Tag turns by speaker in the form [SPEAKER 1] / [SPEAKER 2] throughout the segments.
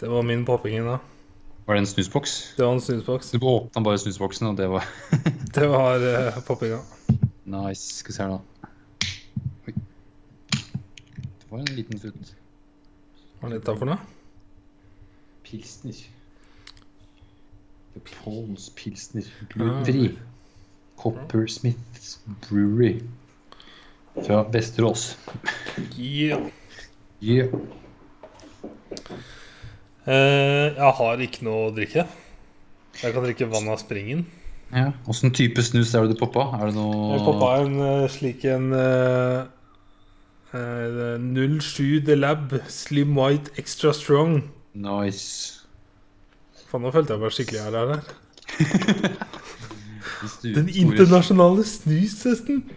[SPEAKER 1] Det var min popping da.
[SPEAKER 2] Var det en snusboks?
[SPEAKER 1] Det var en snusboks.
[SPEAKER 2] Så du åpna bare snusboksen, og det var
[SPEAKER 1] Det var eh, poppinga.
[SPEAKER 2] nice. Skal vi se her, da. Oi. Det var en liten frukt.
[SPEAKER 1] Hva er dette for noe?
[SPEAKER 2] Pilsner. The Poles Pilsner Ah.
[SPEAKER 1] Brewery.
[SPEAKER 2] Coppersmiths Brewery. Fra Vesterås.
[SPEAKER 1] Yeah.
[SPEAKER 2] Yeah.
[SPEAKER 1] Eh, jeg har ikke noe å drikke. Jeg kan drikke vann av springen.
[SPEAKER 2] Ja. Åssen type snus er det du poppa? Er det noe
[SPEAKER 1] Jeg poppa en eh, slik en eh, eh, 07 The Lab Slim White Extra Strong.
[SPEAKER 2] Nice.
[SPEAKER 1] Faen, nå følte jeg meg skikkelig jævla her.
[SPEAKER 2] Hvis du-
[SPEAKER 1] Den internasjonale snustesten!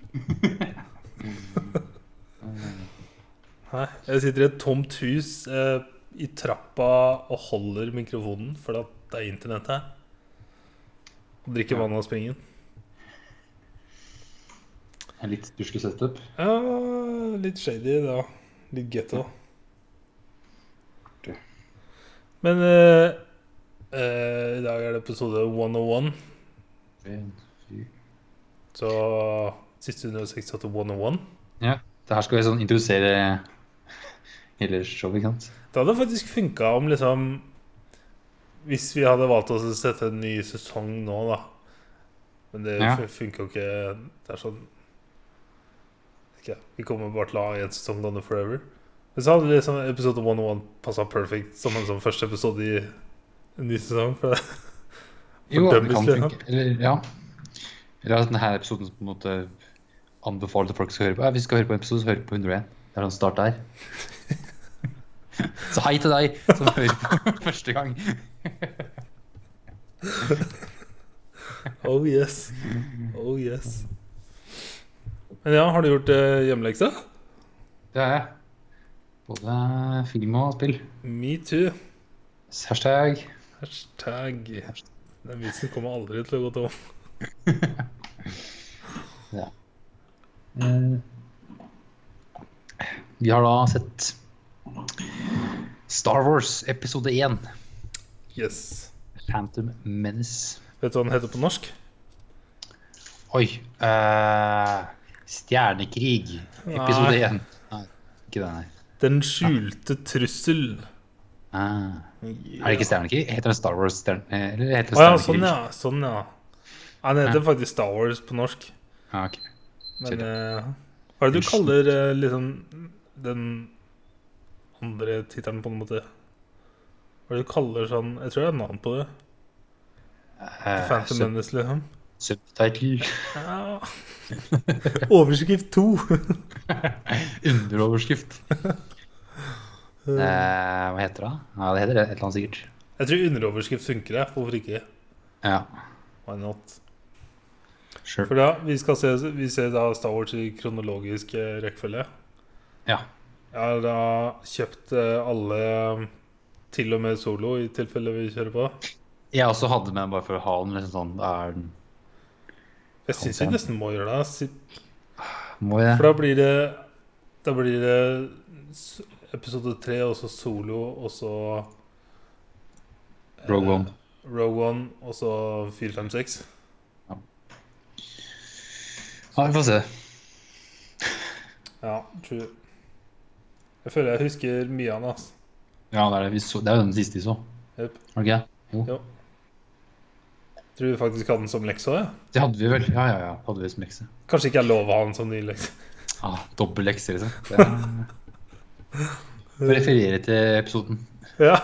[SPEAKER 1] Nei, jeg sitter i et tomt hus eh, i trappa og holder mikrofonen fordi at det er internett her. Og drikker vann av springen.
[SPEAKER 2] En litt stusslig setup.
[SPEAKER 1] Ja, litt shady da. Litt ghetto.
[SPEAKER 2] Artig.
[SPEAKER 1] Men eh, eh, i dag er det episode 101,
[SPEAKER 2] En, fire.
[SPEAKER 1] så siste 168 101.
[SPEAKER 2] Ja. Det her skal jeg sånn introdusere hele showet, ikke sant?
[SPEAKER 1] Det hadde faktisk funka om liksom Hvis vi hadde valgt oss å sette en ny sesong nå, da. Men det
[SPEAKER 2] Ja.
[SPEAKER 1] fun- funker jo ikke. Det er sånn ikke, Vi kommer bare til å ha én sesong gående forever. Men så hadde liksom episode 101 passa perfekt som en sånn første episode i en ny sesong. For det.
[SPEAKER 2] Jo, det
[SPEAKER 1] Fordømmes,
[SPEAKER 2] kan
[SPEAKER 1] liksom.
[SPEAKER 2] funke. Eller, ja. Eller at denne episoden som på en måte anbefaler til folk skal høre på. Ja, hvis du skal høre på en episode, så hør på 101. Det er sånn start der. Så hei til deg som hører på første gang.
[SPEAKER 1] Oh yes. Oh yes. Men ja, har du gjort eh, hjemmeleksa?
[SPEAKER 2] Det er jeg. Både film og spill.
[SPEAKER 1] Metoo.
[SPEAKER 2] Hashtag.
[SPEAKER 1] Hashtag. Den vitsen kommer aldri til å gå tom.
[SPEAKER 2] Eh, Vi har da sett Star Wars episode 1,
[SPEAKER 1] Yes.
[SPEAKER 2] Phantom Menace.
[SPEAKER 1] Vet du hva den heter på norsk?
[SPEAKER 2] Oi. eh, Stjernekrig, episode
[SPEAKER 1] Nei.
[SPEAKER 2] 1. Nei, ikke den her.
[SPEAKER 1] Den skjulte trussel.
[SPEAKER 2] Ah. Er det ikke Stjernekrig? Heter den Star Wars stjerne... eh, Eller heter
[SPEAKER 1] Å
[SPEAKER 2] det
[SPEAKER 1] ja, sånn
[SPEAKER 2] Stjernekrig?
[SPEAKER 1] ja. Sånn, ja. Ja, Den heter faktisk Star Wars på norsk.
[SPEAKER 2] Ah, ok.
[SPEAKER 1] Men eh, hva er det du kaller eh, liksom den andre tittelen, på en måte? Hva er det du kaller sånn Jeg tror det er et navn på det.
[SPEAKER 2] Eh,
[SPEAKER 1] Phantom
[SPEAKER 2] sub-
[SPEAKER 1] Menace, liksom.
[SPEAKER 2] Subtitle.
[SPEAKER 1] Ja. Overskrift to.
[SPEAKER 2] Underoverskrift. Eh, hva heter det? Ja, det heter det, et eller annet sikkert.
[SPEAKER 1] Jeg tror underoverskrift funker, jeg. Hvorfor ikke?
[SPEAKER 2] Ja,
[SPEAKER 1] Why not?
[SPEAKER 2] sure.
[SPEAKER 1] For da, vi, skal se, vi ser da Star Wars i kronologisk eh, rekkefølge.
[SPEAKER 2] Ja.
[SPEAKER 1] Jeg har da kjøpt eh, alle, til og med solo, i tilfelle vi kjører på.
[SPEAKER 2] Jeg også hadde med bare for å ha den liksom sånn er den-
[SPEAKER 1] Jeg syns vi nesten må gjøre det. ass.
[SPEAKER 2] Må jeg?
[SPEAKER 1] For da blir det Da blir det s- episode tre, og så solo, og så eh,
[SPEAKER 2] Rogue One.
[SPEAKER 1] Rogue One, og så 456.
[SPEAKER 2] Ja, vi får se.
[SPEAKER 1] Ja, true. Jeg føler jeg husker mye av den, ass.
[SPEAKER 2] Ja, det er, det. Vi så, det er jo den siste vi så.
[SPEAKER 1] Jep.
[SPEAKER 2] Var det ikke det? Jo.
[SPEAKER 1] Jo. Tror vi faktisk hadde den som lekse òg, ja.
[SPEAKER 2] Det hadde vi vel. Ja, ja, ja. Hadde vi som lekse.
[SPEAKER 1] Kanskje ikke jeg lov å ha den som ny lekse.
[SPEAKER 2] Ah, Dobbel lekse, liksom. Det er... Referere til episoden.
[SPEAKER 1] Ja.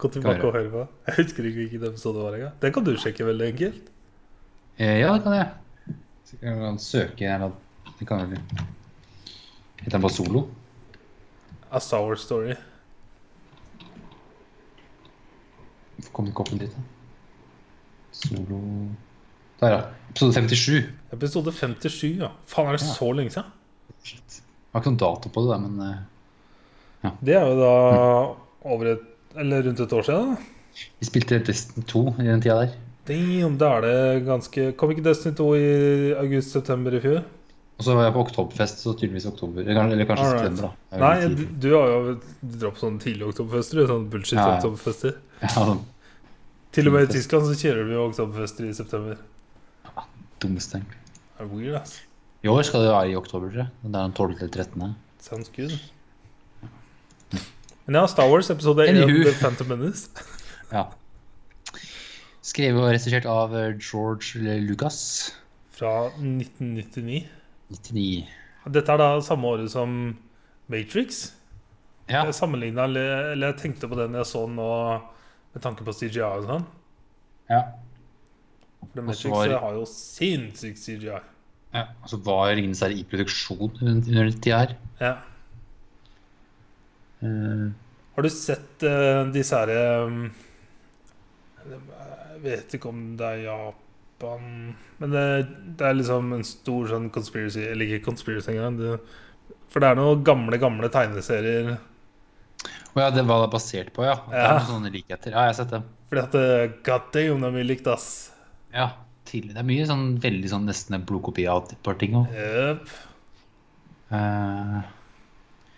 [SPEAKER 1] Gå tilbake
[SPEAKER 2] Skal
[SPEAKER 1] og høre på. Jeg husker ikke hvilken episode det var engang. Den kan du sjekke veldig enkelt.
[SPEAKER 2] Eh, ja, det kan jeg. Så kan jeg søke eller Det kan jeg vel. Heter den bare Solo?
[SPEAKER 1] A Sour Story.
[SPEAKER 2] Kommer ikke opp litt. da. Solo Der, ja. Episode 57.
[SPEAKER 1] Episode 57, ja. Faen, er det
[SPEAKER 2] Ja.
[SPEAKER 1] så lenge siden?
[SPEAKER 2] Shit. Det var ikke noen dato på det, der, men eh,
[SPEAKER 1] Det er jo da over et Eller rundt et år siden, da.
[SPEAKER 2] vi spilte Destiny 2 i den tida der.
[SPEAKER 1] Damn, da er det ganske Kom ikke Destiny 2 i august-september i fjor?
[SPEAKER 2] Og så var jeg på oktoberfest, så tydeligvis oktober. Eller, kan- eller kanskje
[SPEAKER 1] Alright.
[SPEAKER 2] september, da. Jeg er
[SPEAKER 1] Nei,
[SPEAKER 2] veldig
[SPEAKER 1] du,
[SPEAKER 2] tidlig.
[SPEAKER 1] du har jo du drar på sånne tidlige oktoberfester. du, Sånne
[SPEAKER 2] Ja, ja.
[SPEAKER 1] bullshit-oktoberfester.
[SPEAKER 2] Ja, sånn
[SPEAKER 1] Til og med i
[SPEAKER 2] Fest.
[SPEAKER 1] Tyskland så kjører vi jo oktoberfester i september.
[SPEAKER 2] dummeste, egentlig.
[SPEAKER 1] Det er weird, ass.
[SPEAKER 2] I år skal det være i oktober, tror jeg. Det er den 12. til 13.
[SPEAKER 1] Sounds good. Men ja, Star Wars episode 1
[SPEAKER 2] Anywho.
[SPEAKER 1] The Phantom Menace.
[SPEAKER 2] Ja. Skrevet og regissert av eh, George Lucas.
[SPEAKER 1] Fra 1999.
[SPEAKER 2] 99.
[SPEAKER 1] Dette er da samme året som Matrix.
[SPEAKER 2] Ja.
[SPEAKER 1] Jeg Eh, sammenlignet, eller, eller jeg tenkte på den jeg så nå med tanke på CGI og sånn.
[SPEAKER 2] ja.
[SPEAKER 1] For
[SPEAKER 2] Og så
[SPEAKER 1] Matrix
[SPEAKER 2] var-
[SPEAKER 1] har jo sinnssykt CGI.
[SPEAKER 2] ja. Og så var Ringenes herre i produksjon under under den tida her.
[SPEAKER 1] Ja.
[SPEAKER 2] Eh,
[SPEAKER 1] Har du sett eh, disse herre Jeg vet ikke om det er Japan Men det, det er liksom en stor sånn conspiracy Eller ikke conspiracy engang. Det, for det er noen gamle, gamle tegneserier.
[SPEAKER 2] Å ja, det var det basert på, ja. Det er
[SPEAKER 1] Ja.
[SPEAKER 2] noen sånne likheter. Ja, jeg har sett dem.
[SPEAKER 1] Fordi at eh, God damn, det er mye likt, ass.
[SPEAKER 2] Ja, tidlig. Det er mye sånn veldig sånn nesten en blodkopi av et par ting Eh, òg.
[SPEAKER 1] Jøp.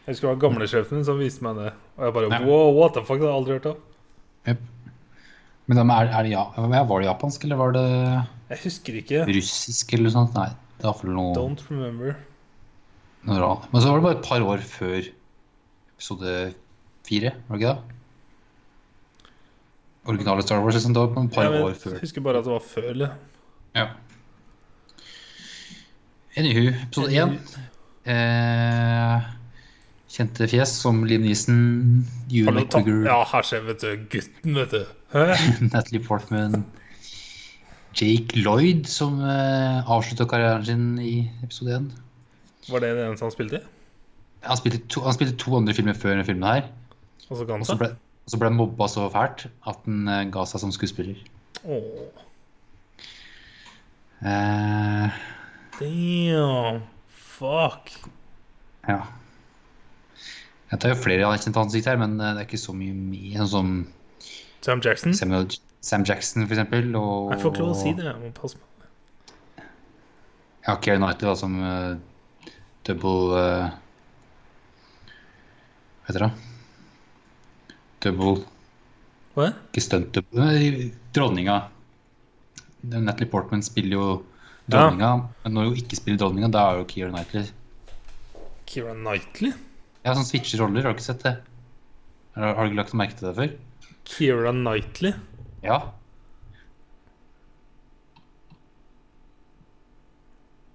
[SPEAKER 1] Jeg husker det var gamlesjefen min som viste meg det. Og jeg bare
[SPEAKER 2] Ja.
[SPEAKER 1] wow, what the fuck, det har jeg aldri hørt om.
[SPEAKER 2] Men da, er, er det ja, ja, var det japansk, eller var det
[SPEAKER 1] Jeg husker ikke.
[SPEAKER 2] russisk, eller noe sånt? Nei, det var for noe,
[SPEAKER 1] Don't remember.
[SPEAKER 2] noe rart. Men så var det bare et par år før episode fire, var det ikke det? Originale Star Wars, liksom. Det var et par
[SPEAKER 1] Ja, men
[SPEAKER 2] år før.
[SPEAKER 1] Jeg husker bare at det var før, eller?
[SPEAKER 2] Ja. Anywho, episode én.
[SPEAKER 1] Anywho.
[SPEAKER 2] Eh, kjente fjes som Liv Neeson, Hugh
[SPEAKER 1] Har du tatt-
[SPEAKER 2] McGregor,
[SPEAKER 1] Ja, her ser vi, vet du. Gutten, vet du. Hæ?
[SPEAKER 2] Natalie Portman, Jake Lloyd, som eh, avslutta karrieren sin i episode én.
[SPEAKER 1] Var det den eneste han spilte i?
[SPEAKER 2] Han spilte, to, han spilte to andre filmer før denne filmen her,
[SPEAKER 1] Og så ga han
[SPEAKER 2] og så
[SPEAKER 1] seg?
[SPEAKER 2] ble, og så ble han mobba så fælt at han eh, ga seg som skuespiller.
[SPEAKER 1] Åh,
[SPEAKER 2] Eh,
[SPEAKER 1] damn. Fuck.
[SPEAKER 2] Ja. Jeg tar jo flere kjente ansikt her, men eh, det er ikke så mye mer. Sånn som
[SPEAKER 1] Mm. Sam Jackson?
[SPEAKER 2] Samuel, Sam Jackson, for eksempel. Og,
[SPEAKER 1] Jeg får ikke lov å si det. Jeg må passe meg.
[SPEAKER 2] Ja, Keira Knightley, da, som eh, double eh, Hva heter det? Double
[SPEAKER 1] Hva?
[SPEAKER 2] Ikke stunt double nei, Dronninga. Den Natalie Portman spiller jo
[SPEAKER 1] Ja.
[SPEAKER 2] dronninga, men når hun ikke spiller dronninga, da er jo Keira Knightley
[SPEAKER 1] Keira Knightley?
[SPEAKER 2] Ja, sånn switcher roller, har du ikke sett det? Har, har du ikke lagt merke til det før?
[SPEAKER 1] Keira Knightley?
[SPEAKER 2] Ja.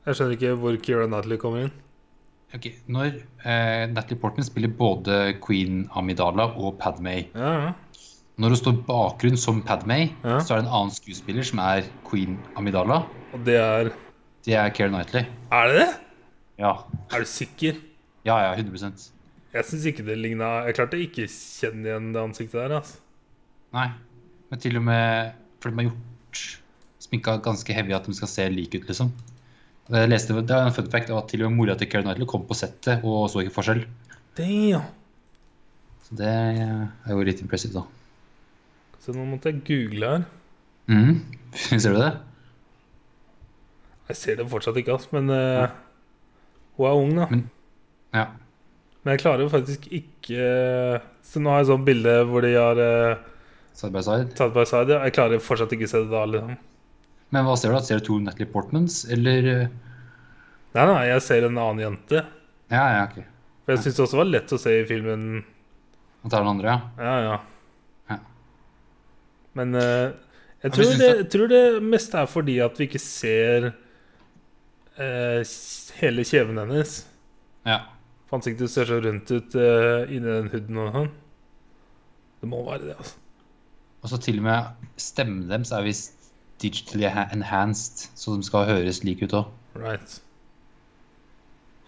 [SPEAKER 1] Jeg skjønner ikke hvor Keira Knightley kommer inn.
[SPEAKER 2] Ok, Når eh, Natalie Portman spiller både Queen Amidala og Padmay
[SPEAKER 1] Ja, ja.
[SPEAKER 2] Når hun står bakgrunn som Padmay,
[SPEAKER 1] Ja.
[SPEAKER 2] så er det en annen skuespiller som er Queen Amidala.
[SPEAKER 1] Og det er
[SPEAKER 2] Det er Keira Knightley.
[SPEAKER 1] Er det det?
[SPEAKER 2] Ja,
[SPEAKER 1] Er du sikker?
[SPEAKER 2] ja, ja 100
[SPEAKER 1] Jeg syns ikke det ligna Jeg klarte ikke å kjenne igjen det ansiktet der. Altså.
[SPEAKER 2] Nei. Men til og med For de har gjort sminka ganske heavy at de skal se like ut, liksom. Jeg leste, det er en fun fact at til og med mora til Keira Knightley kom på settet og så ikke forskjell.
[SPEAKER 1] Damn.
[SPEAKER 2] Så det er jo litt impressive, da.
[SPEAKER 1] Så nå måtte jeg google her.
[SPEAKER 2] Mhm. Ser du det?
[SPEAKER 1] Jeg ser det fortsatt ikke, ass, men eh, hun er ung, da.
[SPEAKER 2] Men- Ja.
[SPEAKER 1] Men jeg klarer jo faktisk ikke Så nå har jeg sånn bilde hvor de har eh,
[SPEAKER 2] Side by side.
[SPEAKER 1] side by side. ja. Jeg klarer fortsatt ikke å se det da. liksom
[SPEAKER 2] Men hva ser du? da? Ser du to Natalie Portmans, eller eh,
[SPEAKER 1] Nei, nei, jeg ser en annen jente.
[SPEAKER 2] Ja, ja, OK.
[SPEAKER 1] For jeg syns det også var lett å se i filmen.
[SPEAKER 2] Og tar den andre, ja.
[SPEAKER 1] Ja, ja.
[SPEAKER 2] Ja.
[SPEAKER 1] Men eh, jeg,
[SPEAKER 2] men
[SPEAKER 1] tror det,
[SPEAKER 2] synes du-
[SPEAKER 1] jeg tror det meste er fordi at vi ikke ser eh, s- hele kjeven hennes.
[SPEAKER 2] ja.
[SPEAKER 1] For Ansiktet ser så rundt ut eh, inni den huden og sånn. Det må være det, altså.
[SPEAKER 2] Og så til og med stemmen deres er visst digitally enha- enhanced, så de skal høres like ut òg.
[SPEAKER 1] Right.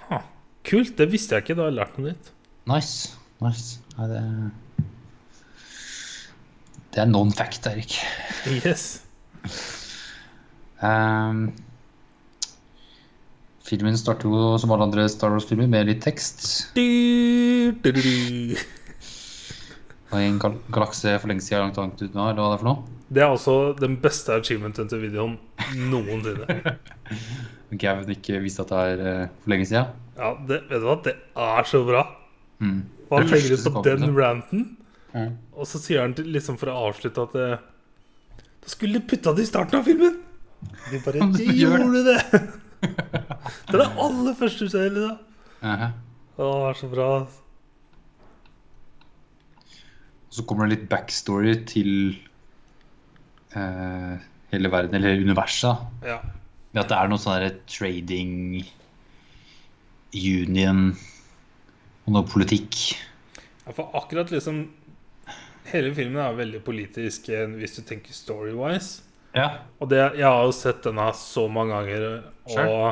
[SPEAKER 1] Ha, kult. Det visste jeg ikke. Da har jeg lært noe nytt.
[SPEAKER 2] Nice. nice. Nei, det, det er non fact, Erik.
[SPEAKER 1] Yes.
[SPEAKER 2] Ehm, filmen starter jo som alle andre Star Wars-filmer med litt tekst.
[SPEAKER 1] Du, du, du, du.
[SPEAKER 2] Og i en gal galakse for lenge siden langt langt unna, eller hva det er for noe.
[SPEAKER 1] Det er altså den beste achievementen til videoen noensinne.
[SPEAKER 2] Gauen ikke visste at det er eh, for lenge siden.
[SPEAKER 1] Ja, det, vet du hva? Det er så bra.
[SPEAKER 2] Mm.
[SPEAKER 1] Og han
[SPEAKER 2] Det
[SPEAKER 1] legger ut på
[SPEAKER 2] første som
[SPEAKER 1] den
[SPEAKER 2] kommer,
[SPEAKER 1] ranten,
[SPEAKER 2] Mm.
[SPEAKER 1] og så sier han til, liksom for å avslutte at eh, Da skulle du putta det i starten av filmen! De bare
[SPEAKER 2] Men
[SPEAKER 1] De
[SPEAKER 2] du gjør
[SPEAKER 1] gjorde det! det er det aller første du ser i det.
[SPEAKER 2] Aha.
[SPEAKER 1] Å, det er så bra.
[SPEAKER 2] Og så kommer det litt backstory til eh, hele verden, eller universet. da.
[SPEAKER 1] Ja.
[SPEAKER 2] Ved at det er noe sånn der trading union og noe politikk.
[SPEAKER 1] Ja, For akkurat liksom Hele filmen er veldig politisk eh, hvis du tenker story-wise.
[SPEAKER 2] Ja.
[SPEAKER 1] Og det, jeg har jo sett denne så mange ganger, og
[SPEAKER 2] Sure.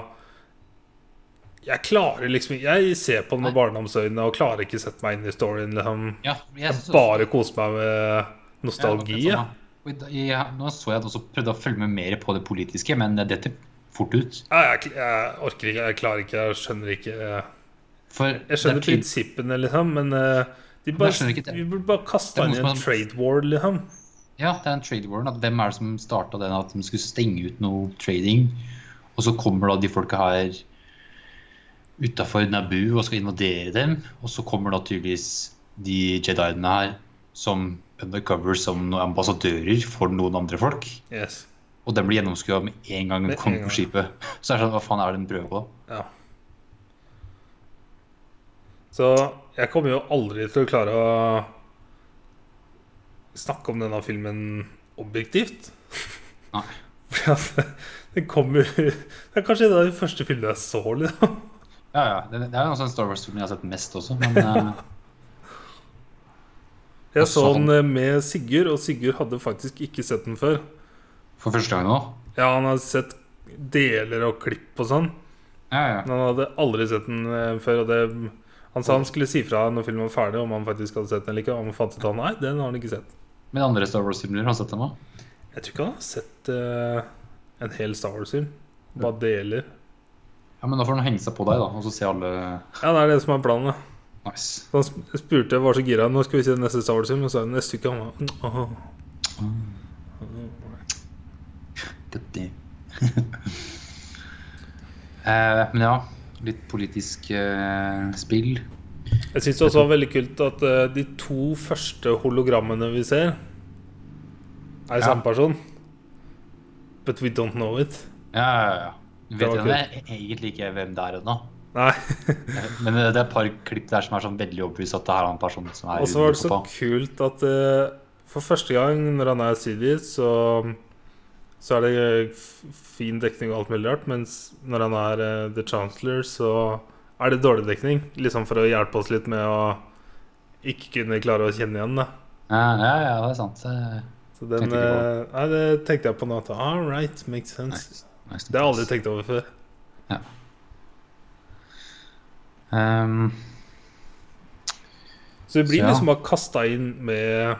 [SPEAKER 1] jeg klarer liksom ikke Jeg ser på den med barndomsøyne og klarer ikke sette meg inn i storyen. Liksom.
[SPEAKER 2] ja jeg synes
[SPEAKER 1] Jeg
[SPEAKER 2] også-
[SPEAKER 1] bare koser meg med
[SPEAKER 2] Ja, det var
[SPEAKER 1] nostalgi.
[SPEAKER 2] litt
[SPEAKER 1] Ja,
[SPEAKER 2] sånn, da. Og i dag- ja, nå så jeg at også prøvde å følge med mer på det politiske, men det detter fort ut.
[SPEAKER 1] jeg, jeg, jeg orker ikke, jeg klarer ikke, jeg skjønner ikke eh,
[SPEAKER 2] For
[SPEAKER 1] Jeg skjønner
[SPEAKER 2] det er tydelig-
[SPEAKER 1] prinsippene, liksom, men eh, de
[SPEAKER 2] jeg
[SPEAKER 1] bare,
[SPEAKER 2] skjønner ikke det.
[SPEAKER 1] vi burde bare
[SPEAKER 2] Det
[SPEAKER 1] kasta
[SPEAKER 2] er
[SPEAKER 1] inn
[SPEAKER 2] noen
[SPEAKER 1] i
[SPEAKER 2] som
[SPEAKER 1] en
[SPEAKER 2] har-
[SPEAKER 1] trade war, liksom.
[SPEAKER 2] Ja, det er en trade war. da. Hvem er det som starta den at de skulle stenge ut noe trading? Og så kommer da de folka her utafor Nabu og skal invadere dem. Og så kommer da tydeligvis de jediene her som undercover som noen ambassadører for noen andre folk.
[SPEAKER 1] Yes.
[SPEAKER 2] Og den blir gjennomskua med en gang
[SPEAKER 1] Med en
[SPEAKER 2] den kommer
[SPEAKER 1] gang.
[SPEAKER 2] på skipet. Så er det sånn, hva faen er det den prøver på?
[SPEAKER 1] Ja. Så jeg kommer jo aldri til å klare å snakke om denne filmen objektivt.
[SPEAKER 2] Nei.
[SPEAKER 1] Fordi at den kommer Det er kanskje en av de første filmene jeg så. Liksom.
[SPEAKER 2] Ja, ja. Det, det er jo også en sånn Star Wars-film jeg har sett mest også, men eh,
[SPEAKER 1] Jeg
[SPEAKER 2] Også
[SPEAKER 1] så den med Sigurd, og Sigurd hadde faktisk ikke sett den før.
[SPEAKER 2] for første gang nå
[SPEAKER 1] Ja, han hadde sett deler og klipp og sånn,
[SPEAKER 2] Ja, ja.
[SPEAKER 1] men han hadde aldri sett den eh, før. Og det, han sa han skulle si fra når filmen var ferdig, om han faktisk hadde sett den eller ikke. Og han fant ut at nei, den har han ikke sett.
[SPEAKER 2] Men andre Star Wars-filmer har du sett dem òg?
[SPEAKER 1] Jeg tror ikke han har sett eh, en hel Star Wars-film. Bare deler.
[SPEAKER 2] Ja, men da får den henge seg på deg, da, og så se alle
[SPEAKER 1] Ja, det er det som er planen. da.
[SPEAKER 2] Nice.
[SPEAKER 1] Så han sp- spurte jeg var så gira Nå skal vi se neste Star Wars-film, og så er det neste uke. Han var, «Åh».
[SPEAKER 2] Good day. eh, men ja, litt politisk eh, spill.
[SPEAKER 1] Jeg syns det også var veldig kult at eh, de to første hologrammene vi ser, er
[SPEAKER 2] Ja.
[SPEAKER 1] samme person. But we don't know it.
[SPEAKER 2] Ja, ja, ja. Du
[SPEAKER 1] Det
[SPEAKER 2] Vet
[SPEAKER 1] var
[SPEAKER 2] jeg det? E- egentlig ikke hvem det er ennå.
[SPEAKER 1] Nei.
[SPEAKER 2] Men det er et par klipp der som er sånn veldig overbevist at det her er en person som er
[SPEAKER 1] Og så var det
[SPEAKER 2] under
[SPEAKER 1] så
[SPEAKER 2] på.
[SPEAKER 1] kult at eh, for første gang når han er CDs, så, så er det eh, f- fin dekning og alt mulig rart, mens når han er eh, The Chancellor, så er det dårlig dekning. Liksom for å hjelpe oss litt med å ikke kunne klare å kjenne igjen, da.
[SPEAKER 2] Ja, ja, ja, det er sant. Eh,
[SPEAKER 1] Så den
[SPEAKER 2] Tenkte ikke på
[SPEAKER 1] eh, Nei, det tenkte jeg på nå. at, All right, makes sense.
[SPEAKER 2] nice, nice.
[SPEAKER 1] Det har jeg aldri tenkt over før.
[SPEAKER 2] Ehm,
[SPEAKER 1] Så vi blir
[SPEAKER 2] Så ja.
[SPEAKER 1] liksom bare kasta inn med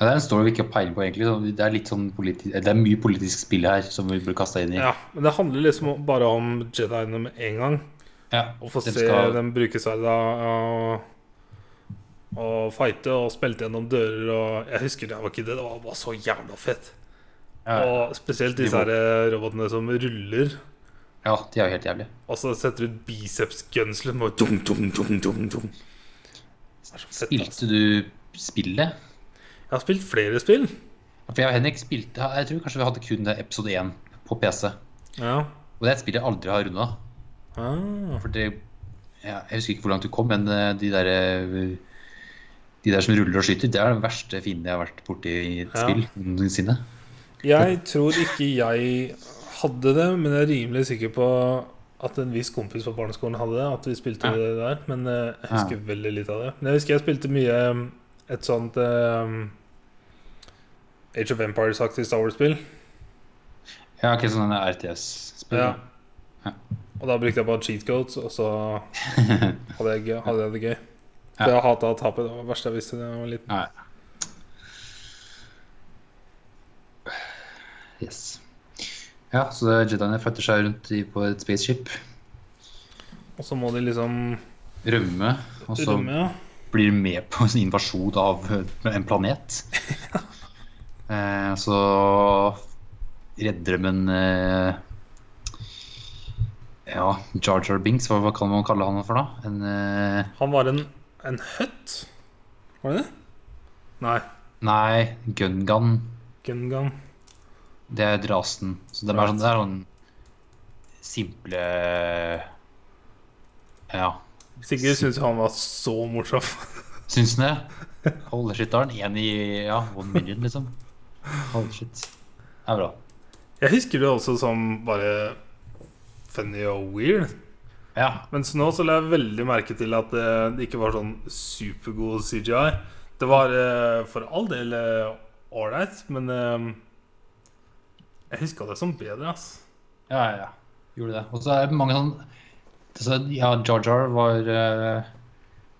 [SPEAKER 2] ja, det er en story vi ikke har peiling på, egentlig. så Det er, litt sånn politi det er mye politisk spill her som vi burde kaste inn i.
[SPEAKER 1] Ja, men det handler liksom bare om Jediene med en gang.
[SPEAKER 2] Ja.
[SPEAKER 1] Å få
[SPEAKER 2] Den
[SPEAKER 1] se
[SPEAKER 2] skal-
[SPEAKER 1] dem bruke sverda og, og fighte og smelte gjennom dører og Jeg husker da jeg var kid, det var bare så jævla fett.
[SPEAKER 2] Ja,
[SPEAKER 1] Og spesielt disse her
[SPEAKER 2] Nivå.
[SPEAKER 1] eh, robotene som ruller.
[SPEAKER 2] ja, de er jo helt jævlig.
[SPEAKER 1] Og så setter du ut biceps guns liksom, og dum, dum, dum, dum, dum. Det er så fett, altså.
[SPEAKER 2] Spilte du spillet?
[SPEAKER 1] Jeg har spilt flere spill.
[SPEAKER 2] For jeg og Henrik spilte Jeg tror kanskje vi hadde kun det episode 1 på PC.
[SPEAKER 1] Ja.
[SPEAKER 2] Og det er et spill jeg aldri har runda.
[SPEAKER 1] Ah.
[SPEAKER 2] For det ja, Jeg husker ikke hvor langt du kom, men eh, de der eh, De der som ruller og skyter, det er den verste fienden jeg har vært borti i et
[SPEAKER 1] Ja.
[SPEAKER 2] spill noensinne.
[SPEAKER 1] Jeg tror ikke jeg hadde det, men jeg er rimelig sikker på at en viss kompis på barneskolen hadde det. At vi spilte
[SPEAKER 2] Ja.
[SPEAKER 1] det der. Men eh, jeg husker
[SPEAKER 2] Ja.
[SPEAKER 1] veldig litt av det. Men jeg husker jeg spilte mye um, et sånt um, Age of Empires-aktig Star Wars-spill.
[SPEAKER 2] Ja, ok, sånn en RTS-spill.
[SPEAKER 1] Ja.
[SPEAKER 2] Ja.
[SPEAKER 1] Og da brukte jeg bare cheat codes, og så hadde jeg, gøy- hadde jeg det gøy. For
[SPEAKER 2] Ja.
[SPEAKER 1] jeg hata å tape. Det var det verste jeg visste da jeg var liten.
[SPEAKER 2] Nei. Yes. Ja, så jediene flytter seg rundt i, på et spaceship,
[SPEAKER 1] Og så må de liksom
[SPEAKER 2] rømme, og så
[SPEAKER 1] rømme, ja.
[SPEAKER 2] blir med på en invasjon av en planet. Eh, Så redder de en eh, Ja, Jar Jar Binks, hva hva kan man kalle han for da? En, eh,
[SPEAKER 1] Han var en, en høtt? Var det det? Nei.
[SPEAKER 2] nei, Gungan.
[SPEAKER 1] Gungan.
[SPEAKER 2] Det er rasen. Så det er bare sånn, det er sånn simple Ja.
[SPEAKER 1] Sigurd syntes jo han var så morsom.
[SPEAKER 2] Syns den det? Holy shit, da er den én i ja, one million, liksom. Holy shit. Det er bra.
[SPEAKER 1] Jeg husker det også som bare funny og weird.
[SPEAKER 2] Ja.
[SPEAKER 1] Mens nå så la jeg veldig merke til at det, det ikke var sånn supergod CGI. Det var eh, for all del ålreit, men eh, jeg huska det som bedre, ass.
[SPEAKER 2] Ja, ja, ja. Gjorde det. Og så er det mange sånn så, Ja, Jar Jar var eh,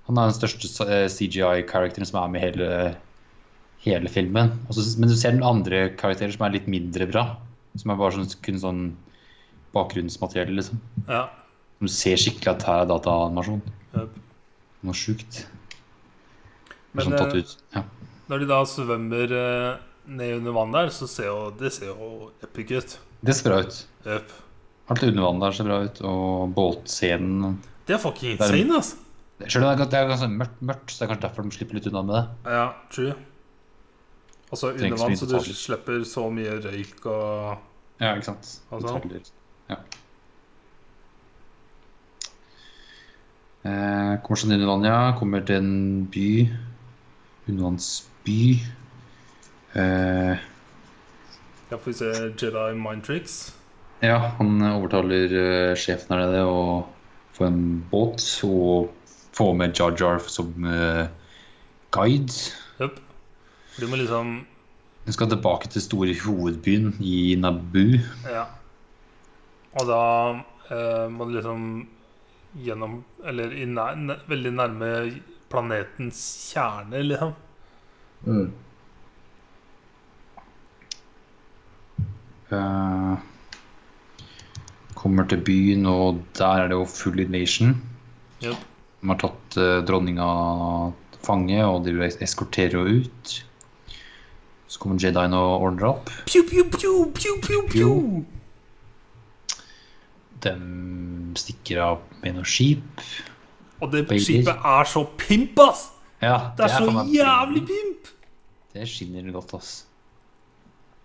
[SPEAKER 2] Han er den største eh, CGI-karakteren som er med i hele, hele filmen. Og så- men du ser den andre karakterer som er litt mindre bra. Som er bare sånn, kun sånn bakgrunnsmateriell, liksom.
[SPEAKER 1] Ja.
[SPEAKER 2] Du ser skikkelig at her er dataanimasjon.
[SPEAKER 1] Yep.
[SPEAKER 2] Noe sjukt.
[SPEAKER 1] Men,
[SPEAKER 2] sånn tatt
[SPEAKER 1] eh,
[SPEAKER 2] ut. Ja.
[SPEAKER 1] Når de da svømmer eh, ned under vann der, så ser jo det ser jo epic ut.
[SPEAKER 2] Det ser bra ut.
[SPEAKER 1] Yep.
[SPEAKER 2] Alt under vann der ser bra ut. Og båtscenen
[SPEAKER 1] Det er fucking
[SPEAKER 2] Det er-
[SPEAKER 1] insane, ass.
[SPEAKER 2] Selv om det er gans- det er ganske mørkt, mørkt, så det er kanskje derfor de slipper litt unna med det.
[SPEAKER 1] Ja, true. Altså
[SPEAKER 2] Trenger
[SPEAKER 1] under
[SPEAKER 2] ikke så
[SPEAKER 1] vann,
[SPEAKER 2] mye
[SPEAKER 1] så du
[SPEAKER 2] detaljer.
[SPEAKER 1] slipper så mye røyk og
[SPEAKER 2] Ja, ikke sant.
[SPEAKER 1] Altså.
[SPEAKER 2] Detaljer. Ja. Eh, kommer seg ned under vannet, ja. Kommer til en by. Undervannsby. Eh,
[SPEAKER 1] Ja, får vi se Jedi mind tricks.
[SPEAKER 2] ja, han overtaler eh, sjefen her nede å få en båt og få med Jar Jar som eh, guide.
[SPEAKER 1] Yep. Du må liksom
[SPEAKER 2] Hun skal tilbake til store hovedbyen i Naboo.
[SPEAKER 1] Ja. Og da eh, må du liksom gjennom Eller i nær, nær- veldig nærme planetens kjerne, liksom.
[SPEAKER 2] Mm. Eh, kommer til byen, og der er det jo full invasion.
[SPEAKER 1] Yep.
[SPEAKER 2] De har tatt eh, dronninga til fange, og de es- eskorterer henne ut. Så kommer Jedien og ordner opp.
[SPEAKER 1] Pew, pew, pew, pew, pew, pew.
[SPEAKER 2] Pew. De stikker av med noe skip.
[SPEAKER 1] Og det
[SPEAKER 2] Baby.
[SPEAKER 1] skipet er så pimp, ass!
[SPEAKER 2] Ja,
[SPEAKER 1] Det er
[SPEAKER 2] faen
[SPEAKER 1] så
[SPEAKER 2] meg-
[SPEAKER 1] jævlig pimp!
[SPEAKER 2] Det skinner godt, ass.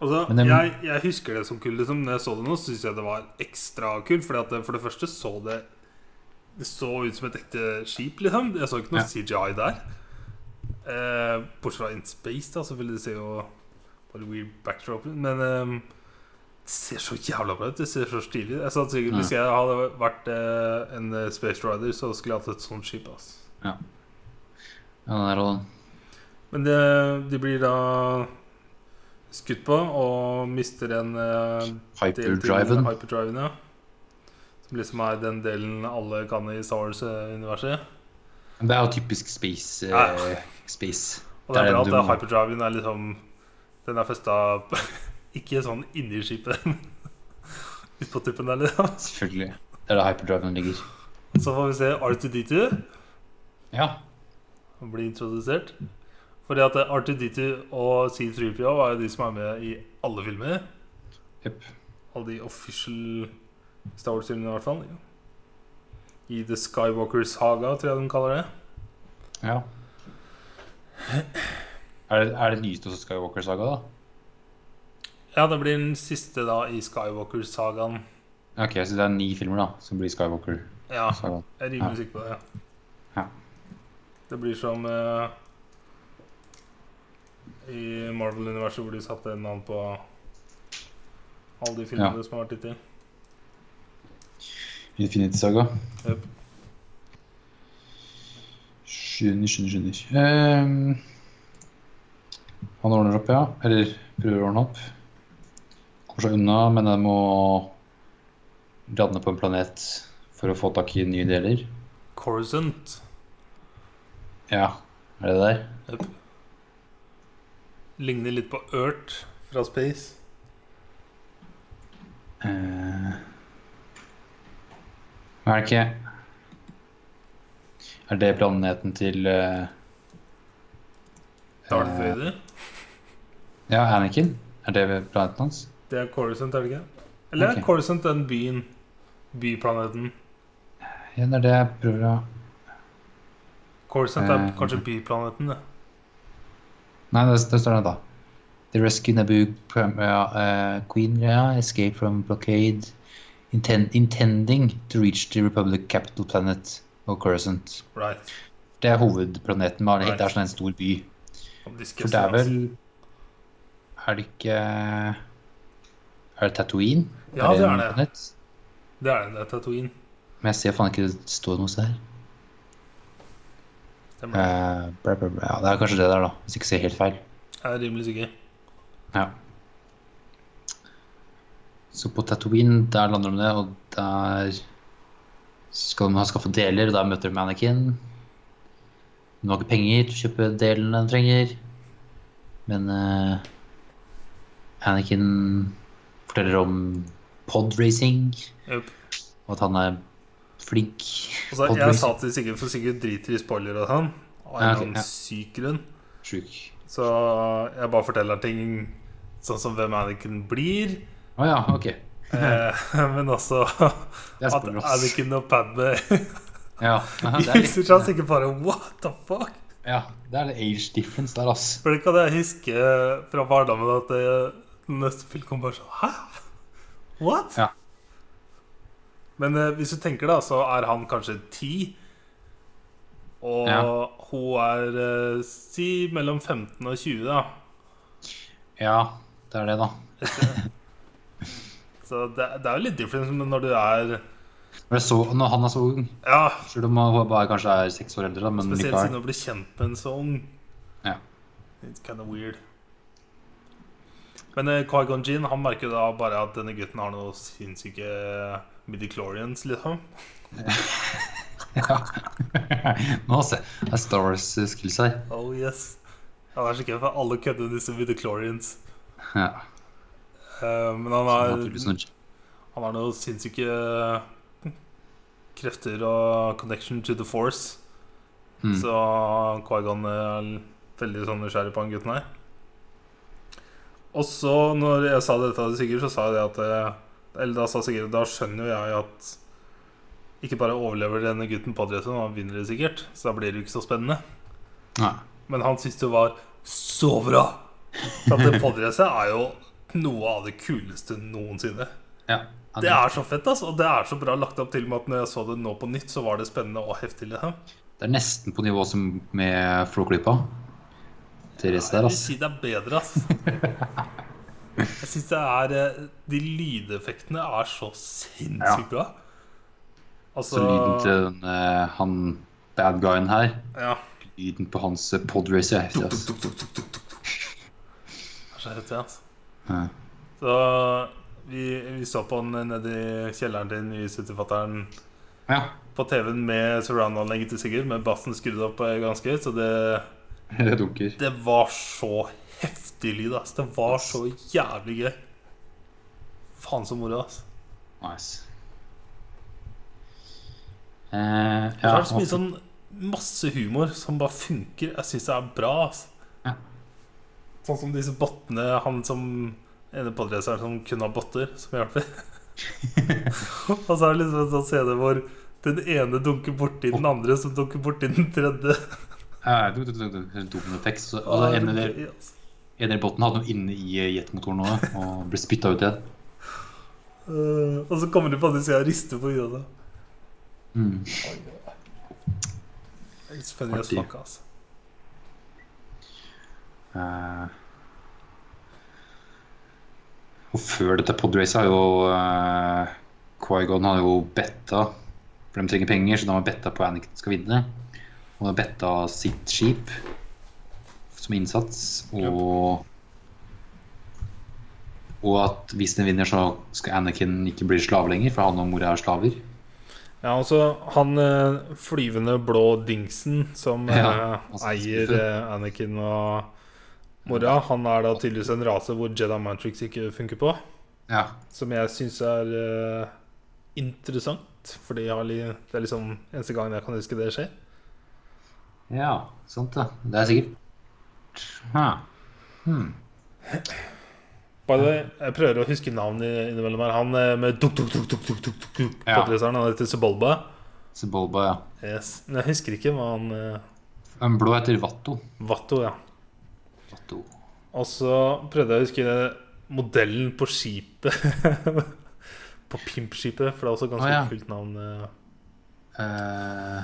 [SPEAKER 1] Altså,
[SPEAKER 2] Men dem-
[SPEAKER 1] jeg, jeg husker det som kult. Liksom. Når jeg så det nå, syns jeg det var ekstra kult. Fordi at det, for det første så det Det så ut som et ekte skip, liksom. Jeg så ikke noe
[SPEAKER 2] Ja.
[SPEAKER 1] CGI der. Eh, bortsett fra In Space, da, selvfølgelig. Det ser jo bare weird backdrop ut. Men eh, det ser så jævla bra ut. Det ser så stilig ut. Jeg sa sikkert
[SPEAKER 2] Ja.
[SPEAKER 1] Hvis jeg hadde vært eh, en eh, Space Rider, så skulle jeg hatt et sånt skip. ass
[SPEAKER 2] Ja, den der, og
[SPEAKER 1] Men det, de blir da skutt på og mister en eh, del til
[SPEAKER 2] hyperdriven.
[SPEAKER 1] hyperdriven ja. Som liksom er den delen alle kan i Star Wars-universet.
[SPEAKER 2] Det er jo typisk space. eh,
[SPEAKER 1] Ja.
[SPEAKER 2] space.
[SPEAKER 1] Og det
[SPEAKER 2] Det er
[SPEAKER 1] er bra
[SPEAKER 2] den
[SPEAKER 1] at
[SPEAKER 2] du
[SPEAKER 1] det-
[SPEAKER 2] må-
[SPEAKER 1] hyperdriven er liksom Den er festa ikke sånn inni skipet, men ut på tuppen der, liksom.
[SPEAKER 2] Selvfølgelig. Det er der hyperdriven ligger.
[SPEAKER 1] Så får vi se R2D2
[SPEAKER 2] Ja.
[SPEAKER 1] bli introdusert. Fordi at R2D2 og C3PO er jo de som er med i alle filmer.
[SPEAKER 2] Jepp.
[SPEAKER 1] Alle de official Star Wars-filmene, i hvert fall. I The Skywalker Saga, tror jeg de kaller det.
[SPEAKER 2] Ja. Er det, er det nyeste hos Skywalker-saga, da?
[SPEAKER 1] Ja, det blir den siste da i Skywalker-sagaen.
[SPEAKER 2] Ja, Ok, så det er ni filmer da, som blir Skywalker-saga.
[SPEAKER 1] Ja, jeg er rimelig
[SPEAKER 2] Ja.
[SPEAKER 1] sikker på det.
[SPEAKER 2] Ja.
[SPEAKER 1] Det blir som eh, i Marvel-universet, hvor de satte en navn på alle de filmene som har vært hittil.
[SPEAKER 2] Infinity-saga.
[SPEAKER 1] Jep.
[SPEAKER 2] Skjønner, skjønner, skjønner. Ehm, han ordner opp, ja. Eller prøver å ordne opp. Kommer seg unna, men jeg må lande på en planet for å få tak i nye deler.
[SPEAKER 1] Coruscant.
[SPEAKER 2] Ja, er det der?
[SPEAKER 1] Jep. Ligner litt på Earth fra Space.
[SPEAKER 2] Eh, Men er det ikke Er det planeten til eh,
[SPEAKER 1] Darth Vader.
[SPEAKER 2] Ja, Anakin? Er det planeten hans?
[SPEAKER 1] Det er Coruscant, er det ikke? Eller
[SPEAKER 2] Ok.
[SPEAKER 1] er Coruscant den byen? Byplaneten.
[SPEAKER 2] Ja, det er det jeg prøver å
[SPEAKER 1] Coruscant er
[SPEAKER 2] Eh.
[SPEAKER 1] kanskje byplaneten, det.
[SPEAKER 2] Nei, det, det står det, da. The rescue Naboo prim- ja, eh, Queen Rhea escape from blockade inten- intending to reach the Republic capital planet of Coruscant.
[SPEAKER 1] Right.
[SPEAKER 2] Det er hovedplaneten, men det er
[SPEAKER 1] Right.
[SPEAKER 2] sånn en stor by.
[SPEAKER 1] Om de skal
[SPEAKER 2] For det er
[SPEAKER 1] se oss.
[SPEAKER 2] vel Er det ikke Er det Tatooine?
[SPEAKER 1] Ja, det er
[SPEAKER 2] en
[SPEAKER 1] det.
[SPEAKER 2] planet?
[SPEAKER 1] Det er det. Det er Tatooine.
[SPEAKER 2] Men jeg ser faen ikke det står noe sted her.
[SPEAKER 1] Stemmer. det.
[SPEAKER 2] Eh, bra, bra, bra. Ja, det er kanskje det der, da. Hvis jeg ikke ser helt feil.
[SPEAKER 1] Jeg er rimelig sikker.
[SPEAKER 2] Ja. Så på Tatooine, der lander de det, og der skal de ha skaffe deler, og der møter de Anakin. De har ikke penger til å kjøpe delene de trenger, men eh, Anakin forteller om podracing,
[SPEAKER 1] Yep.
[SPEAKER 2] og at han er flink.
[SPEAKER 1] Altså, jeg sa til Sigurd, for Sigurd driter i spoiler og sånn. Av en
[SPEAKER 2] Ja, ok,
[SPEAKER 1] eller annen
[SPEAKER 2] ja.
[SPEAKER 1] syk grunn.
[SPEAKER 2] Sjuk.
[SPEAKER 1] Så jeg bare forteller ting sånn som hvem Anakin blir.
[SPEAKER 2] Å ja, ok.
[SPEAKER 1] Eh, men også
[SPEAKER 2] Det er
[SPEAKER 1] at
[SPEAKER 2] spoiler, ass.
[SPEAKER 1] Anakin og Padme
[SPEAKER 2] Ja, det er
[SPEAKER 1] hilser seg
[SPEAKER 2] litt,
[SPEAKER 1] sikkert bare What the fuck?
[SPEAKER 2] ja, det er litt age difference der, ass.
[SPEAKER 1] For det kan jeg huske eh, fra barndommen at det, neste film kom bare sånn Hæ? What?
[SPEAKER 2] Ja.
[SPEAKER 1] Men eh, hvis du tenker da, så er han kanskje ti. Og
[SPEAKER 2] Ja.
[SPEAKER 1] hun er eh, si mellom 15 og 20, da.
[SPEAKER 2] Ja, det er det, da.
[SPEAKER 1] Så det, det er jo litt different men når du er
[SPEAKER 2] Når, jeg så, når han er så ung,
[SPEAKER 1] Ja,
[SPEAKER 2] selv om han bare kanskje er seks år eldre, da, men
[SPEAKER 1] spesielt siden
[SPEAKER 2] likevel.
[SPEAKER 1] du blir kjent med en så ung.
[SPEAKER 2] Ja.
[SPEAKER 1] It's kind of weird. Men eh, Qui-Gon Jinn han merker jo da bare at denne gutten har noen sinnssyke midichlorians, liksom.
[SPEAKER 2] Ja. Nå se, det er Star Wars-skills her.
[SPEAKER 1] Oh yes. Ja, det er så gøy, for alle kødder med disse midichlorians.
[SPEAKER 2] Ja.
[SPEAKER 1] Eh, men han
[SPEAKER 2] så
[SPEAKER 1] har,
[SPEAKER 2] naturligvis noen-
[SPEAKER 1] han har noen sinnssyke hm, krefter og connection to the force.
[SPEAKER 2] Mm.
[SPEAKER 1] Så Qui-Gon er veldig sånn nysgjerrig på han gutten her. Og så, når jeg sa dette til Sigurd, så sa jeg det at eh, Eller da sa Sigurd da skjønner jo jeg at ikke bare overlever denne gutten podretten, han vinner det sikkert. Så da blir det jo ikke så spennende.
[SPEAKER 2] Nei.
[SPEAKER 1] Men han syntes det var så bra! For at det podracet er jo noe av det kuleste noensinne.
[SPEAKER 2] Ja. ja,
[SPEAKER 1] Det er så fett, altså. Og det er så bra lagt opp til og med at når jeg så det nå på nytt, så var det spennende og heftig. Liksom.
[SPEAKER 2] det er nesten på nivå som med Flåklypa. Therese
[SPEAKER 1] Jeg
[SPEAKER 2] der, altså.
[SPEAKER 1] vil
[SPEAKER 2] ass.
[SPEAKER 1] si det er bedre, ass. Jeg syns det er eh, De lydeffektene er så sinnssykt bra. Altså
[SPEAKER 2] Så lyden til den, eh, han bad guyen her,
[SPEAKER 1] Ja.
[SPEAKER 2] lyden på hans eh, podracer er heftig, ass.
[SPEAKER 1] Det er så heftig, ass.
[SPEAKER 2] Ja.
[SPEAKER 1] Så vi, vi så på den nede i kjelleren til den nye sutterfatteren
[SPEAKER 2] Ja.
[SPEAKER 1] på TV-en med surround-anlegget til Sigurd, med bassen skrudd opp eh, ganske høyt, så det,
[SPEAKER 2] Det dunker.
[SPEAKER 1] det var så heftig lyd, ass. Det var så jævlig gøy. Faen så moro, ass.
[SPEAKER 2] Nice. Eh,
[SPEAKER 1] Det
[SPEAKER 2] ja,
[SPEAKER 1] er så mye sånn masse humor som bare funker. Jeg syns det er bra. ass.
[SPEAKER 2] Ja.
[SPEAKER 1] Sånn som disse bottene Han som ene podraceren som kun har botter, som hjelper. Og så er det liksom en sånn scene hvor den ene dunker borti den andre, som dunker borti den tredje.
[SPEAKER 2] Ja, du- du- du- du- du- du- med tekst, så-
[SPEAKER 1] Ja,
[SPEAKER 2] Og altså,
[SPEAKER 1] det
[SPEAKER 2] en
[SPEAKER 1] er
[SPEAKER 2] del
[SPEAKER 1] gøy, ass.
[SPEAKER 2] en del båten hadde noe inne i eh, jetmotoren nå, og ble spytta ut igjen.
[SPEAKER 1] Eh, og så kommer du på andre sida og rister på hodet.
[SPEAKER 2] Mm.
[SPEAKER 1] It's funny as
[SPEAKER 2] Artig.
[SPEAKER 1] fuck, ass.
[SPEAKER 2] Eh, og før dette podracet har jo uh, Qui-Gon har jo betta For de trenger penger, så de har betta på Anakin skal vinne. Og de har betta sitt skip som innsats, og Og at hvis den vinner, så skal Anakin ikke bli slave lenger, for han og mora er slaver.
[SPEAKER 1] Ja, altså, han eh, flyvende blå dingsen som eh,
[SPEAKER 2] Ja, altså,
[SPEAKER 1] eier eh, Anakin og mora, han er da tydeligvis en rase hvor Jedi Mantrix ikke funker på.
[SPEAKER 2] Ja,
[SPEAKER 1] Som jeg syns er eh, interessant, fordi jeg har li det er liksom eneste gangen jeg kan huske det skjer.
[SPEAKER 2] Ja, sant det. Det er sikkert ha. hmm.
[SPEAKER 1] By the way, jeg prøver å huske navnet innimellom her. Han eh, med duk, duk, duk, duk, duk, duk, duk, duk på
[SPEAKER 2] Ja.
[SPEAKER 1] dresseren, han heter Subolba.
[SPEAKER 2] Sebulba, ja.
[SPEAKER 1] Yes. Men jeg husker ikke hva han eh,
[SPEAKER 2] En blå heter Watto.
[SPEAKER 1] Watto, ja.
[SPEAKER 2] Watto.
[SPEAKER 1] Og så prøvde jeg å huske modellen på skipet. på pimpskipet, for det er også ganske
[SPEAKER 2] Å, ja.
[SPEAKER 1] kult navn. eh,
[SPEAKER 2] Eh,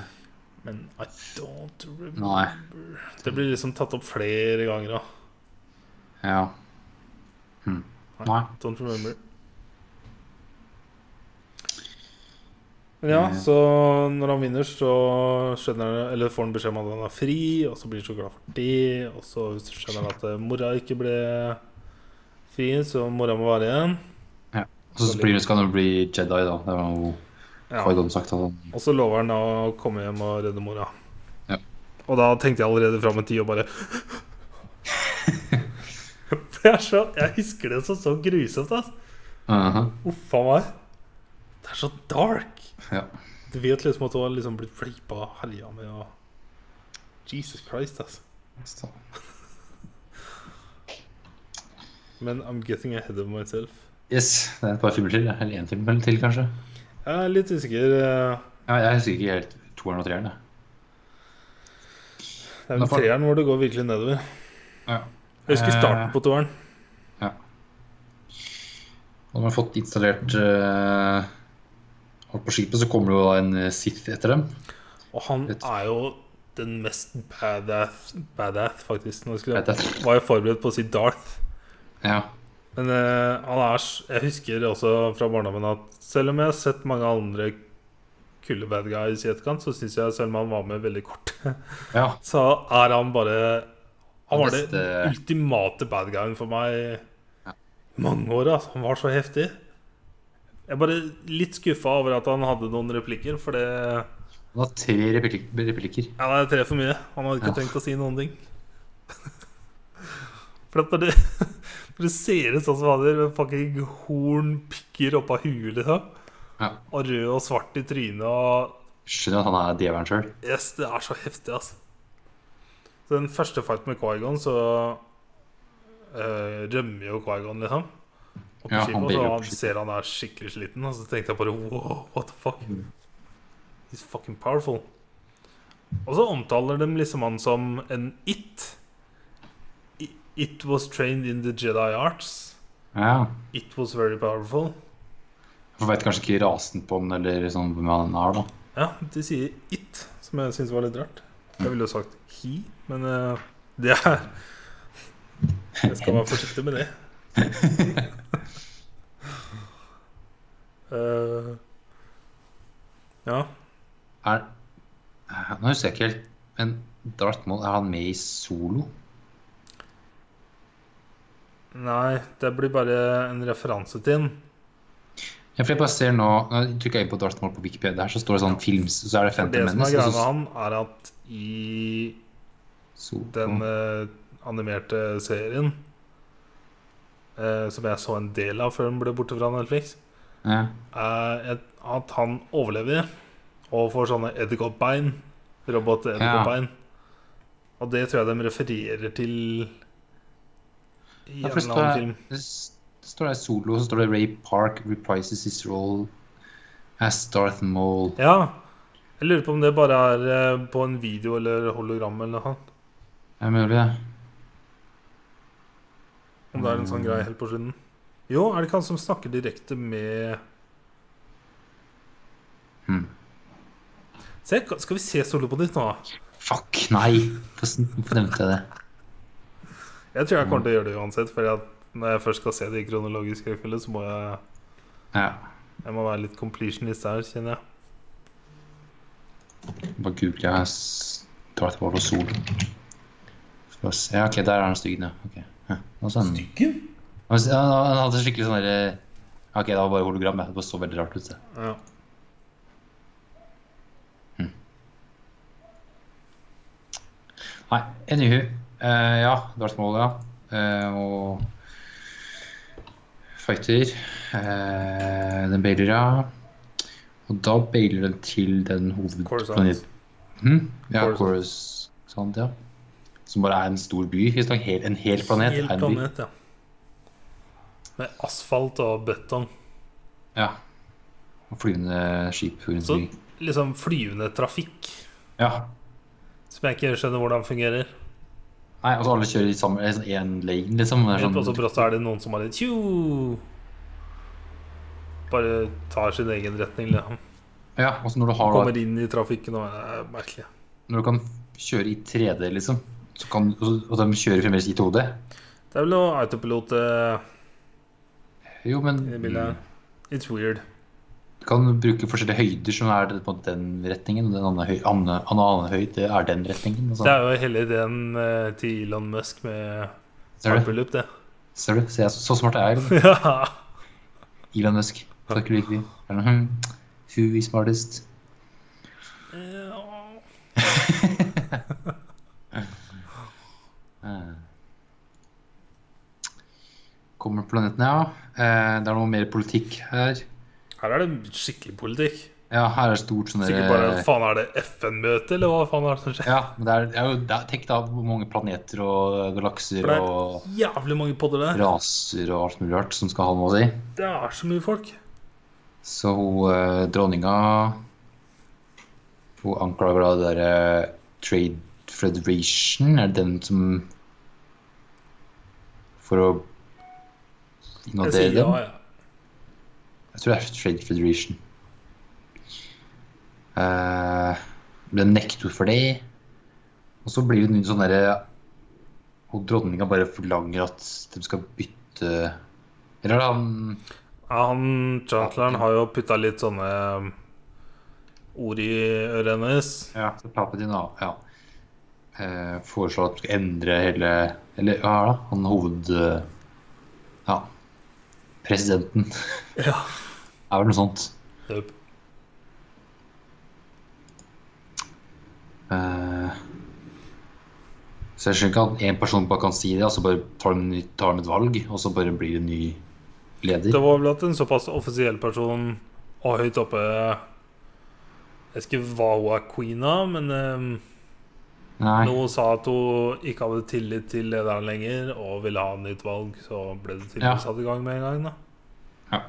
[SPEAKER 1] Men I don't remember.
[SPEAKER 2] nei.
[SPEAKER 1] Det blir liksom tatt opp flere ganger òg.
[SPEAKER 2] Ja. Hmm. Nei.
[SPEAKER 1] Don't remember. Men ja,
[SPEAKER 2] Mm.
[SPEAKER 1] så når han vinner, så skjønner han Eller får han beskjed om at han er fri, og så blir han så glad for det. Og så skjønner han at eh, mora ikke ble fri, så mora må være igjen.
[SPEAKER 2] Og så blir, skal han jo bli Jedi, da. Det var jo
[SPEAKER 1] Ja.
[SPEAKER 2] Qui-Gon sagt. at han-
[SPEAKER 1] Og så lover han da å komme hjem og redde mora.
[SPEAKER 2] Ja.
[SPEAKER 1] Og da tenkte jeg allerede fram en tid og bare Det er så, Jeg husker det som så grusomt, ass.
[SPEAKER 2] Mhm.
[SPEAKER 1] Uff a meg. Det er så dark.
[SPEAKER 2] Ja.
[SPEAKER 1] Du vet liksom at du har liksom blitt fleipa og herja med og Jesus Christ, ass.
[SPEAKER 2] Så.
[SPEAKER 1] Men I'm getting ahead of myself.
[SPEAKER 2] Yes, det er et par filmer til. ja. Eller én film eller til, kanskje.
[SPEAKER 1] Jeg er litt usikker. eh,
[SPEAKER 2] Ja, jeg husker ikke helt toeren og treeren. jeg.
[SPEAKER 1] Det er
[SPEAKER 2] Da
[SPEAKER 1] vel
[SPEAKER 2] får-
[SPEAKER 1] treeren hvor det går virkelig nedover.
[SPEAKER 2] Ja.
[SPEAKER 1] Jeg husker starten
[SPEAKER 2] Eh.
[SPEAKER 1] på toeren.
[SPEAKER 2] Når de har fått installert eh, alt på skipet, så kommer det jo da en eh, Sith etter dem.
[SPEAKER 1] Og han
[SPEAKER 2] Vet-
[SPEAKER 1] er jo den mest badass, badass faktisk. Nå skulle jeg,
[SPEAKER 2] Badass.
[SPEAKER 1] var jeg forberedt på å si Darth.
[SPEAKER 2] Ja.
[SPEAKER 1] Men eh, han er s- Jeg husker også fra barndommen at selv om jeg har sett mange andre kule bad guys i etterkant, så syns jeg selv om han var med veldig kort,
[SPEAKER 2] ja.
[SPEAKER 1] så er han bare Han var
[SPEAKER 2] Den
[SPEAKER 1] det
[SPEAKER 2] beste-
[SPEAKER 1] ultimate bad guyen for meg
[SPEAKER 2] Ja.
[SPEAKER 1] i mange år. Altså. Han var så heftig. Jeg er bare litt skuffa over at han hadde noen replikker, for det ja,
[SPEAKER 2] Han har tre replik replikker.
[SPEAKER 1] det er tre for mye. Han hadde ikke
[SPEAKER 2] Ja.
[SPEAKER 1] tenkt å si noen ting. For at når du, når du ser ut sånn som han gjør, med fucking horn, pikker opp av huet, liksom,
[SPEAKER 2] Ja.
[SPEAKER 1] og rød og svart i trynet og
[SPEAKER 2] Skjønner at han er djevelen sjøl.
[SPEAKER 1] Yes, det er så heftig, altså. Så den første fight med Qui-Gon, så eh, rømmer jo Qui-Gon, liksom. Og på
[SPEAKER 2] Ja, han
[SPEAKER 1] skipet, og
[SPEAKER 2] blir
[SPEAKER 1] så
[SPEAKER 2] jo
[SPEAKER 1] han
[SPEAKER 2] skikkelig-
[SPEAKER 1] ser han er skikkelig sliten, og så tenkte jeg bare wow, what the fuck?
[SPEAKER 2] Mm.
[SPEAKER 1] He's fucking powerful. Og så omtaler de liksom han som en it. I- It was trained in the Jedi arts.
[SPEAKER 2] Ja.
[SPEAKER 1] It was very powerful.
[SPEAKER 2] For veit kanskje ikke rasen på den, eller sånn hvem han er, da.
[SPEAKER 1] Ja, de sier it, som jeg syns var litt rart. Jeg ville jo sagt he, men eh, det er Jeg skal være forsiktig med det. Eh, ja.
[SPEAKER 2] Er Eh, Nå husker jeg ikke helt, men Darth Maul, er han med i Solo?
[SPEAKER 1] Nei, det blir bare en referanse til den.
[SPEAKER 2] Ja, for jeg bare ser nå, nå trykker jeg inn på Darth Maul på Wikipedia, her, så står det sånn films, og så er
[SPEAKER 1] For
[SPEAKER 2] det
[SPEAKER 1] det
[SPEAKER 2] Phantom
[SPEAKER 1] som er
[SPEAKER 2] Menace.
[SPEAKER 1] greia
[SPEAKER 2] og
[SPEAKER 1] med
[SPEAKER 2] så-
[SPEAKER 1] han, er at i
[SPEAKER 2] Solo.
[SPEAKER 1] den eh, animerte serien eh, som jeg så en del av før den ble borte fra Netflix,
[SPEAKER 2] ja.
[SPEAKER 1] er Eh, et, at han overlever og får sånne edderkoppbein. Robot-edderkoppbein. Og det tror jeg de refererer til eh, i
[SPEAKER 2] Ja,
[SPEAKER 1] en
[SPEAKER 2] for det
[SPEAKER 1] eller annen
[SPEAKER 2] står,
[SPEAKER 1] film.
[SPEAKER 2] det s- står det solo, så står det Ray Park reprises his role as Darth Maul.
[SPEAKER 1] Ja. Jeg lurer på om det bare er eh, på en video eller hologram eller noe. sånt.
[SPEAKER 2] Er det mulig, det?
[SPEAKER 1] Om det er en sånn greie helt på slutten. Jo, er det ikke han som snakker direkte med
[SPEAKER 2] Hmm.
[SPEAKER 1] Se, ka- skal vi se solo på nytt nå, da?
[SPEAKER 2] Fuck, nei! Hvorfor hvorfor nevnte jeg det?
[SPEAKER 1] Jeg tror jeg kommer til å gjøre det uansett, for jeg, når jeg først skal se det i kronologisk rekkefølge, så må jeg
[SPEAKER 2] Ja,
[SPEAKER 1] Jeg må være litt completionist her, kjenner jeg.
[SPEAKER 2] bare googler jeg s- Darth Maul og solo. Skal vi se. Ja, ok, der er han stygg, ja. Ok. Ja, nå så han-
[SPEAKER 1] Styggen?
[SPEAKER 2] Han s- han- han hadde skikkelig sånn derre Ok, det var bare hologram, ja. det bare så veldig rart ut. det.
[SPEAKER 1] Ja.
[SPEAKER 2] Nei, anywho. Eh, ja, Darth Maul, ja. Eh, og fighter. Eh, den bailer, ja. Og da bailer den til den
[SPEAKER 1] Coruscant.
[SPEAKER 2] hovedplaneten. Hm? Ja,
[SPEAKER 1] Coruscant.
[SPEAKER 2] Chorus. Sånn, ja. Som bare er en stor by. Hvis det er en hel, en hel planet
[SPEAKER 1] Helt
[SPEAKER 2] er en by.
[SPEAKER 1] planet, ja. Med asfalt og betong.
[SPEAKER 2] Ja. Og flyvende skip rundt
[SPEAKER 1] Så
[SPEAKER 2] omkring.
[SPEAKER 1] liksom flyvende trafikk,
[SPEAKER 2] Ja.
[SPEAKER 1] som jeg ikke skjønner hvordan fungerer.
[SPEAKER 2] Nei, altså alle kjører i samme én sånn, en lane, liksom. Det er
[SPEAKER 1] Helt også
[SPEAKER 2] sånn,
[SPEAKER 1] brått så er det noen som bare tju Bare tar sin egen retning, liksom.
[SPEAKER 2] ja, og så når du har da
[SPEAKER 1] Kommer inn i trafikken og det er merkelig.
[SPEAKER 2] Når du kan kjøre i 3D, liksom, så kan, og og de kjører fremdeles i 2D
[SPEAKER 1] Det er vel noe autopilot eh,
[SPEAKER 2] Jo, men
[SPEAKER 1] i det
[SPEAKER 2] Mm.
[SPEAKER 1] bildet. her. It's weird.
[SPEAKER 2] du kan bruke forskjellige høyder som er på en måte den retningen, og den andre høy, andre, en annen høyd det er den retningen.
[SPEAKER 1] Det
[SPEAKER 2] Og sånn.
[SPEAKER 1] er jo hele ideen eh, til Elon Musk med
[SPEAKER 2] Ser du?
[SPEAKER 1] hyperloop, det.
[SPEAKER 2] Ser du? Ser jeg, så smart er jeg. eller?
[SPEAKER 1] Ja.
[SPEAKER 2] Elon Musk. Takk for virkelig. Hmm, Who is smartest? Eh. Kommer planeten, ja. Eh, Det er noe mer politikk her.
[SPEAKER 1] Her er det skikkelig politikk.
[SPEAKER 2] Ja, her er stort sånn
[SPEAKER 1] Sikkert bare Faen, er det FN-møte, eller hva faen er det som skjer?
[SPEAKER 2] Ja, men det er, det er jo, det er, tenk da hvor mange planeter og galakser
[SPEAKER 1] For det
[SPEAKER 2] og
[SPEAKER 1] er jævlig mange podder der.
[SPEAKER 2] raser og alt mulig rart som skal ha noe å si.
[SPEAKER 1] Det er så mye folk.
[SPEAKER 2] Så hun eh, dronninga Hun anklager da det derre Trade Federation, er det den som For å
[SPEAKER 1] Jeg
[SPEAKER 2] invadere
[SPEAKER 1] sier ja,
[SPEAKER 2] dem?
[SPEAKER 1] ja.
[SPEAKER 2] Jeg tror det er Trade Federation. Eh, ble nekter for det. Og så blir det en sånn derre Og dronninga bare forlanger at de skal bytte Eller han
[SPEAKER 1] Ja, han Chantleren har jo putta litt sånne um, ord i øret hennes.
[SPEAKER 2] Ja, så Palpatine da, ja. Eh, foreslår at de skal endre hele Eller hva er det? Han hoved... eh, Ja. Presidenten.
[SPEAKER 1] Ja.
[SPEAKER 2] er vel noe sånt.
[SPEAKER 1] Yep.
[SPEAKER 2] Eh, så jeg skjønner ikke at én person bare kan si det, og så bare tar de, ny- tar de et valg, og så bare blir det en ny leder.
[SPEAKER 1] Det var vel at en såpass offisiell person og høyt oppe Jeg husker ikke hva hun er queen av, men um,
[SPEAKER 2] Nei.
[SPEAKER 1] når hun sa at hun ikke hadde tillit til lederen lenger og ville ha nytt valg, så ble det
[SPEAKER 2] Ja.
[SPEAKER 1] tydeligvis satt i gang med en gang, da.
[SPEAKER 2] Ja.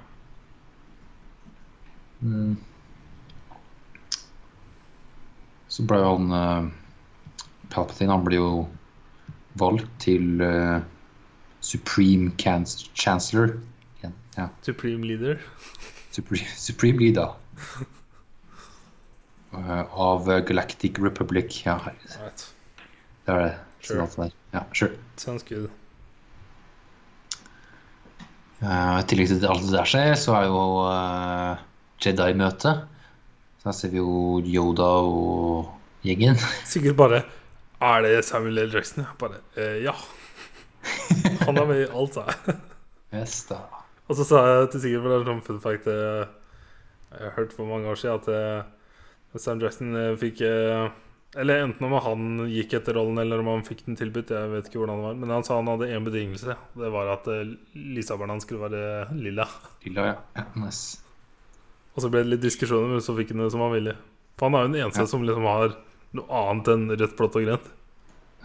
[SPEAKER 2] Mm. Så ble jo han eh, Palpatine han ble jo valgt til eh, Supreme Can Chancellor. Can- Ja,
[SPEAKER 1] Supreme leader.
[SPEAKER 2] Supreme, Supreme Leader. Eh, av eh, Galactic Republic. Ja, her-
[SPEAKER 1] Right.
[SPEAKER 2] det er det.
[SPEAKER 1] Sure.
[SPEAKER 2] Sånn at det er- Ja, sure.
[SPEAKER 1] Sounds good.
[SPEAKER 2] Eh, I tillegg til alt det der skjer, så er jo eh, Jedi-møte. Så her ser vi jo Yoda og gjengen.
[SPEAKER 1] Sikkert bare Er det Samuel L. Jackson? Jeg Bare eh, ja. Han er med i alt, sa jeg.
[SPEAKER 2] Yes, da.
[SPEAKER 1] Og så sa jeg til Sigurd, for det er en sånn fun fact eh, jeg har hørt for mange år siden, at eh, Sam Jackson eh, fikk eh, Eller enten om han gikk etter rollen, eller om han fikk den tilbudt, jeg vet ikke hvordan det var. Men han sa han hadde én betingelse. Det var at eh, lysabelen hans skulle være lilla.
[SPEAKER 2] Lilla, ja. ja. Nice.
[SPEAKER 1] Og så ble det litt diskusjoner, men så fikk han det som han ville. For han er jo den eneste
[SPEAKER 2] Ja.
[SPEAKER 1] som liksom har noe annet enn rødt, blått og grønt.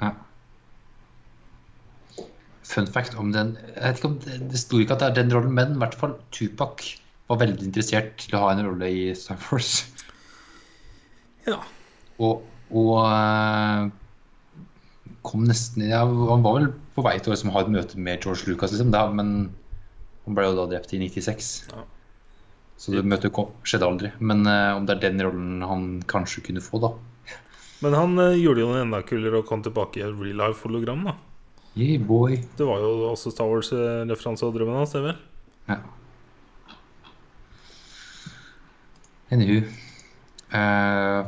[SPEAKER 2] Ja. Fun fact om den Jeg vet ikke om det, det sto ikke at det er den rollen, men i hvert fall Tupac var veldig interessert til å ha en rolle i Star Wars.
[SPEAKER 1] Ja.
[SPEAKER 2] Og, og eh, kom nesten ja, Han var vel på vei til å liksom, ha et møte med George Lucas, liksom, da, men han ble jo da drept i 96.
[SPEAKER 1] Ja.
[SPEAKER 2] Så det møtet kom, skjedde aldri. Men eh, om det er den rollen han kanskje kunne få, da.
[SPEAKER 1] Men han eh, gjorde jo noe enda kulere og kom tilbake i et real life-hologram, da.
[SPEAKER 2] Yeah, boy.
[SPEAKER 1] Det var jo også Star Wars-referanse og drømmen hans, det vel?
[SPEAKER 2] Ja. Anywho. Eh,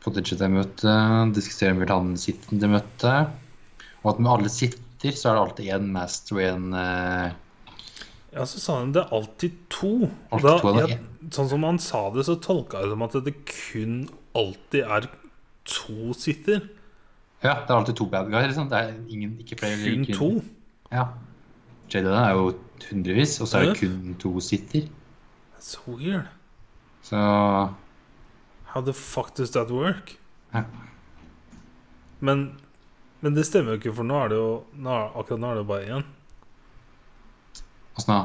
[SPEAKER 2] på det Jedi-møtet diskuterer vi vel han sittende møtet. Og at med alle sitter, så er det alltid én master og én eh,
[SPEAKER 1] Ja, så sa han det er alltid to. Og
[SPEAKER 2] Alltid
[SPEAKER 1] da,
[SPEAKER 2] to, er det
[SPEAKER 1] jeg, sånn som han sa det, så tolka jeg det som at det kun alltid er to sitter.
[SPEAKER 2] Ja, det er alltid to bad guys. Liksom. Det er ingen, ikke flere
[SPEAKER 1] Kun
[SPEAKER 2] kvinner.
[SPEAKER 1] to.
[SPEAKER 2] Ja. Jediene er jo hundrevis, og så er
[SPEAKER 1] Ja.
[SPEAKER 2] det kun to sitter.
[SPEAKER 1] So weird.
[SPEAKER 2] Så
[SPEAKER 1] How the fuck does that work?
[SPEAKER 2] Ja.
[SPEAKER 1] Men, men det stemmer jo ikke, for nå er det jo nå er, akkurat nå er det jo bare én.
[SPEAKER 2] Åssen da? altså,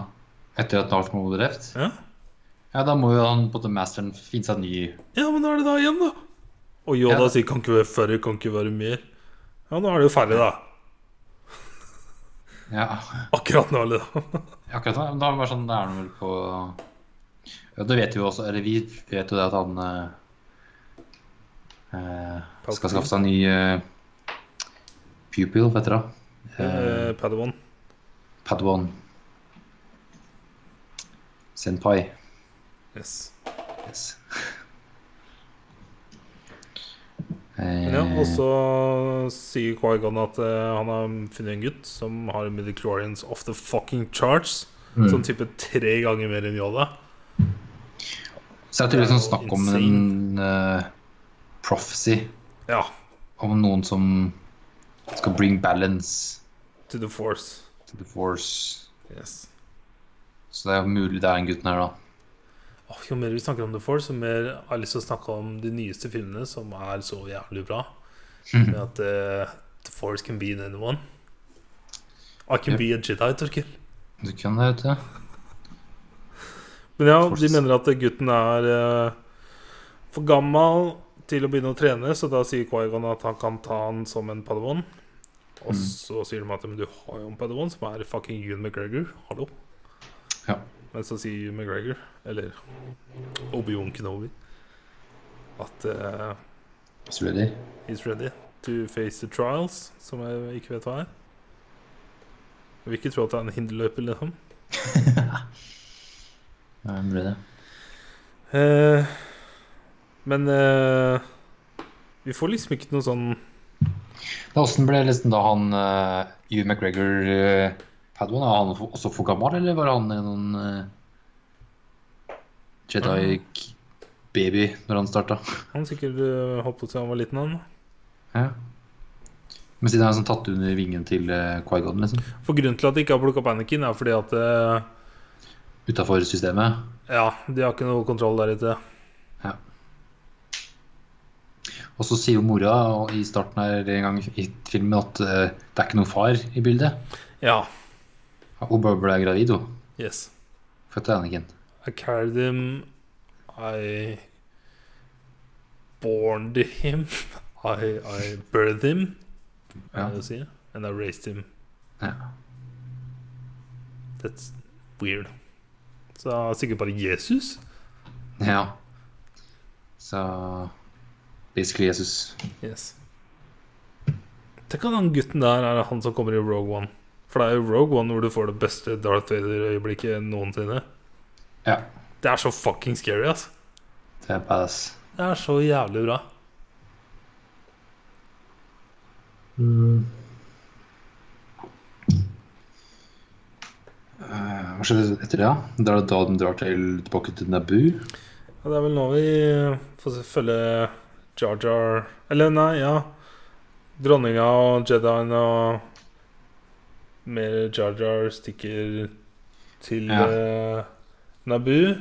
[SPEAKER 2] Etter at Darth Maul ble drept?
[SPEAKER 1] Ja.
[SPEAKER 2] Ja, da må jo han på The Masteren finne seg en ny
[SPEAKER 1] ja, men nå er det da igjen, da. Og Yoda
[SPEAKER 2] Ja.
[SPEAKER 1] sier 'kan ikke være færre, kan ikke være mer'. Ja, nå er det jo færre, da.
[SPEAKER 2] Ja,
[SPEAKER 1] Akkurat nå, liksom.
[SPEAKER 2] akkurat da. Men da er det bare sånn, da er han vel på Ja, det vet vi jo også, eller vi vet jo det at han eh, eh, skal skaffe seg en ny eh, pupil, hva heter det? Eh,
[SPEAKER 1] Eh, Padawan.
[SPEAKER 2] Padawan. Senpai.
[SPEAKER 1] Yes.
[SPEAKER 2] Yes.
[SPEAKER 1] Men
[SPEAKER 2] Eh,
[SPEAKER 1] ja, og så sier Qui-Gon at eh, han har funnet en gutt som har midichlorians off the fucking charts.
[SPEAKER 2] Mm.
[SPEAKER 1] Sånn type tre ganger mer enn Yoda.
[SPEAKER 2] Så jeg tror det
[SPEAKER 1] Det er
[SPEAKER 2] er sånn
[SPEAKER 1] jo
[SPEAKER 2] snakk om en eh, prophecy.
[SPEAKER 1] Ja,
[SPEAKER 2] Om noen som skal bring balance
[SPEAKER 1] to the force.
[SPEAKER 2] to the force.
[SPEAKER 1] Yes.
[SPEAKER 2] Så det er jo mulig det er en gutten her, da.
[SPEAKER 1] Åh, jo mer vi snakker om The Force, jo mer har jeg lyst til å snakke om de nyeste filmene, som er så jævlig bra. Med at eh, The Force can be in anyone. I can
[SPEAKER 2] Yep.
[SPEAKER 1] be a Jedi, Torkil.
[SPEAKER 2] Du kan det, vet du.
[SPEAKER 1] Men ja, de
[SPEAKER 2] Force.
[SPEAKER 1] mener at gutten er eh, for gammel til å begynne å trene, så da sier Quaigon at han kan ta han som en padawan. Og
[SPEAKER 2] Mm.
[SPEAKER 1] så sier de at men du har jo en padawan som er fucking Ewan McGregor. Hallo?
[SPEAKER 2] Ja.
[SPEAKER 1] Men så sier Ewan McGregor, eller Obi-Wan Kenobi, at eh,
[SPEAKER 2] Så blir det.
[SPEAKER 1] He's ready to face the trials, som jeg ikke vet hva er. Jeg vil ikke tro at det er en hinderløype, liksom.
[SPEAKER 2] Ja, det blir det.
[SPEAKER 1] Eh, men eh, vi får liksom ikke noe sånn
[SPEAKER 2] Da, hvordan ble liksom da han uh, Hugh McGregor eh, Padawan, er han for- også for gammel, eller var han en noen eh, Jedi k- baby når han starta?
[SPEAKER 1] Han sikkert eh, holdt på til han var liten, han.
[SPEAKER 2] Ja. Men siden han er sånn tatt under vingen til uh, Qui-Gon, liksom.
[SPEAKER 1] For grunnen til at de ikke har plukka opp Anakin, er fordi at eh,
[SPEAKER 2] Utafor systemet.
[SPEAKER 1] Ja, de har ikke noe kontroll der ute.
[SPEAKER 2] Og så sier jo mora og i starten her en gang i filmen at eh, det er ikke noen far i bildet.
[SPEAKER 1] Ja.
[SPEAKER 2] Hun bare ble gravid, hun.
[SPEAKER 1] Yes.
[SPEAKER 2] Fødte Anakin.
[SPEAKER 1] I carried him. I borned him. I, I birthed him,
[SPEAKER 2] Ja.
[SPEAKER 1] er det å si. And I raised him.
[SPEAKER 2] Ja.
[SPEAKER 1] That's weird. Så det er sikkert bare Jesus.
[SPEAKER 2] ja. Så basically Jesus.
[SPEAKER 1] Yes. Tenk at han gutten der er han som kommer i Rogue One. For det er jo Rogue One hvor du får det beste Darth Vader-øyeblikket noensinne.
[SPEAKER 2] Ja.
[SPEAKER 1] Det er så fucking scary, ass.
[SPEAKER 2] Det er badass.
[SPEAKER 1] Det er så jævlig bra.
[SPEAKER 2] Eh, Hva skjedde etter det? da? Da er det da den drar til tilbake til Naboo.
[SPEAKER 1] Ja, det er vel nå vi får se- følge Jar Jar Eller nei, ja. Dronninga og Jedien og mer Jar Jar stikker til
[SPEAKER 2] Ja.
[SPEAKER 1] eh, Naboo.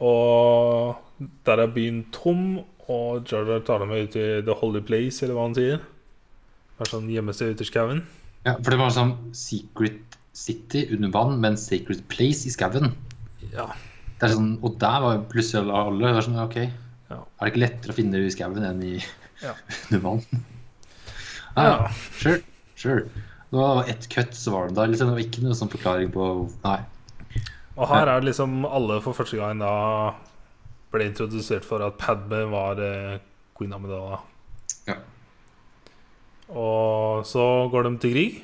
[SPEAKER 1] Og der er byen tom, og Jar Jar tar dem med ut i The Holy Place, eller hva han sier. Det er sånn gjemmested ute i skauen.
[SPEAKER 2] Ja, for det var sånn Secret City under vann, men Sacred Place i skauen.
[SPEAKER 1] Ja.
[SPEAKER 2] Det er sånn, og der var jo plutselig alle. Det var sånn, ok,
[SPEAKER 1] Ja.
[SPEAKER 2] Er det ikke lettere å finne i skauen enn i
[SPEAKER 1] Ja.
[SPEAKER 2] under vann? Ja, Ah, ja.
[SPEAKER 1] Ja.
[SPEAKER 2] Sure. sure. Det var ett cut, så var de der. Liksom, det var ikke noe sånn forklaring på Nei.
[SPEAKER 1] Og her er det liksom alle for første gang da ble introdusert for at Padme var eh, queen av Amidala.
[SPEAKER 2] Ja.
[SPEAKER 1] Og så går de til krig,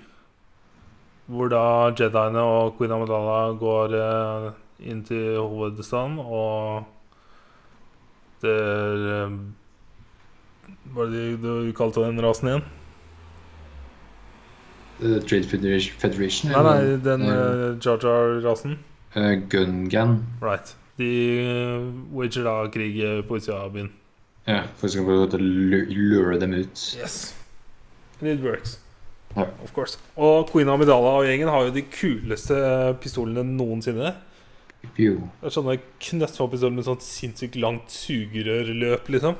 [SPEAKER 1] hvor da Jediene og queen Amidala går eh, inn til hovedstaden, og det er eh, Hva er det du du kalte den rasen igjen?
[SPEAKER 2] Eh, Trade Federation, Federation
[SPEAKER 1] Nei, nei, den
[SPEAKER 2] eller,
[SPEAKER 1] eh, Jar Jar-rasen.
[SPEAKER 2] eh, Gungan.
[SPEAKER 1] Right. De eh, wager da krig eh, på utsida av byen.
[SPEAKER 2] Ja, for å prøve å lu- lure dem ut.
[SPEAKER 1] Yes. And it works.
[SPEAKER 2] Ja.
[SPEAKER 1] Of course. Og Queen Amidala og gjengen har jo de kuleste eh, pistolene noensinne.
[SPEAKER 2] Jo.
[SPEAKER 1] Det er sånne knøttfallpistoler med sånt sinnssykt langt sugerørløp, liksom.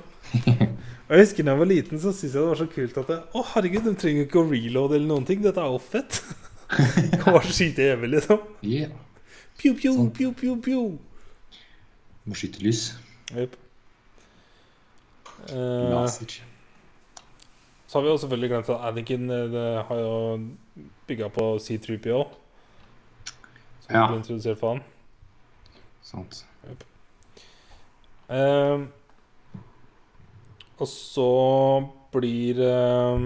[SPEAKER 1] Og jeg husker da jeg var liten, så syntes jeg det var så kult at det, Å, herregud, de trenger jo ikke å reloade eller noen ting. Dette er jo fett. kan bare skyte i evig, liksom.
[SPEAKER 2] Yeah.
[SPEAKER 1] Pew, pew,
[SPEAKER 2] Sånn.
[SPEAKER 1] pew, pew, pew.
[SPEAKER 2] Med skyttelys.
[SPEAKER 1] Jep. Eh,
[SPEAKER 2] Laser.
[SPEAKER 1] så har vi jo selvfølgelig glemt at Anakin eh, det har jo bygga på C3PO. Som
[SPEAKER 2] Ja.
[SPEAKER 1] ble introdusert for han.
[SPEAKER 2] Sant.
[SPEAKER 1] Eh, og så blir eh,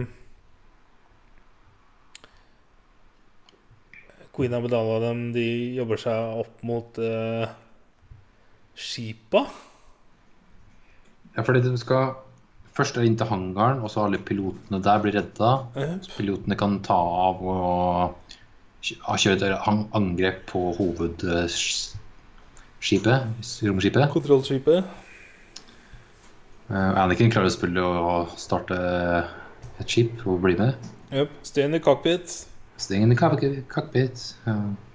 [SPEAKER 1] Queen Abedala og dem de jobber seg opp mot eh, skipa.
[SPEAKER 2] Ja, fordi de skal først inn til hangaren, og så alle pilotene der blir redda.
[SPEAKER 1] Eh,
[SPEAKER 2] Så pilotene kan ta av og kjø- kjøre et an- angrep på hovedskipet, romskipet.
[SPEAKER 1] Kontrollskipet.
[SPEAKER 2] Eh, Anakin klarer selvfølgelig å starte et skip og bli med.
[SPEAKER 1] Jep. Stay in the cockpit.
[SPEAKER 2] Sting in the cockpit. cockpit. Ja,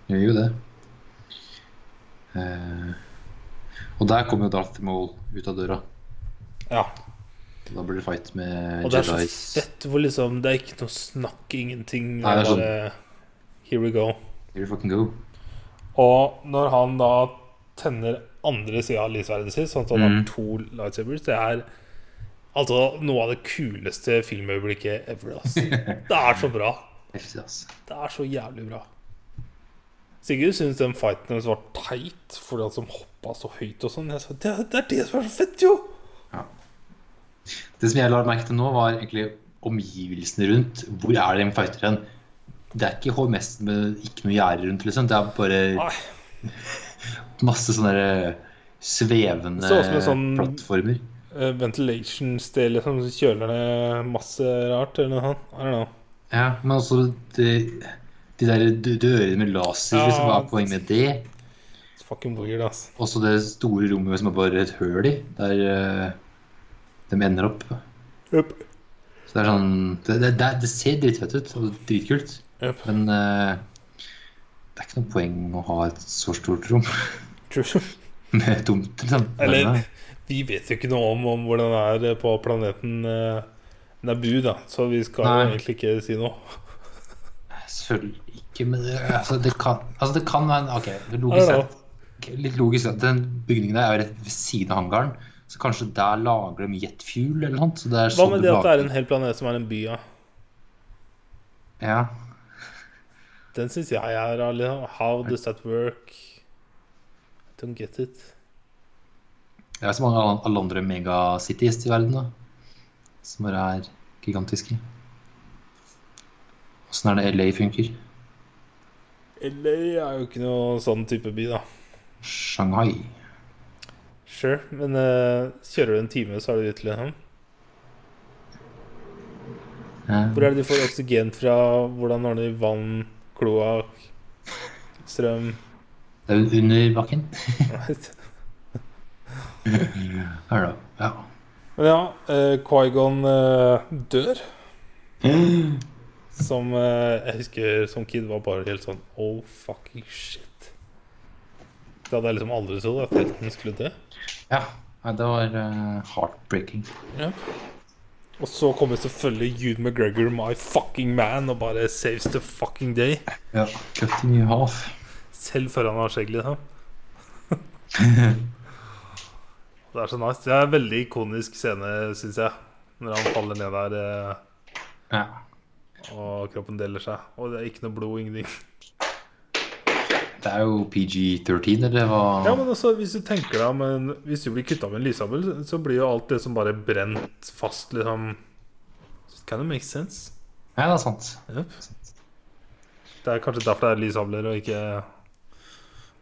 [SPEAKER 2] gjør jo det. Eh, og der kommer jo Darth Maul ut av døra.
[SPEAKER 1] Ja.
[SPEAKER 2] Da blir det fight med
[SPEAKER 1] Og det er så
[SPEAKER 2] Jedis.
[SPEAKER 1] fett hvor liksom Det er ikke noe snakk, ingenting. Det
[SPEAKER 2] Nei,
[SPEAKER 1] er
[SPEAKER 2] det er sånn-
[SPEAKER 1] bare Here we go.
[SPEAKER 2] Here we fucking go.
[SPEAKER 1] Og når han da tenner andre sida av lysverdet sitt, sånn at han har
[SPEAKER 2] Mm.
[SPEAKER 1] to lightsabers, det er altså noe av det kuleste filmøyeblikket ever. Ass. Det er så bra.
[SPEAKER 2] Heftig, ass.
[SPEAKER 1] Det er så jævlig bra. Sigurd syntes den fighten hennes var teit fordi han som hoppa så høyt og sånn. Jeg sa, det, er- det er det som er så fett, jo!
[SPEAKER 2] Det som jeg la merke til nå, var egentlig omgivelsene rundt. Hvor er de fighter hen? Det er ikke HMS med ikke noe gjerde rundt, liksom. Det er bare
[SPEAKER 1] Nei.
[SPEAKER 2] masse sånne der eh, svevende
[SPEAKER 1] Det ser ut som en sånn-
[SPEAKER 2] plattformer.
[SPEAKER 1] eh, Ventilation sted liksom, som kjøler ned masse rart eller noe sånt. I don't know.
[SPEAKER 2] Ja, men også de, de der dø- dørene med laser,
[SPEAKER 1] Ja.
[SPEAKER 2] liksom, hva er poenget med det?
[SPEAKER 1] It's fucking weird, ass.
[SPEAKER 2] Også det store rommet som er bare et høl i, der eh, de ender opp.
[SPEAKER 1] Yep.
[SPEAKER 2] Så det er sånn Det, det, det, det ser dritfett ut og dritkult,
[SPEAKER 1] Yep.
[SPEAKER 2] men eh, det er ikke noe poeng å ha et så stort rom
[SPEAKER 1] True.
[SPEAKER 2] med tomt liksom.
[SPEAKER 1] Eller vi vet jo ikke noe om, om hvordan det er på planeten eh, Nabu, da. Så vi skal jo
[SPEAKER 2] Nei.
[SPEAKER 1] egentlig ikke si noe.
[SPEAKER 2] Selvfølgelig ikke, men det, altså, det kan Altså, det kan være en- OK, det
[SPEAKER 1] I
[SPEAKER 2] er logisk
[SPEAKER 1] don't
[SPEAKER 2] sett Litt logisk at den bygningen der er rett ved siden av hangaren, så kanskje der lager de jetfuel eller noe. Så det er
[SPEAKER 1] Hva
[SPEAKER 2] sånn
[SPEAKER 1] med
[SPEAKER 2] de
[SPEAKER 1] det at det
[SPEAKER 2] lager-
[SPEAKER 1] er en hel planet som er en by, ja?
[SPEAKER 2] Ja.
[SPEAKER 1] Den syns jeg er alle. How does that work? Don't get it.
[SPEAKER 2] Det er så mange alle- alle andre megacities i verden, da. Som bare er gigantiske. Åssen er det LA funker?
[SPEAKER 1] LA er jo ikke noe sånn type by, da.
[SPEAKER 2] Shanghai.
[SPEAKER 1] Sure, men eh, kjører du en time, så er du ute, liksom.
[SPEAKER 2] Eh,
[SPEAKER 1] Hvor er det de får oksygen fra? Hvordan ordner de vann, kloakk, strøm?
[SPEAKER 2] Det er jo under bakken.
[SPEAKER 1] Right.
[SPEAKER 2] Her, da. Ja.
[SPEAKER 1] Men ja, eh, Qui-Gon eh, dør. Som eh, jeg husker som kid var bare helt sånn Oh, fucking shit. Det hadde jeg liksom aldri trodd, at helten skulle dø.
[SPEAKER 2] ja. Nei, det var eh, heartbreaking.
[SPEAKER 1] Og så kommer selvfølgelig Jude McGregor, my fucking man, og bare saves the fucking day.
[SPEAKER 2] Ja. Cutting you half.
[SPEAKER 1] Selv før han har skjegg, liksom. det er så nice. Det er en veldig ikonisk scene, syns jeg. Når han faller ned der eh,
[SPEAKER 2] Ja.
[SPEAKER 1] og kroppen deler seg. Og det er ikke noe blod, ingenting.
[SPEAKER 2] Det er jo PG-13, eller hva?
[SPEAKER 1] Ja, men også hvis du tenker deg om en- Hvis du blir kutta med en lyssabel, så blir jo alt det som bare brent fast, liksom Kind of makes sense.
[SPEAKER 2] Nei, det er sant.
[SPEAKER 1] Yep. Det er kanskje derfor det er lyssabler og ikke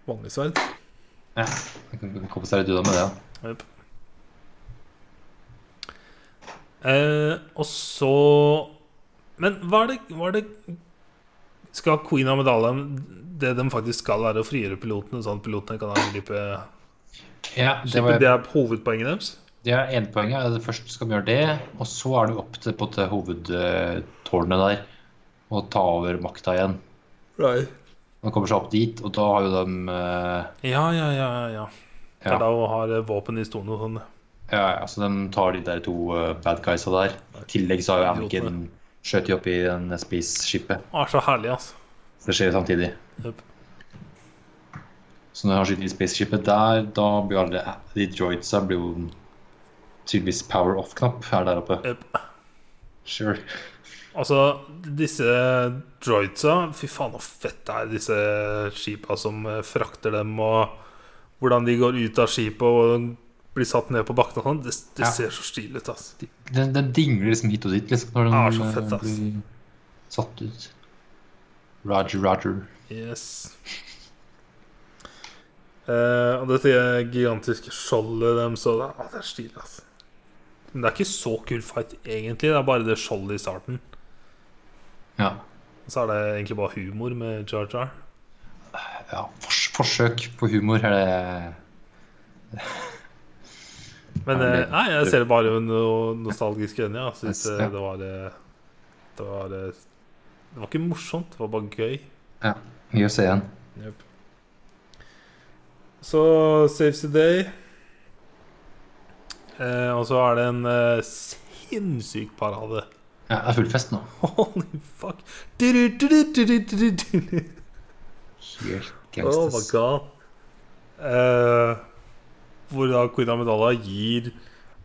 [SPEAKER 1] vanlig sverd.
[SPEAKER 2] Ja. Jeg kan kan komme seg litt unna med det. da.
[SPEAKER 1] Jep. Eh, og så Men hva er det, hva er det Skal Queen av medaljen Det de faktisk skal, være å frigjøre pilotene, sånn at pilotene kan angripe
[SPEAKER 2] Ja, det
[SPEAKER 1] skipet?
[SPEAKER 2] var
[SPEAKER 1] Det er hovedpoenget deres?
[SPEAKER 2] Det er ene poenget. er at Først skal vi gjøre det, og så er det opp til på til hovedtårnet der og ta over makta igjen.
[SPEAKER 1] Right.
[SPEAKER 2] Man kommer seg opp dit, og da har jo de eh,
[SPEAKER 1] Ja, ja, ja. ja. Det
[SPEAKER 2] ja,
[SPEAKER 1] er da hun har eh, våpen i stolen og sånn.
[SPEAKER 2] Ja, ja, så de tar de der to eh, bad guysa der. I tillegg så har jo Anakin skjøt de opp i en space-skipet.
[SPEAKER 1] Ah, så herlig, altså.
[SPEAKER 2] Så det skjer jo samtidig.
[SPEAKER 1] Jep.
[SPEAKER 2] Så når han skyter i spaceshipet der, da blir jo alle de droidsa blir jo tydeligvis power off-knapp her der oppe.
[SPEAKER 1] Jep.
[SPEAKER 2] Sure.
[SPEAKER 1] Altså, disse droidsa Fy faen, så fett det er disse skipa som eh, frakter dem, og hvordan de går ut av skipet og blir satt ned på bakken og sånn. Det, det
[SPEAKER 2] Ja.
[SPEAKER 1] ser så stilig ut, altså. ass.
[SPEAKER 2] De- Den, den dingler liksom hit og dit liksom, når den
[SPEAKER 1] Ah, så fett,
[SPEAKER 2] eh,
[SPEAKER 1] ass.
[SPEAKER 2] blir satt ut. Roger, roger.
[SPEAKER 1] Yes. Eh, og dette gigantiske skjoldet dem, så det, ah, det er stilig, ass. Men det er ikke så kul fight, egentlig. Det er bare det skjoldet i starten.
[SPEAKER 2] Ja.
[SPEAKER 1] Og så er det egentlig bare humor med Jar Jar.
[SPEAKER 2] ja fors forsøk på humor er det
[SPEAKER 1] Men
[SPEAKER 2] Ja,
[SPEAKER 1] eh,
[SPEAKER 2] det-
[SPEAKER 1] nei, jeg ser det bare med noe nostalgiske øyne. Jeg syns
[SPEAKER 2] Jeg ser-
[SPEAKER 1] eh, det var eh, Det var eh, Det var ikke morsomt, det var bare gøy.
[SPEAKER 2] ja. mye å se igjen.
[SPEAKER 1] Så Saves the Day. Eh, og så er det en eh, sinnssyk parade.
[SPEAKER 2] Ja, det er full fest nå.
[SPEAKER 1] Holy fuck! Du-du-du-du-du-du-du-du.
[SPEAKER 2] Helt
[SPEAKER 1] Oh my
[SPEAKER 2] gangsters.
[SPEAKER 1] god. Eh, hvor da Queen Amidala gir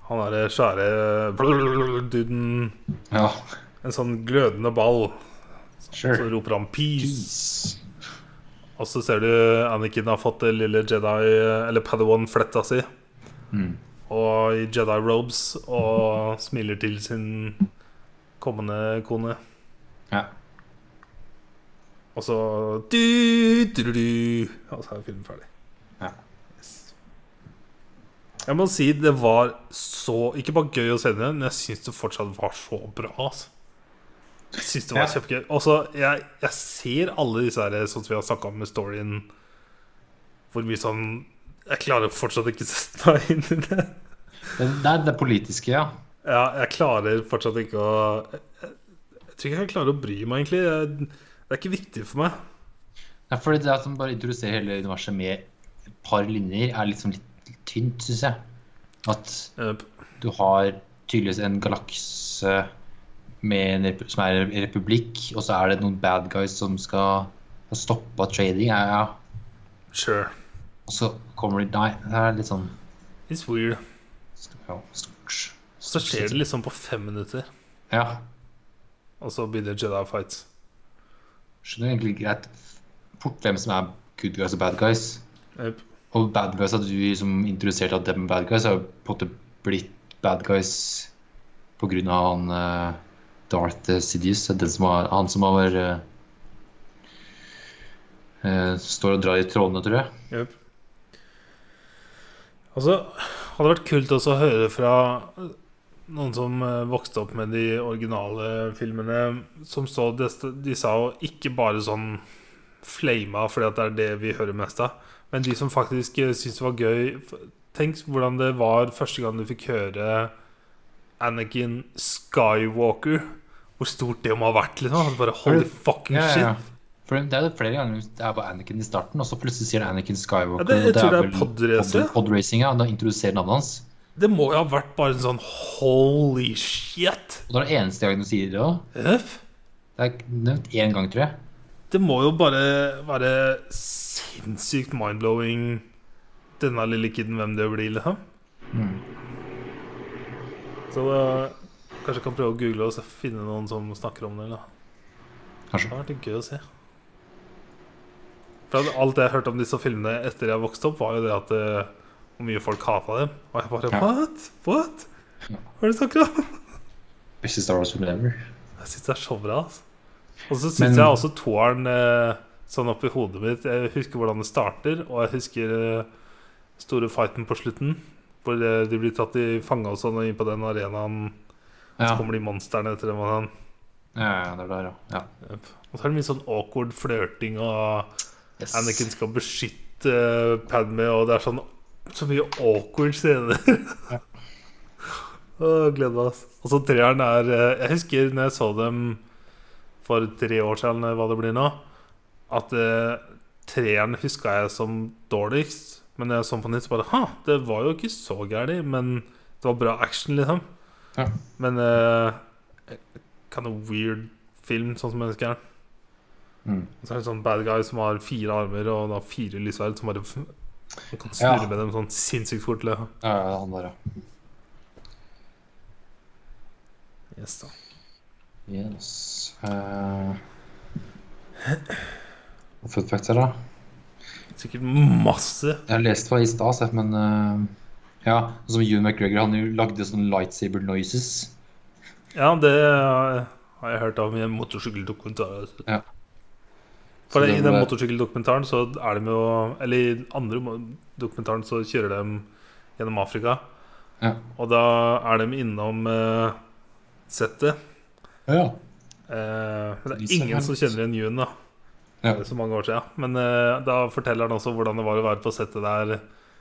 [SPEAKER 1] han derre svære eh, duden
[SPEAKER 2] ja,
[SPEAKER 1] en sånn glødende ball. Så
[SPEAKER 2] sure.
[SPEAKER 1] roper han 'peace',
[SPEAKER 2] Peace.
[SPEAKER 1] og så ser du Anakin har fått det lille Jedi, eller Padawan-fletta si,
[SPEAKER 2] Mm.
[SPEAKER 1] og i Jedi robes, og smiler til sin kommende kone.
[SPEAKER 2] Ja.
[SPEAKER 1] Og så du, du, du, du, Og så er filmen ferdig.
[SPEAKER 2] Ja.
[SPEAKER 1] Yes. Jeg må si det var så Ikke bare gøy å se den igjen, men jeg syns det fortsatt var så bra. Altså. Jeg syns det var
[SPEAKER 2] Ja.
[SPEAKER 1] kjempegøy. Og så jeg, jeg ser alle disse her, sånn som vi har snakka om med storyen, hvor mye sånn Jeg klarer fortsatt ikke å sette meg inn i det.
[SPEAKER 2] Det, det er det politiske, ja.
[SPEAKER 1] Ja, jeg klarer fortsatt ikke å Jeg, jeg, jeg tror ikke jeg klarer å bry meg, egentlig. Jeg, det er ikke viktig for meg.
[SPEAKER 2] ja fordi det at de bare introduserer hele universet med et par linjer, er liksom litt, litt tynt, syns jeg. At
[SPEAKER 1] Eh,
[SPEAKER 2] du har tydeligvis en galakse med en repu- som er en republikk, og så er det noen bad guys som skal stoppe trading. Ja, ja.
[SPEAKER 1] Sure.
[SPEAKER 2] Og så kommer de Nei, det er litt sånn
[SPEAKER 1] It's weird.
[SPEAKER 2] ja, stort.
[SPEAKER 1] Så skjer det liksom på fem minutter,
[SPEAKER 2] Ja.
[SPEAKER 1] og så begynner Jedi fights.
[SPEAKER 2] Skjønner egentlig greit fort hvem som er good guys og bad guys.
[SPEAKER 1] Yep.
[SPEAKER 2] Og bad guys at du liksom introduserte at dem er bad guys, har jo på en måte blitt bad guys på grunn av han eh, Darth Sidious, den som har, han som har eh, eh, står og drar i trådene, tror jeg.
[SPEAKER 1] Yep. Altså, hadde vært kult også å høre fra noen som eh, vokste opp med de originale filmene, som så det, De sa jo ikke bare sånn flama fordi at det er det vi hører mest av, men de som faktisk eh, syntes det var gøy f- Tenk hvordan det var første gang du fikk høre Anakin Skywalker. Hvor stort det må ha vært, liksom. Bare holy fucking shit.
[SPEAKER 2] For det er jo flere ganger det er bare Anakin i starten, og så plutselig sier det Anakin Skywalker.
[SPEAKER 1] Ja, det- jeg
[SPEAKER 2] og
[SPEAKER 1] tror det er
[SPEAKER 2] vel
[SPEAKER 1] podrace,
[SPEAKER 2] pod-
[SPEAKER 1] ja.
[SPEAKER 2] Podracing, ja. Da introduserer navnet hans.
[SPEAKER 1] Det må jo ha vært bare en sånn holy shit.
[SPEAKER 2] Og det er det eneste gangen du sier det òg.
[SPEAKER 1] Øff.
[SPEAKER 2] Det er nevnt én gang, tror jeg.
[SPEAKER 1] Det må jo bare være sinnssykt mindblowing, denne lille kiden, hvem det blir, liksom.
[SPEAKER 2] Mm.
[SPEAKER 1] Så da, kanskje jeg kan prøve å google og se- finne noen som snakker om det. Eller? Det
[SPEAKER 2] Kanskje.
[SPEAKER 1] hadde vært litt gøy å se. For at alt jeg hørte om disse filmene etter jeg vokste opp, var jo det at eh, hvor mye folk hata dem. Og jeg bare
[SPEAKER 2] Ja.
[SPEAKER 1] What? What? Hva
[SPEAKER 2] Ja.
[SPEAKER 1] er det du snakker om?
[SPEAKER 2] Beste Star Wars film ever.
[SPEAKER 1] Jeg syns det er så bra. Altså. Og så
[SPEAKER 2] Men-
[SPEAKER 1] syns jeg også toeren eh, sånn oppi hodet mitt Jeg husker hvordan det starter, og jeg husker eh, store fighten på slutten. Hvor eh, de blir tatt i fange og sånn, og inn på den arenaen
[SPEAKER 2] Ja,
[SPEAKER 1] så kommer de monstrene etter dem. Og, sånn.
[SPEAKER 2] ja, ja det er der, ja. ja.
[SPEAKER 1] Yep. og så er det mye sånn awkward flørting, og
[SPEAKER 2] Yes.
[SPEAKER 1] Anakin skal beskytte eh, Padme, og det er sånn så mye awkward scener. Åh, Gleder meg. ass. Og så treeren er eh, Jeg husker når jeg så dem for tre år siden, eller hva det blir nå, at eh, treeren huska jeg som dårligst. Men når jeg så den på nytt, så bare Ha, det var jo ikke så gærent. Men Det var bra action, liksom.
[SPEAKER 2] Ja.
[SPEAKER 1] Men uh, kind of weird film, sånn som jeg ønsker den.
[SPEAKER 2] Mm.
[SPEAKER 1] Og så er det en sånn bad guy som har fire armer og han har fire lyssverd som bare f- han kan
[SPEAKER 2] Ja.
[SPEAKER 1] snurre med dem sånn sinnssykt fort. Liksom.
[SPEAKER 2] Ja, ja, han der, ja.
[SPEAKER 1] Yes, da.
[SPEAKER 2] Yes. Eh, og fun facts her, da?
[SPEAKER 1] Sikkert masse.
[SPEAKER 2] Jeg har lest hva i stas, jeg, men eh, Ja, som Ewan McGregor, han jo lagde sånne lightsaber noises.
[SPEAKER 1] Ja, det har jeg hørt av i en motorsykkeldokumentar.
[SPEAKER 2] Ja.
[SPEAKER 1] For
[SPEAKER 2] Så
[SPEAKER 1] det, i
[SPEAKER 2] den
[SPEAKER 1] den
[SPEAKER 2] der-
[SPEAKER 1] motorsykkeldokumentaren så er de jo Eller i den andre mo- dokumentaren så kjører de gjennom Afrika.
[SPEAKER 2] Ja.
[SPEAKER 1] Og da er de innom eh, settet.
[SPEAKER 2] Ja,
[SPEAKER 1] Eh, men det er
[SPEAKER 2] Lisa
[SPEAKER 1] ingen som
[SPEAKER 2] Hunt.
[SPEAKER 1] kjenner igjen June, da.
[SPEAKER 2] Ja.
[SPEAKER 1] Det er Så mange år siden. Men eh, da forteller han også hvordan det var å være på settet der.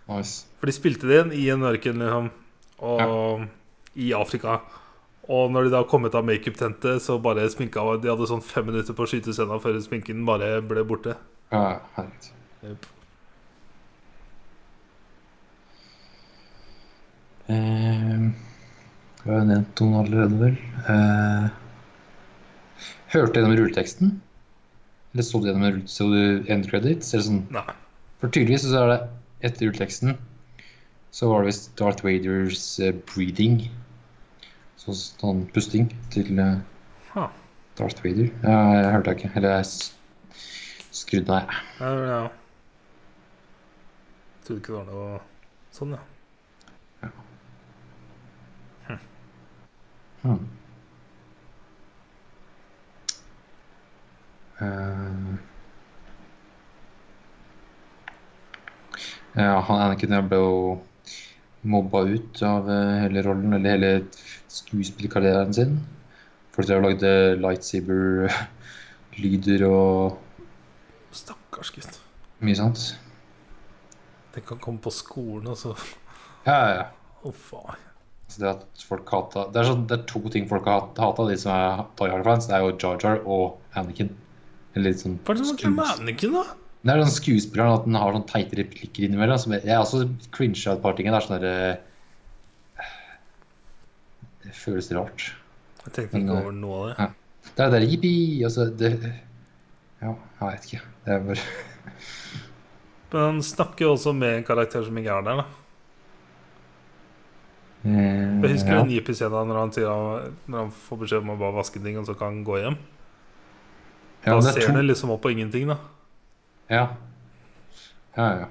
[SPEAKER 2] Nice.
[SPEAKER 1] For de spilte det inn i en ørken, liksom. Og i Afrika. Og når de da kom ut av makeup-tentet, så bare sminka De hadde sånn fem minutter på å skyte scenen før sminken bare ble borte.
[SPEAKER 2] Ja, herregud. Eh, jeg har jo nevnt noen allerede, vel. Eh, hørte du gjennom rulleteksten? Eller så du gjennom rull- så du end credits? Eller sånn?
[SPEAKER 1] Nei.
[SPEAKER 2] For tydeligvis så er det etter rulleteksten så var det visst Darth Vaders eh, breathing. Så, sånn pusting til eh,
[SPEAKER 1] Ha.
[SPEAKER 2] Darth Vader. Ja, jeg hørte det ikke. Eller jeg s- skrudde meg.
[SPEAKER 1] Ja, ja. Trodde ikke det var noe sånn, ja.
[SPEAKER 2] Hmm. Eh. ja, han Anakin han ble jo mobba ut av eh, hele rollen, eller hele skuespillerkarrieren sin. Fordi de lagde lightsaber-lyder og
[SPEAKER 1] Stakkars gutt.
[SPEAKER 2] mye sånt.
[SPEAKER 1] Den kan komme på skolen, og så
[SPEAKER 2] Ja, ja, ja.
[SPEAKER 1] Å, faen.
[SPEAKER 2] Så det at folk hata Det er, sånn, det er to ting folk har hat- hata, de som er Die Hard-fans. Det er jo Jar Jar og Anakin. Eller litt sånn
[SPEAKER 1] Hva er det som er
[SPEAKER 2] skues-
[SPEAKER 1] med Anniken, da?
[SPEAKER 2] Det er sånn skuespilleren at den har sånn teite replikker innimellom. Som jeg, jeg også cringer av et par ting. Det er sånn derre Det føles rart.
[SPEAKER 1] Jeg tenkte ikke over noe av det.
[SPEAKER 2] Det er det der jippi altså, det, Ja, jeg vet ikke. Det er bare
[SPEAKER 1] Men han snakker jo også med en karakter som ikke er der. da Jeg husker
[SPEAKER 2] ja.
[SPEAKER 1] den jippi-scenen når han sier han, Når han får beskjed om å bare vaske ting, og så kan han gå hjem.
[SPEAKER 2] Ja,
[SPEAKER 1] Da
[SPEAKER 2] men det er
[SPEAKER 1] ser
[SPEAKER 2] to
[SPEAKER 1] han liksom opp på ingenting, da.
[SPEAKER 2] Ja. Ja, ja.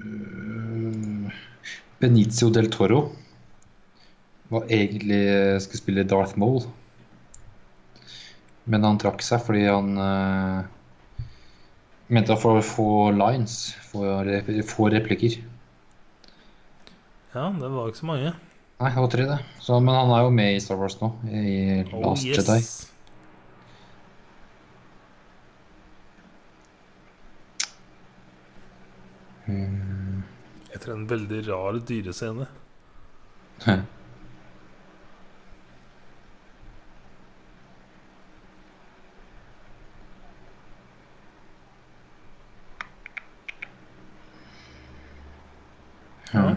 [SPEAKER 2] Øh, Benicio del Toro var egentlig eh, skulle spille Darth Maul. Men han trakk seg fordi han eh, mente at for få lines, få rep- få replikker.
[SPEAKER 1] Ja, det var ikke så mange.
[SPEAKER 2] Nei, det var tre, det. Så, men han er jo med i Star Wars nå, i
[SPEAKER 1] Oh
[SPEAKER 2] Last
[SPEAKER 1] yes.
[SPEAKER 2] Jedi.
[SPEAKER 1] Hmm.
[SPEAKER 2] Mm.
[SPEAKER 1] Etter en veldig rar dyrescene.
[SPEAKER 2] Hmm. Ja.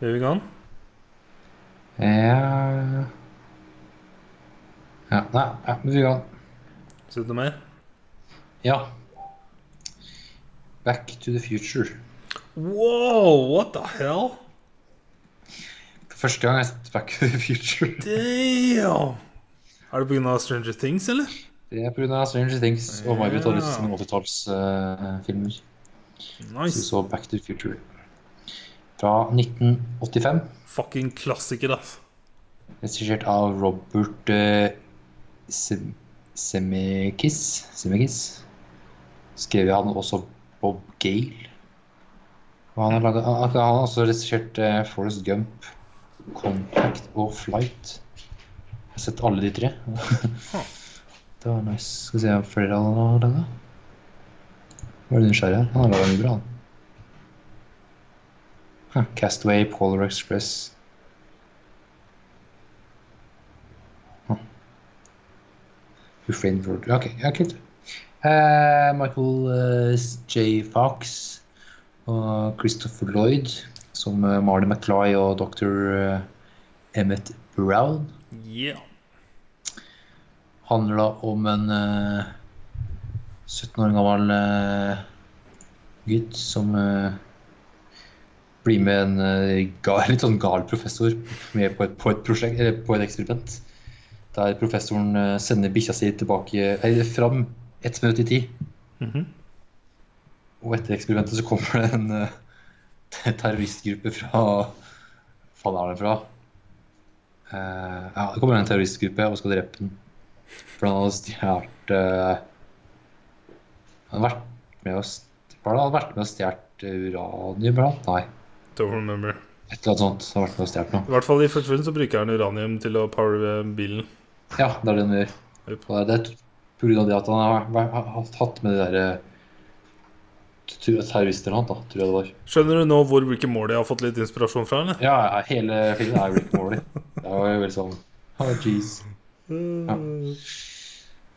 [SPEAKER 1] Babygan?
[SPEAKER 2] Ja, ja Nei, ja, men vi kan
[SPEAKER 1] Sier du noe mer?
[SPEAKER 2] Ja. Back to the future.
[SPEAKER 1] Wow, what the hell?
[SPEAKER 2] Første gang jeg har sett Back to the future.
[SPEAKER 1] Damn! Er det pga. Stranger Things, eller?
[SPEAKER 2] Det er pga. Stranger Things og Margaret
[SPEAKER 1] Ja.
[SPEAKER 2] Oddies' 80-tallsfilmer. Så vi
[SPEAKER 1] Nice.
[SPEAKER 2] eh, så Back to the Future fra 1985.
[SPEAKER 1] Fucking klassiker, ass.
[SPEAKER 2] Regissert av Robert eh, Sem Semekis. Semekis. Skrevet av også Bob Gale. Og han har, laget, han han har også regissert eh, Forrest Gump, Contact og Flight. Jeg har sett alle de tre. det var nice. Skal vi se om flere han har laga. Hva er det nysgjerrig her? Han har laga mye bra, han. Huh, Castaway, Polar Express Refrain for Ok, ja, kult. Eh, Michael eh, J. Fox og Christopher Lloyd som eh, Marley McFly og dr. eh, Emmett Brown.
[SPEAKER 1] Yeah.
[SPEAKER 2] handler da om en eh, 17 år gammel eh, gutt som eh, blir med en eh, ga- litt sånn gal professor med på et, på et, prosjekt, eller på et eksperiment. Der professoren eh, sender bikkja si tilbake, eller fram ett minutt i tid.
[SPEAKER 1] Mhm.
[SPEAKER 2] Og etter eksperimentet så kommer det en eh, terroristgruppe fra Faen, er det fra? Eh, ja, det kommer en terroristgruppe og skal drepe den. For han hadde stjålet Han hadde vært med og st- hva er det? Han hadde vært med og stjålet uranium, eller noe? Nei,
[SPEAKER 1] Don't remember.
[SPEAKER 2] et eller annet sånt. Han hadde vært med og stjålet noe.
[SPEAKER 1] I hvert fall i første film så bruker han uranium til å powere bilen.
[SPEAKER 2] Ja, det er det han gjør.
[SPEAKER 1] Yep.
[SPEAKER 2] Og det er t- på grunn av det at han har vært- har hatt- hatt med de der eh, t- terroristene hans, da, tror jeg det var.
[SPEAKER 1] Skjønner du nå hvor Ricky Morley har fått litt inspirasjon fra, eller?
[SPEAKER 2] Ja, ja, hele filmen er Rick Morley. Det var jo veldig sånn oh, jeez.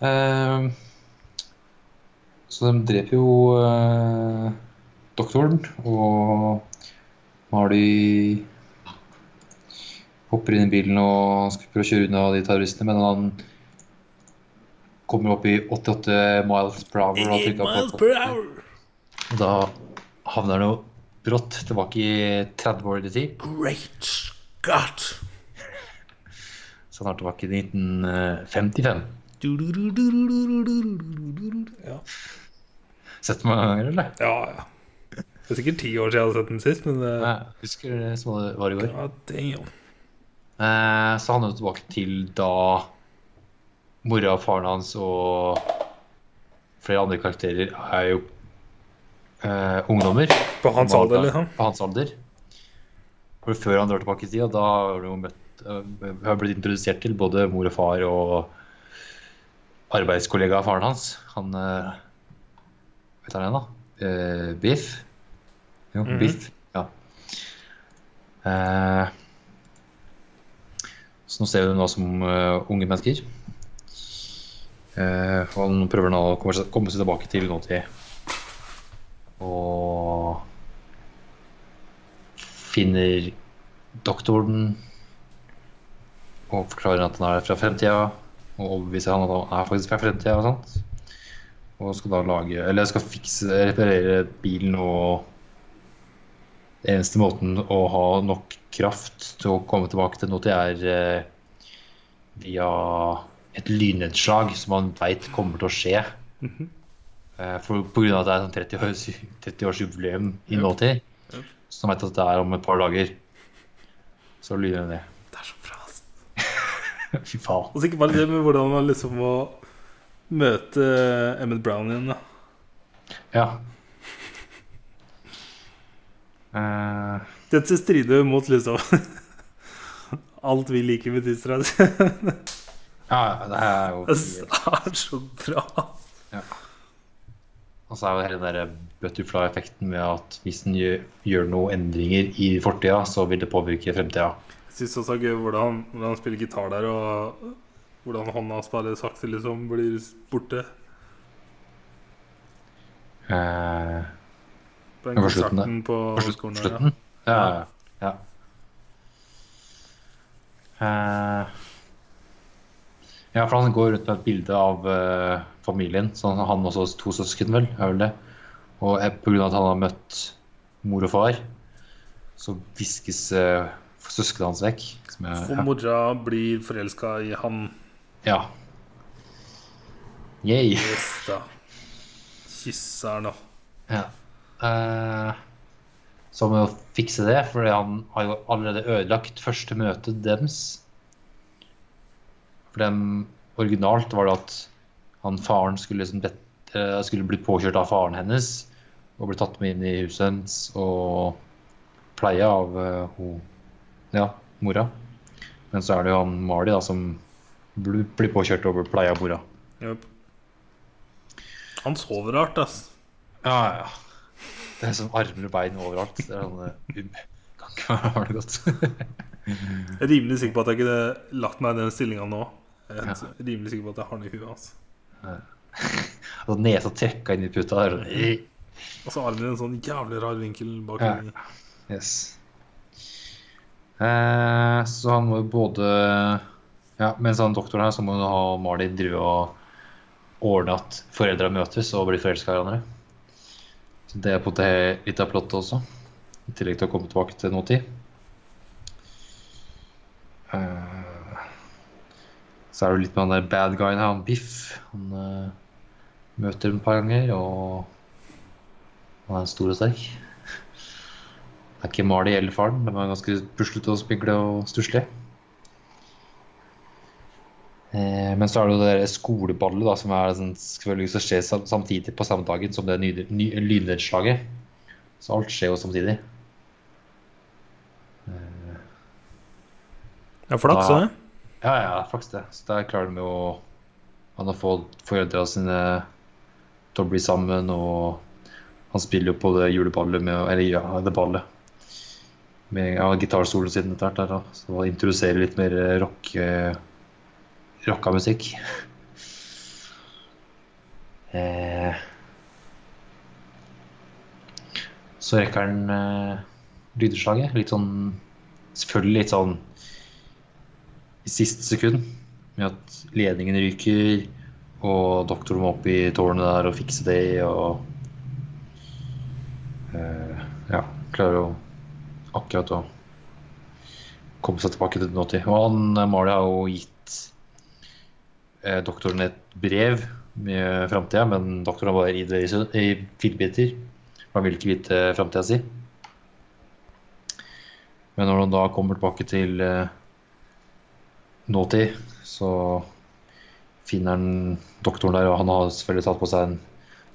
[SPEAKER 2] Ehm, så de dreper jo eh, doktoren, og Marley hopper inn i bilen og skal prøve å kjøre unna de terroristene, men han kommer opp i 88 miles per hour. og trykker på-
[SPEAKER 1] hour.
[SPEAKER 2] og Da havner han jo brått tilbake i 30 år i tid.
[SPEAKER 1] Great Scott.
[SPEAKER 2] Så han er tilbake i 1955.
[SPEAKER 1] Ja.
[SPEAKER 2] Sett meg mange ganger, eller?
[SPEAKER 1] ja, ja. Det er sikkert ti år siden jeg hadde sett den sist, men uh,
[SPEAKER 2] Jeg husker det som det var i går.
[SPEAKER 1] ja, damn.
[SPEAKER 2] Eh, Så han er jo tilbake til da mora og faren hans og flere andre karakterer er jo eh, ungdommer
[SPEAKER 1] På hans
[SPEAKER 2] Var-
[SPEAKER 1] alder, liksom.
[SPEAKER 2] på hans alder. For før han drar tilbake i tida, da har du jo møtt eh, har blitt introdusert til både mor og far og arbeidskollega av faren hans. Han eh, Vet han igjen, da? Eh, Biff? Jo,
[SPEAKER 1] Mhm.
[SPEAKER 2] Biff. Ja. Eh, så nå ser vi dem nå som eh, unge mennesker. Eh, og han prøver nå å komme seg, komme seg tilbake til nåtid. Og finner doktoren og forklarer at han er fra fremtida. Og overbeviser han at han er faktisk fra fremtida og sånt. Og skal da lage Eller skal fikse, reparere bilen og Den eneste måten å ha nok kraft til å komme tilbake til noe, det er eh, via et lynnedslag som han veit kommer til å skje.
[SPEAKER 1] Mhm.
[SPEAKER 2] Eh, For på grunn av at det er sånn 30 års, 30 års jubileum i nåtid,
[SPEAKER 1] Yep.
[SPEAKER 2] så han vet at det er om et par dager. Så lyder det.
[SPEAKER 1] Det er så bra. ass.
[SPEAKER 2] Fy faen.
[SPEAKER 1] Og så ikke bare det med hvordan man liksom må møte eh, Emmett Brown igjen, da.
[SPEAKER 2] Ja. Eh,
[SPEAKER 1] Dette strider jo mot liksom alt vi liker med Tistra. Det
[SPEAKER 2] ja, ja, det er jo
[SPEAKER 1] er så bra.
[SPEAKER 2] Og så er jo hele den der butterfly-effekten med at hvis en gjør, gjør noen endringer i fortida, så vil det påvirke fremtida.
[SPEAKER 1] Jeg syns også det er gøy hvordan, hvordan han spiller gitar der, og hvordan hånda hans bare sakte liksom blir borte.
[SPEAKER 2] Eh,
[SPEAKER 1] På den
[SPEAKER 2] Ja, på slutten der.
[SPEAKER 1] konserten på
[SPEAKER 2] på slutt-
[SPEAKER 1] skolen der, ja.
[SPEAKER 2] slutten. Ja, ja, ja. Eh, ja, for han går rundt med et bilde av eh, familien. Så han han også har to søsken, vel. er vel det. Og eh, på grunn av at han har møtt mor og far, så viskes uh, søsknene hans vekk. Som er,
[SPEAKER 1] For mora blir forelska i han.
[SPEAKER 2] ja. Yay.
[SPEAKER 1] Yes, da. Kysser han, da.
[SPEAKER 2] Ja. Eh, så må vi fikse det, for han har jo allerede ødelagt første møte deres. For dem originalt var det at han faren skulle, liksom bet, eh, skulle bli påkjørt av faren hennes og bli tatt med inn i huset hennes og pleie av eh, ho, ja, mora. Men så er det jo han Mali da, som bl- blir påkjørt og blir pleie av mora.
[SPEAKER 1] Jep. Han sover rart, ass.
[SPEAKER 2] Ja, ja. Det er sånn armer og bein overalt. Det er sånn eh, um, Kan ikke være ha det godt.
[SPEAKER 1] Jeg er rimelig sikker på at jeg ikke hadde lagt meg i altså. den stillinga nå. Jeg er
[SPEAKER 2] Ja.
[SPEAKER 1] helt rimelig sikker på at jeg har den i huet. ass.
[SPEAKER 2] Altså, nesa trekka inn i puta. Der. og-
[SPEAKER 1] Og så har de en sånn jævlig rar vinkel bak
[SPEAKER 2] Ja.
[SPEAKER 1] linjen.
[SPEAKER 2] Yes. Eh, så han må jo både Ja, mens han doktoren her, så må jo ha Malin drive og ordne at foreldra møtes og blir forelska i hverandre. Så det er på en måte litt av plottet også. I tillegg til å komme tilbake til noe tid. Eh, så er det jo litt med han der bad guyen her, han Biff. Han eh, møter dem et par ganger, og han er stor og sterk. Det er ikke Mali eller faren, men han er ganske puslete og spinkle og stusslig. Eh, men så er det jo det der skoleballet, da, som er sånn, selvfølgelig så skjer sam- samtidig på samme dagen som det ny- ny- lynnedslaget. Så alt skjer jo samtidig.
[SPEAKER 1] Ja, flaks,
[SPEAKER 2] Ja.
[SPEAKER 1] det.
[SPEAKER 2] Ja, ja, faktisk det. Så der klarer de jo han å få foreldra sine til å bli sammen, og han spiller jo på det juleballet med Eller ja, det ballet. Med ja, gitarsoloen sin etter hvert der, da. Så han introduserer litt mer eh, rock eh, rocka musikk. Eh, så rekker han eh, lydeslaget. Litt sånn Selvfølgelig litt sånn i siste sekund med at ledningen ryker, og doktoren må opp i tårnet der og fikse det, og eh, ja, klarer å akkurat å komme seg tilbake til nåtid. Og han, eh, Mali har jo gitt eh, doktoren et brev med framtida, men doktoren har bare ridd det i sø- i fillebiter. Han vil ikke vite framtida si. Men når han da kommer tilbake til eh, nåtid, så finner han doktoren der, og han har selvfølgelig tatt på seg en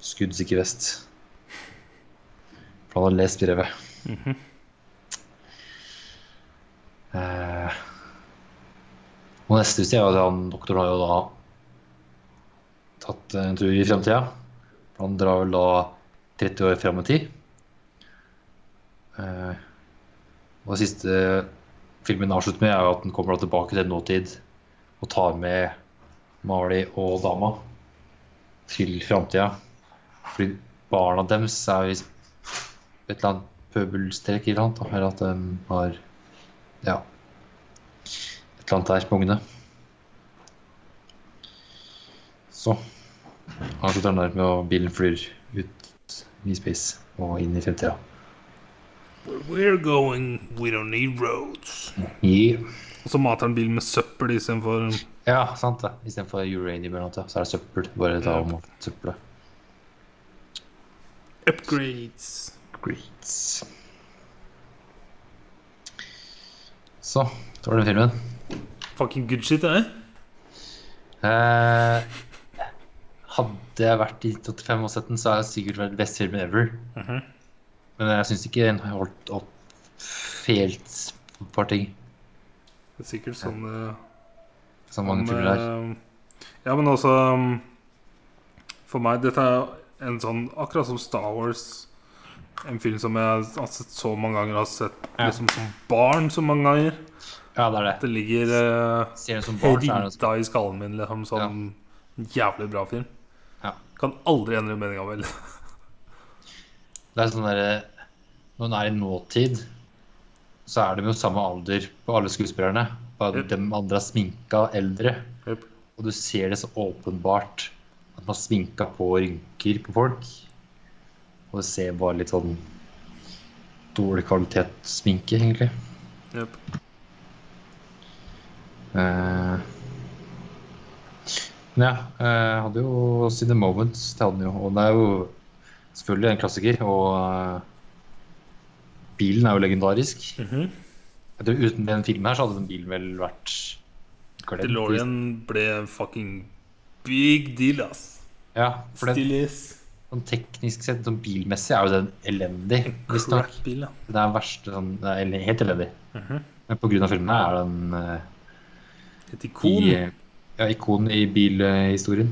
[SPEAKER 2] skuddsikker vest. For han har lest brevet. eh, og neste sted er at han doktoren har jo da tatt en tur i fremtida. For han drar vel da 30 år frem i tid. Eh, og det siste filmen avslutter med, er jo at den kommer da tilbake til nåtid og tar med Mali og dama til framtida. Fordi barna deres er visst et eller annet pøbelstrek eller annet. da, Eller at de har ja et eller annet der på ungene. Så avslutter den der med at bilen flyr ut i space og inn i fremtida.
[SPEAKER 1] Where we're going, we don't need roads.
[SPEAKER 2] Yeah.
[SPEAKER 1] Og så mater han bilen med søppel istedenfor
[SPEAKER 2] Ja, sant det. Istedenfor uranium eller noe, sånt, så er det søppel. Bare ta
[SPEAKER 1] Ja.
[SPEAKER 2] om søppelet.
[SPEAKER 1] upgrades.
[SPEAKER 2] Greats. Så, det var den filmen.
[SPEAKER 1] Fucking good shit, det.
[SPEAKER 2] Eh, hadde jeg vært i 85 og sett den, så hadde jeg sikkert vært best filmen ever.
[SPEAKER 1] Mhm.
[SPEAKER 2] Men jeg syns ikke den holdt opp helt et par ting.
[SPEAKER 1] Det er sikkert sånn eh,
[SPEAKER 2] Som mange
[SPEAKER 1] om,
[SPEAKER 2] filmer er.
[SPEAKER 1] eh, Ja, men altså um, For meg, dette er en sånn Akkurat som Star Wars. En film som jeg har sett så mange ganger, har sett
[SPEAKER 2] Ja.
[SPEAKER 1] liksom som barn så mange ganger.
[SPEAKER 2] Ja, det er det.
[SPEAKER 1] Det ligger eh,
[SPEAKER 2] Ser den som barn, så er det
[SPEAKER 1] Rydda i skallen min, liksom. Sånn jævlig bra film.
[SPEAKER 2] Ja.
[SPEAKER 1] Kan aldri endre meninga, vel.
[SPEAKER 2] Det er sånn der, Når en er i nåtid, så er de jo samme alder på alle skuespillerne. Bare
[SPEAKER 1] Yep.
[SPEAKER 2] de andre er sminka eldre.
[SPEAKER 1] Yep.
[SPEAKER 2] Og du ser det så åpenbart at man har sminka på rynker på folk. Og det ser bare litt sånn dårlig kvalitet sminke, egentlig.
[SPEAKER 1] Jep.
[SPEAKER 2] Eh, Men ja, jeg hadde jo sine moments, det hadde den jo. Og det er jo selvfølgelig en klassiker. Og eh, bilen er jo legendarisk.
[SPEAKER 1] Mhm.
[SPEAKER 2] Jeg tror Uten den filmen her så hadde den bilen vel vært glemt.
[SPEAKER 1] DeLorean ble fucking big deal, ass.
[SPEAKER 2] Ja, for den,
[SPEAKER 1] Still is.
[SPEAKER 2] sånn teknisk sett, sånn bilmessig, er jo den elendig. Visstnok.
[SPEAKER 1] Crap-bil, ja.
[SPEAKER 2] Det er verste, sånn, det er el- helt elendig.
[SPEAKER 1] Mhm.
[SPEAKER 2] Men på grunn av filmen er den eh,
[SPEAKER 1] Et
[SPEAKER 2] i,
[SPEAKER 1] ikon.
[SPEAKER 2] eh, ja, ikon i bilhistorien.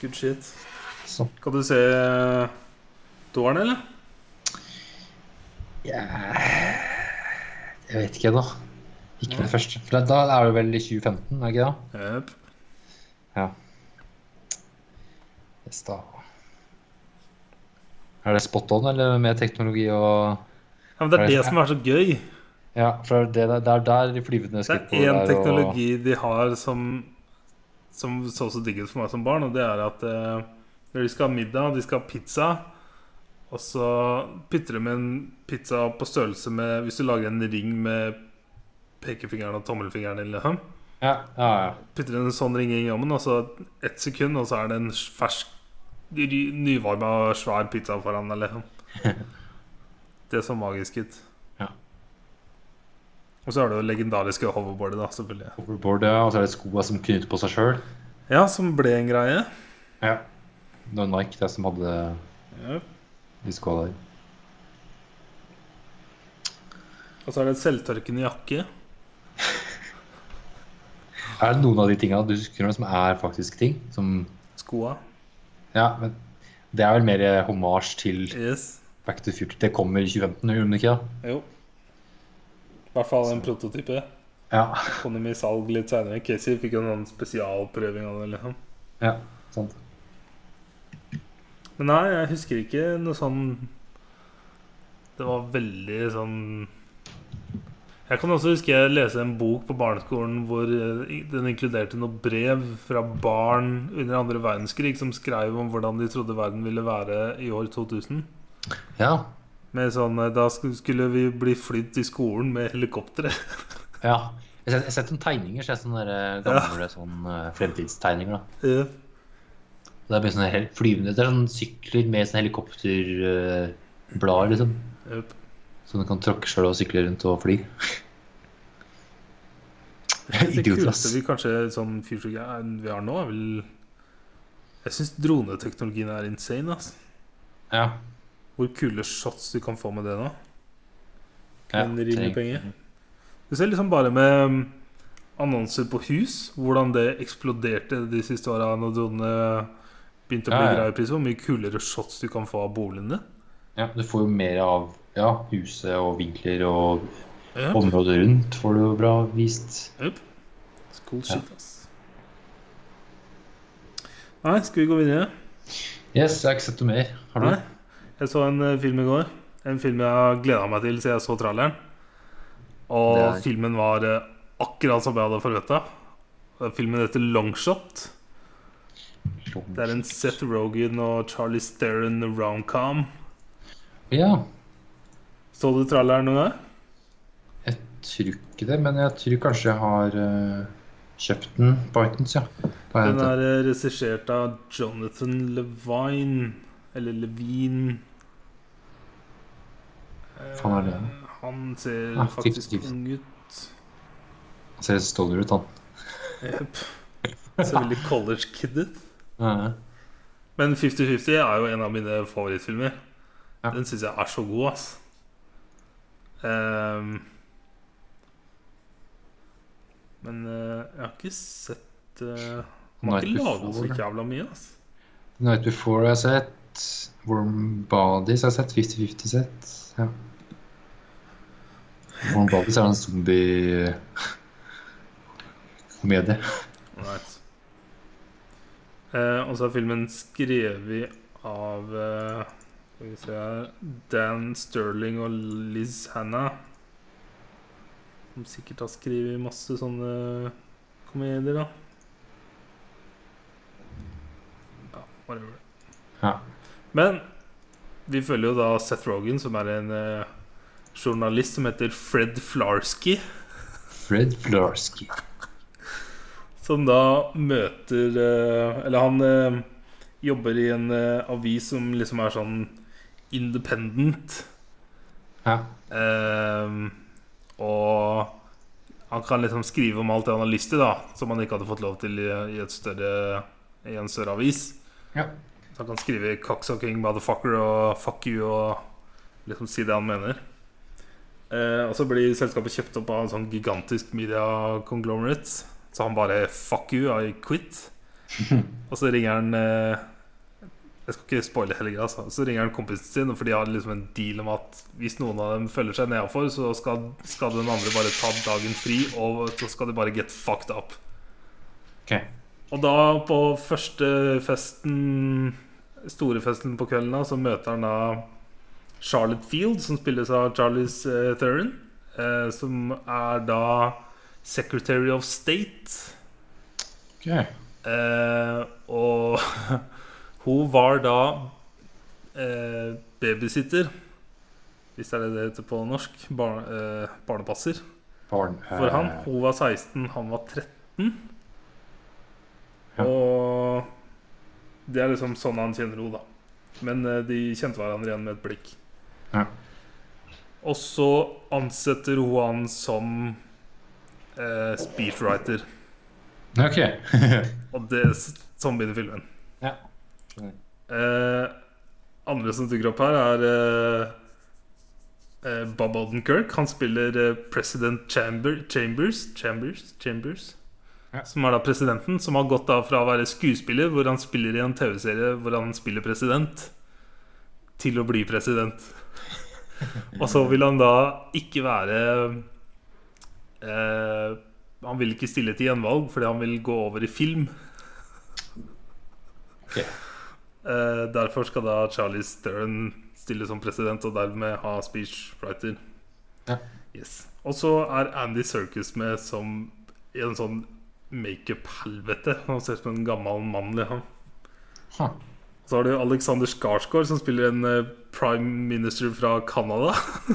[SPEAKER 1] Good shit.
[SPEAKER 2] Så
[SPEAKER 1] Kan du se eh, toeren, eller?
[SPEAKER 2] Jeg vet ikke, da. Ikke med det første. For da er det vel i 2015, er det ikke det?
[SPEAKER 1] Jep.
[SPEAKER 2] Ja. Yes, da. Er det spot on, eller med teknologi og
[SPEAKER 1] Ja, men det er
[SPEAKER 2] Er det-
[SPEAKER 1] det som er så gøy.
[SPEAKER 2] Ja, for det er det er der de flyvende
[SPEAKER 1] Det er
[SPEAKER 2] skrittene
[SPEAKER 1] én
[SPEAKER 2] der, og-
[SPEAKER 1] teknologi de har som Som så så digg ut for meg som barn, og det er at eh, når de skal ha middag, de skal ha pizza, og så putter de en pizza på størrelse med Hvis du lager en ring med pekefingeren og tommelfingeren, eller noe,
[SPEAKER 2] Ja, ja, ja.
[SPEAKER 1] putter en sånn ring inn i ovnen, og så ett sekund, og så er det en fersk, ny- nyvarma, svær pizza foran deg, liksom. Det er så magisk ut.
[SPEAKER 2] Ja.
[SPEAKER 1] Og så er det jo legendariske hoverboardet, da, selvfølgelig.
[SPEAKER 2] Overboard, ja. Og så er det skoa som knyter på seg sjøl.
[SPEAKER 1] Ja, som ble en greie.
[SPEAKER 2] Ja. Det var Nike det som hadde de skoa der.
[SPEAKER 1] Og så er det et selvtørkende jakke.
[SPEAKER 2] Er det noen av de tinga du husker om som er faktisk ting? Som
[SPEAKER 1] Skoa.
[SPEAKER 2] Ja, men det er vel mer eh, hommage til
[SPEAKER 1] Yes.
[SPEAKER 2] Back to the Future. Det kommer i 2015, gjør det ikke? da?
[SPEAKER 1] Jo. I hvert fall en prototype.
[SPEAKER 2] Ja.
[SPEAKER 1] Kom dem i salg litt seinere. Casey fikk jo en annen spesialprøving av det, liksom.
[SPEAKER 2] ja, sant.
[SPEAKER 1] Men nei, jeg husker ikke noe sånn Det var veldig sånn Jeg kan også huske jeg leste en bok på barneskolen hvor eh, den inkluderte noen brev fra barn under andre verdenskrig som skrev om hvordan de trodde verden ville være i år 2000.
[SPEAKER 2] Ja.
[SPEAKER 1] Med sånn eh, Da sk- skulle vi bli flydd til skolen med helikoptre.
[SPEAKER 2] ja. Jeg har sett- jeg har sett noen tegninger, så jeg har sett sånne der, eh, gamle sånn, eh, fremtidstegninger. da.
[SPEAKER 1] Eh,
[SPEAKER 2] Det er bare sånne hel- flyvende, det er sånne sykler med sånne helikopterblader, liksom.
[SPEAKER 1] jep.
[SPEAKER 2] Så du kan tråkke sjøl og sykle rundt og fly.
[SPEAKER 1] Det
[SPEAKER 2] Idiot,
[SPEAKER 1] kuleste
[SPEAKER 2] ass.
[SPEAKER 1] vi kanskje sånn future ga- vi har nå, er vel Jeg syns droneteknologien er insane, ass.
[SPEAKER 2] Ja.
[SPEAKER 1] Hvor kule shots du kan få med det nå.
[SPEAKER 2] ja.
[SPEAKER 1] En rimelig
[SPEAKER 2] tenk-
[SPEAKER 1] penge. Du ser liksom bare med mm, annonser på hus, hvordan det eksploderte de siste åra når dronene begynte å bli
[SPEAKER 2] Ja, ja.
[SPEAKER 1] greie i pris. Hvor mye kulere shots du kan få av boligen din.
[SPEAKER 2] Ja, du får jo mer av ja, huset og vinkler og
[SPEAKER 1] Ja.
[SPEAKER 2] området rundt får du jo bra vist.
[SPEAKER 1] Yep. Cool shit, ass. Nei, skal vi gå videre?
[SPEAKER 2] Yes, jeg har ikke sett noe mer. Har du?
[SPEAKER 1] Nei. Jeg så en eh, film i går. En film jeg har gleda meg til siden jeg så traileren. Og
[SPEAKER 2] Det er-
[SPEAKER 1] filmen var eh, akkurat som jeg hadde forventa. Filmen heter Longshot. Det er en Seth Rogan og Charlie Sterren romcom.
[SPEAKER 2] Ja,
[SPEAKER 1] Så du traileren noen gang?
[SPEAKER 2] jeg tror ikke det, men jeg tror kanskje jeg har eh, kjøpt den på iTunes, ja. Da har jeg
[SPEAKER 1] Den
[SPEAKER 2] hentet
[SPEAKER 1] er eh, regissert av Jonathan Levine. Eller Levine. Eh,
[SPEAKER 2] Faen er det?
[SPEAKER 1] Han ser
[SPEAKER 2] Ah,
[SPEAKER 1] faktisk
[SPEAKER 2] fiktivt.
[SPEAKER 1] ung ut.
[SPEAKER 2] den. Ser stoner ut, han.
[SPEAKER 1] Jep. Ser veldig college kid ut.
[SPEAKER 2] Ja,
[SPEAKER 1] Men 50-50 er jo en av mine favorittfilmer.
[SPEAKER 2] Ja.
[SPEAKER 1] Den syns jeg er så god, ass. Ehm. men eh, jeg har ikke sett uh, Han har ikke
[SPEAKER 2] Night
[SPEAKER 1] laga så
[SPEAKER 2] Before.
[SPEAKER 1] jævla mye, ass.
[SPEAKER 2] Night Before har jeg sett. Warm Bodies har jeg sett. 50-50 sett. Ja. Warm Bodies er en zombie-komedie.
[SPEAKER 1] Right. Eh, og så er filmen skrevet av eh, Skal vi se her Dan Sterling og Liz Hanna. Som sikkert har skrevet masse sånne komedier, da. Ja, whatever.
[SPEAKER 2] Ja.
[SPEAKER 1] Men vi følger jo da Seth Rogan, som er en eh, journalist som heter Fred Flarsky.
[SPEAKER 2] Fred Flarsky.
[SPEAKER 1] Som da møter eh, Eller han eh, jobber i en eh, avis som liksom er sånn independent.
[SPEAKER 2] Ja.
[SPEAKER 1] Eh, og han kan liksom skrive om alt det han har lyst til, da. Som han ikke hadde fått lov til i, i, et større, i en større avis.
[SPEAKER 2] Ja.
[SPEAKER 1] Så han kan skrive 'cocksucking motherfucker' og 'fuck you' og liksom si det han mener. Eh, og så blir selskapet kjøpt opp av en sånn gigantisk media conglomerate. Så han bare 'fuck you, I quit'. og så ringer han eh, Jeg skal ikke spoile hele greia, altså. Så ringer han kompisen sin, for de har liksom en deal om at hvis noen av dem følger seg nedafor, så skal, skal den andre bare ta dagen fri, og så skal de bare get fucked up.
[SPEAKER 2] Ok.
[SPEAKER 1] Og da, på første festen Store festen på kvelden, da, så møter han da Charlotte Field, som spilles av Charlies eh, Theron. Eh, som er da Secretary of State.
[SPEAKER 2] Okay.
[SPEAKER 1] Eh, og hun var da eh, babysitter, hvis det er det det heter på norsk. Bar, eh, barnepasser
[SPEAKER 2] Barn,
[SPEAKER 1] for han.
[SPEAKER 2] eh,
[SPEAKER 1] Hun var 16, han var 13.
[SPEAKER 2] Ja.
[SPEAKER 1] Og det er liksom sånn han kjenner henne, da. Men eh, de kjente hverandre igjen med et blikk.
[SPEAKER 2] Ja.
[SPEAKER 1] Og så ansetter hun han som eh, speechwriter.
[SPEAKER 2] Ok.
[SPEAKER 1] Og det sånn begynner filmen.
[SPEAKER 2] ja.
[SPEAKER 1] Eh, andre som dukker opp her, er eh, eh, Bob Odenkirk. Han spiller eh, president Chamber, Chambers, Chambers, Chambers
[SPEAKER 2] Ja.
[SPEAKER 1] Som er da presidenten, som har gått da fra å være skuespiller, hvor han spiller i en TV-serie hvor han spiller president, til å bli president. Og så vil han da ikke være eh, Han vil ikke stille til gjenvalg fordi han vil gå over i film.
[SPEAKER 2] Ok.
[SPEAKER 1] Eh, derfor skal da Charlie Stern stille som president og dermed ha speechwriter.
[SPEAKER 2] Ja.
[SPEAKER 1] Yes. Og så er Andy Circus med som i en sånn makeup-helvete. Han ser ut som en gammel mann. Liksom.
[SPEAKER 2] Ha.
[SPEAKER 1] Så har du Alexander Skarsgård, som spiller en eh, prime minister fra Canada.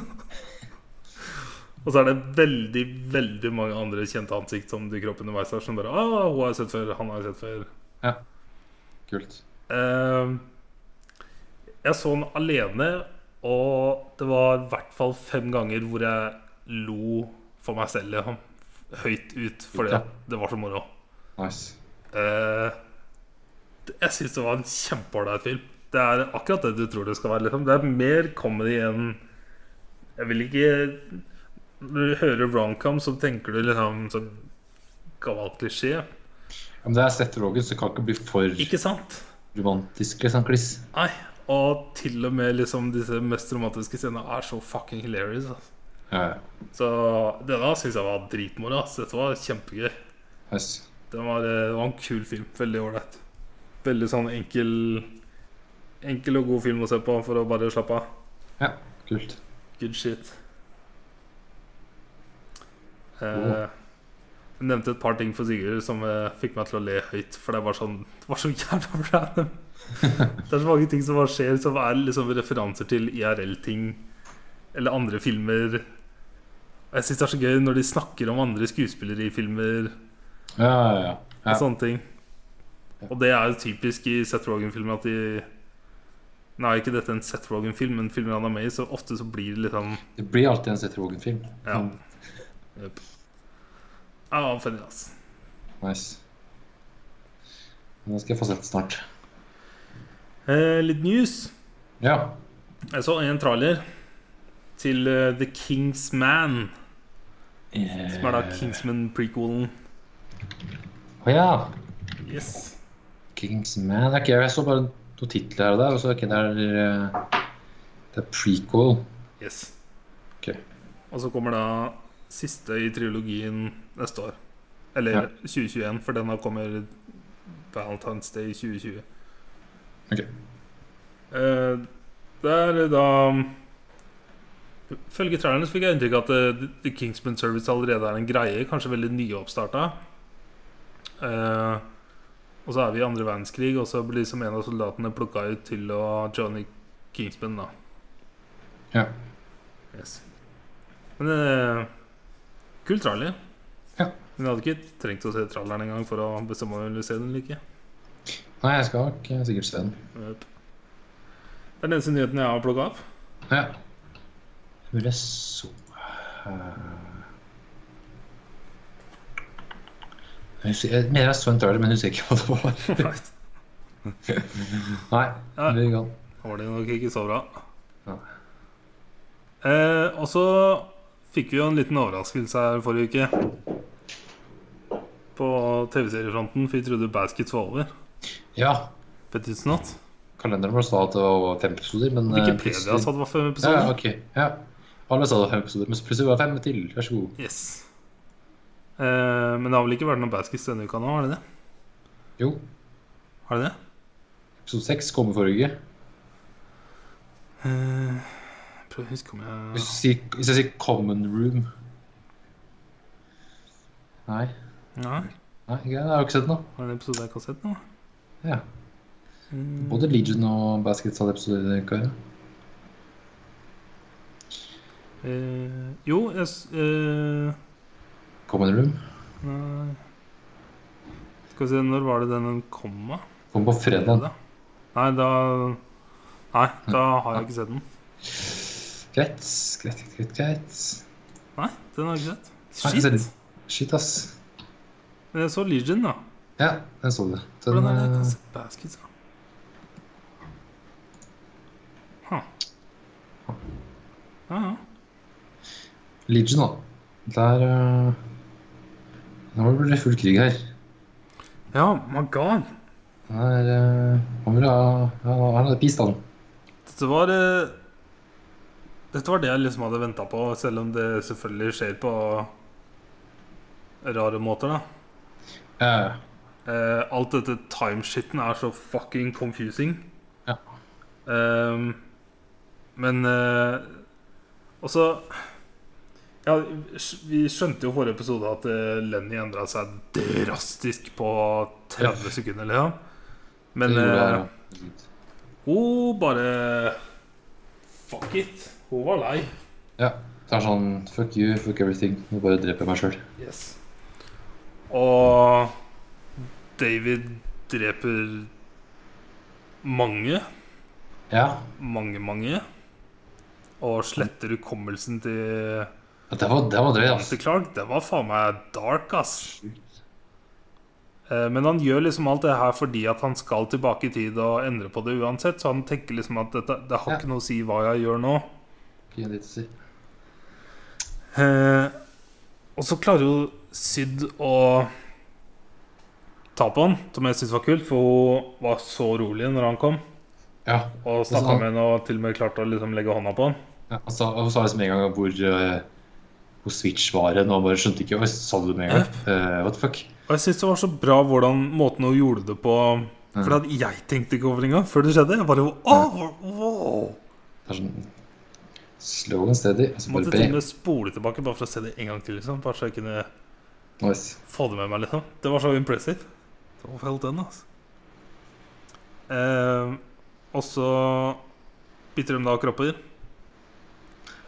[SPEAKER 1] Og så er det veldig veldig mange andre kjente ansikt som dukker opp underveis. her Som bare, ah, hun har jeg sett før, han har jeg sett før
[SPEAKER 2] Ja. Kult.
[SPEAKER 1] Eh, Jeg så den alene, og det var i hvert fall fem ganger hvor jeg lo for meg selv liksom, høyt ut fordi
[SPEAKER 2] Ja.
[SPEAKER 1] at det var så moro.
[SPEAKER 2] Nice.
[SPEAKER 1] Eh, jeg syns det var en kjempeålreit film. Det er akkurat det du tror det skal være. Liksom. Det er mer comedy enn Jeg vil ikke Når du hører romcom, så tenker du liksom sånn gammel klisjé.
[SPEAKER 2] Om det er Seth-Rogen, så kan det ikke bli for
[SPEAKER 1] Ikke sant?
[SPEAKER 2] romantisk, liksom, Chris.
[SPEAKER 1] Nei, og til og med liksom disse mest romantiske scenene er så fucking hilarious. Altså.
[SPEAKER 2] Ja, ja.
[SPEAKER 1] Så denne syns jeg var dritmoro. Altså. Dette var kjempegøy.
[SPEAKER 2] Nice.
[SPEAKER 1] Det var, eh, det var en kul film. Veldig ålreit. Veldig sånn enkel Enkel og god film å se på for å bare slappe av.
[SPEAKER 2] Ja, kult.
[SPEAKER 1] Good shit. Eh,
[SPEAKER 2] Wow.
[SPEAKER 1] jeg nevnte et par ting for Sigurd som eh, fikk meg til å le høyt. For det var, sånn, det var så jævla random. det er så mange ting som bare skjer, som er liksom referanser til IRL-ting eller andre filmer. Og jeg syns det er så gøy når de snakker om andre skuespillere i filmer.
[SPEAKER 2] Ja, ja, ja.
[SPEAKER 1] Og
[SPEAKER 2] Ja.
[SPEAKER 1] sånne ting. Og det er jo typisk i Seth Rogen-filmer at de Nei, ikke dette er en Seth Rogen-film, men filmer han er med i, så ofte så blir det litt sånn
[SPEAKER 2] Det blir alltid en Seth Rogen-film.
[SPEAKER 1] Ja.
[SPEAKER 2] Mm,
[SPEAKER 1] Yep. Ja, funny, ass.
[SPEAKER 2] Nice. Den skal jeg få sett snart.
[SPEAKER 1] Eh, litt news.
[SPEAKER 2] Ja.
[SPEAKER 1] Jeg så en trailer til eh, The King's Man, som er da Kingsman-prequelen.
[SPEAKER 2] Eh, Å ja.
[SPEAKER 1] Yes.
[SPEAKER 2] Kingsman. Ok, jeg så bare noen titler her og der, og så ok, det er eh, Det er prequel.
[SPEAKER 1] yes.
[SPEAKER 2] Ok.
[SPEAKER 1] Og så kommer da siste i trilogien neste år. Eller
[SPEAKER 2] Ja.
[SPEAKER 1] 2021, for den da kommer Valentine's Day 2020.
[SPEAKER 2] Ok.
[SPEAKER 1] Eh, det er da Følge traileren så fikk jeg inntrykk av at eh, The Kingsman Service allerede er en greie. Kanskje veldig nyoppstarta. Eh, og så er vi i andre verdenskrig, og så blir som en av soldatene plukka ut til å Johnny Kingsman, da.
[SPEAKER 2] Ja.
[SPEAKER 1] Yes. Men eh, kul trailer.
[SPEAKER 2] Ja.
[SPEAKER 1] Men jeg hadde ikke trengt å se traileren engang for å bestemme om jeg ville se den eller ikke.
[SPEAKER 2] Nei, jeg skal nok eh, sikkert se den.
[SPEAKER 1] Yep. Det er den eneste nyheten jeg har plukka opp.
[SPEAKER 2] Ja. Hvor jeg så eh, jeg, husker, jeg mener jeg så en trailer, men jeg husker ikke hva det var.
[SPEAKER 1] Right.
[SPEAKER 2] Nei.
[SPEAKER 1] Ja.
[SPEAKER 2] vi kan-
[SPEAKER 1] Da var det nok ikke så bra.
[SPEAKER 2] Ja.
[SPEAKER 1] Eh, og så fikk vi jo en liten overraskelse her forrige uke. På TV-seriefronten, for vi trodde Baskets var over.
[SPEAKER 2] ja.
[SPEAKER 1] But it's not.
[SPEAKER 2] Kalenderen vår sa at det var fem episoder, men eh,
[SPEAKER 1] Wikipedia sa det var fem
[SPEAKER 2] Ja,
[SPEAKER 1] episoder.
[SPEAKER 2] ok. Ja. Alle sa det var fem episoder, men så plutselig var det fem til. Vær så god.
[SPEAKER 1] Yes. Eh, men det har vel ikke vært noe Baskets denne uka nå, har det det?
[SPEAKER 2] Jo,
[SPEAKER 1] Har det det?
[SPEAKER 2] episode 6 kommer forrige uke.
[SPEAKER 1] Eh, prøv å huske om jeg
[SPEAKER 2] Hvis, du sier, hvis jeg sier common room Nei,
[SPEAKER 1] Nei,
[SPEAKER 2] nei ikke- jeg har ikke sett noe.
[SPEAKER 1] var det en episode jeg ikke har sett nå?
[SPEAKER 2] Ja.
[SPEAKER 1] Mm.
[SPEAKER 2] Både Legion og Baskets hadde episoder. ikke sant?
[SPEAKER 1] Eh, jo, jeg s- eh,
[SPEAKER 2] Common room
[SPEAKER 1] Nei Skal vi se, når var det den kom, da?
[SPEAKER 2] kom på fredag.
[SPEAKER 1] Nei, da Nei, da har jeg ikke sett den.
[SPEAKER 2] Greit, greit, greit. greit.
[SPEAKER 1] Nei, den har jeg ikke sett.
[SPEAKER 2] Nei, ikke sett den.
[SPEAKER 1] Shit.
[SPEAKER 2] Shit, ass.
[SPEAKER 1] Men jeg så Legion, da.
[SPEAKER 2] Ja, den så du. Den,
[SPEAKER 1] Hvordan er det jeg ikke
[SPEAKER 2] eh,
[SPEAKER 1] har sett Baskets, da? Huh. Ja, ja.
[SPEAKER 2] eh, Legion, da. Der eh, Nå blir det full krig her.
[SPEAKER 1] Ja, my god.
[SPEAKER 2] Her eh, Han vil ha ja, Han hadde bistand.
[SPEAKER 1] Dette var eh, Dette var det jeg liksom hadde venta på, selv om det selvfølgelig skjer på rare måter, da.
[SPEAKER 2] Ja, ja.
[SPEAKER 1] Eh, alt dette timeshitten er så fucking confusing.
[SPEAKER 2] Ja.
[SPEAKER 1] Ehm, men eh, også ja, Vi skjønte jo i forrige episode at eh, Lenny endra seg drastisk på 30 sekunder. Liksom. Men
[SPEAKER 2] Det gjorde
[SPEAKER 1] eh,
[SPEAKER 2] jeg, ja.
[SPEAKER 1] hun bare Fuck it. Hun var lei.
[SPEAKER 2] Ja. Det er sånn fuck you, fuck everything. Nå bare dreper jeg meg sjøl.
[SPEAKER 1] Yes. Og David dreper mange.
[SPEAKER 2] Ja.
[SPEAKER 1] mange, mange. Og sletter hukommelsen til
[SPEAKER 2] Ja, Det var, det var drøy, ass.
[SPEAKER 1] Monty Clark. Det var faen meg dark, ass. Eh, Men han gjør liksom alt det her fordi at han skal tilbake i tid og endre på det uansett. Så han tenker liksom at dette, det har
[SPEAKER 2] Ja.
[SPEAKER 1] ikke noe å si hva jeg gjør nå.
[SPEAKER 2] Ikke en dritt å si.
[SPEAKER 1] Eh, Og så klarer jo Syd å ta på han, som jeg syns var kult, for hun var så rolig når han kom.
[SPEAKER 2] Ja.
[SPEAKER 1] Og snakka med henne og til og med klarte å liksom legge hånda på han.
[SPEAKER 2] ja. Og så og så sa liksom en gang hvor, eh, hvor Switch var hen, og bare skjønte ikke Oi, sa du det med en gang? Eh, what the fuck?
[SPEAKER 1] Og jeg synes det var så bra hvordan måten hun gjorde det på. For at jeg tenkte ikke over det engang før det skjedde. Jeg bare, åh, wow.
[SPEAKER 2] Det er sånn slow and steady. Og så
[SPEAKER 1] Måtte
[SPEAKER 2] bare
[SPEAKER 1] til og
[SPEAKER 2] bam.
[SPEAKER 1] med spole tilbake bare for å se det en gang til. liksom Bare så jeg kunne
[SPEAKER 2] Nice.
[SPEAKER 1] få det med meg. liksom Det var så impressive. Det var helt den, altså. Eh, og så biter de da kropper.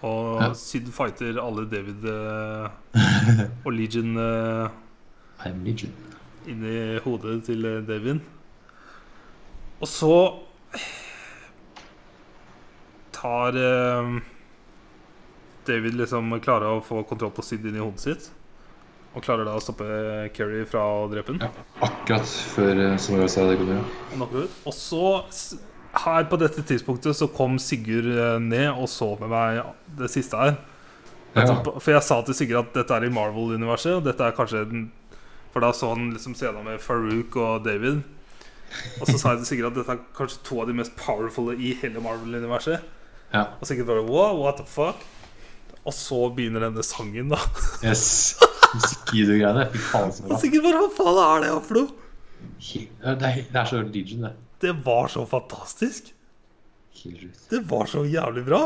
[SPEAKER 1] Og
[SPEAKER 2] Ja.
[SPEAKER 1] Syd fighter alle David eh, og Legion eh,
[SPEAKER 2] I'm legion.
[SPEAKER 1] inni hodet til eh, Devin. Og så tar eh, David liksom klarer å få kontroll på Sid inni hodet sitt. Og klarer da å stoppe Kerry fra å drepe ham.
[SPEAKER 2] Ja, akkurat før eh, som jeg sa det kom til.
[SPEAKER 1] Og så, s- her på dette tidspunktet, så kom Sigurd eh, ned og så med meg det siste her.
[SPEAKER 2] Ja.
[SPEAKER 1] Nettopp, For jeg sa til Sigurd at dette er i Marvel-universet, og dette er kanskje den For da så han liksom scenen med Farouk og David. Og så sa jeg til Sigurd at dette er kanskje to av de mest powerful i hele Marvel-universet.
[SPEAKER 2] ja.
[SPEAKER 1] Og Sigurd bare wow, what the fuck? Og så begynner denne sangen, da.
[SPEAKER 2] Yes. Musikkvideogreiene. Fy faen, så
[SPEAKER 1] Og
[SPEAKER 2] bra.
[SPEAKER 1] Sigurd bare hva faen er det her for noe?
[SPEAKER 2] He- Det er, det er så legion, det.
[SPEAKER 1] Det var så fantastisk.
[SPEAKER 2] Helt sjukt.
[SPEAKER 1] Det var så jævlig bra.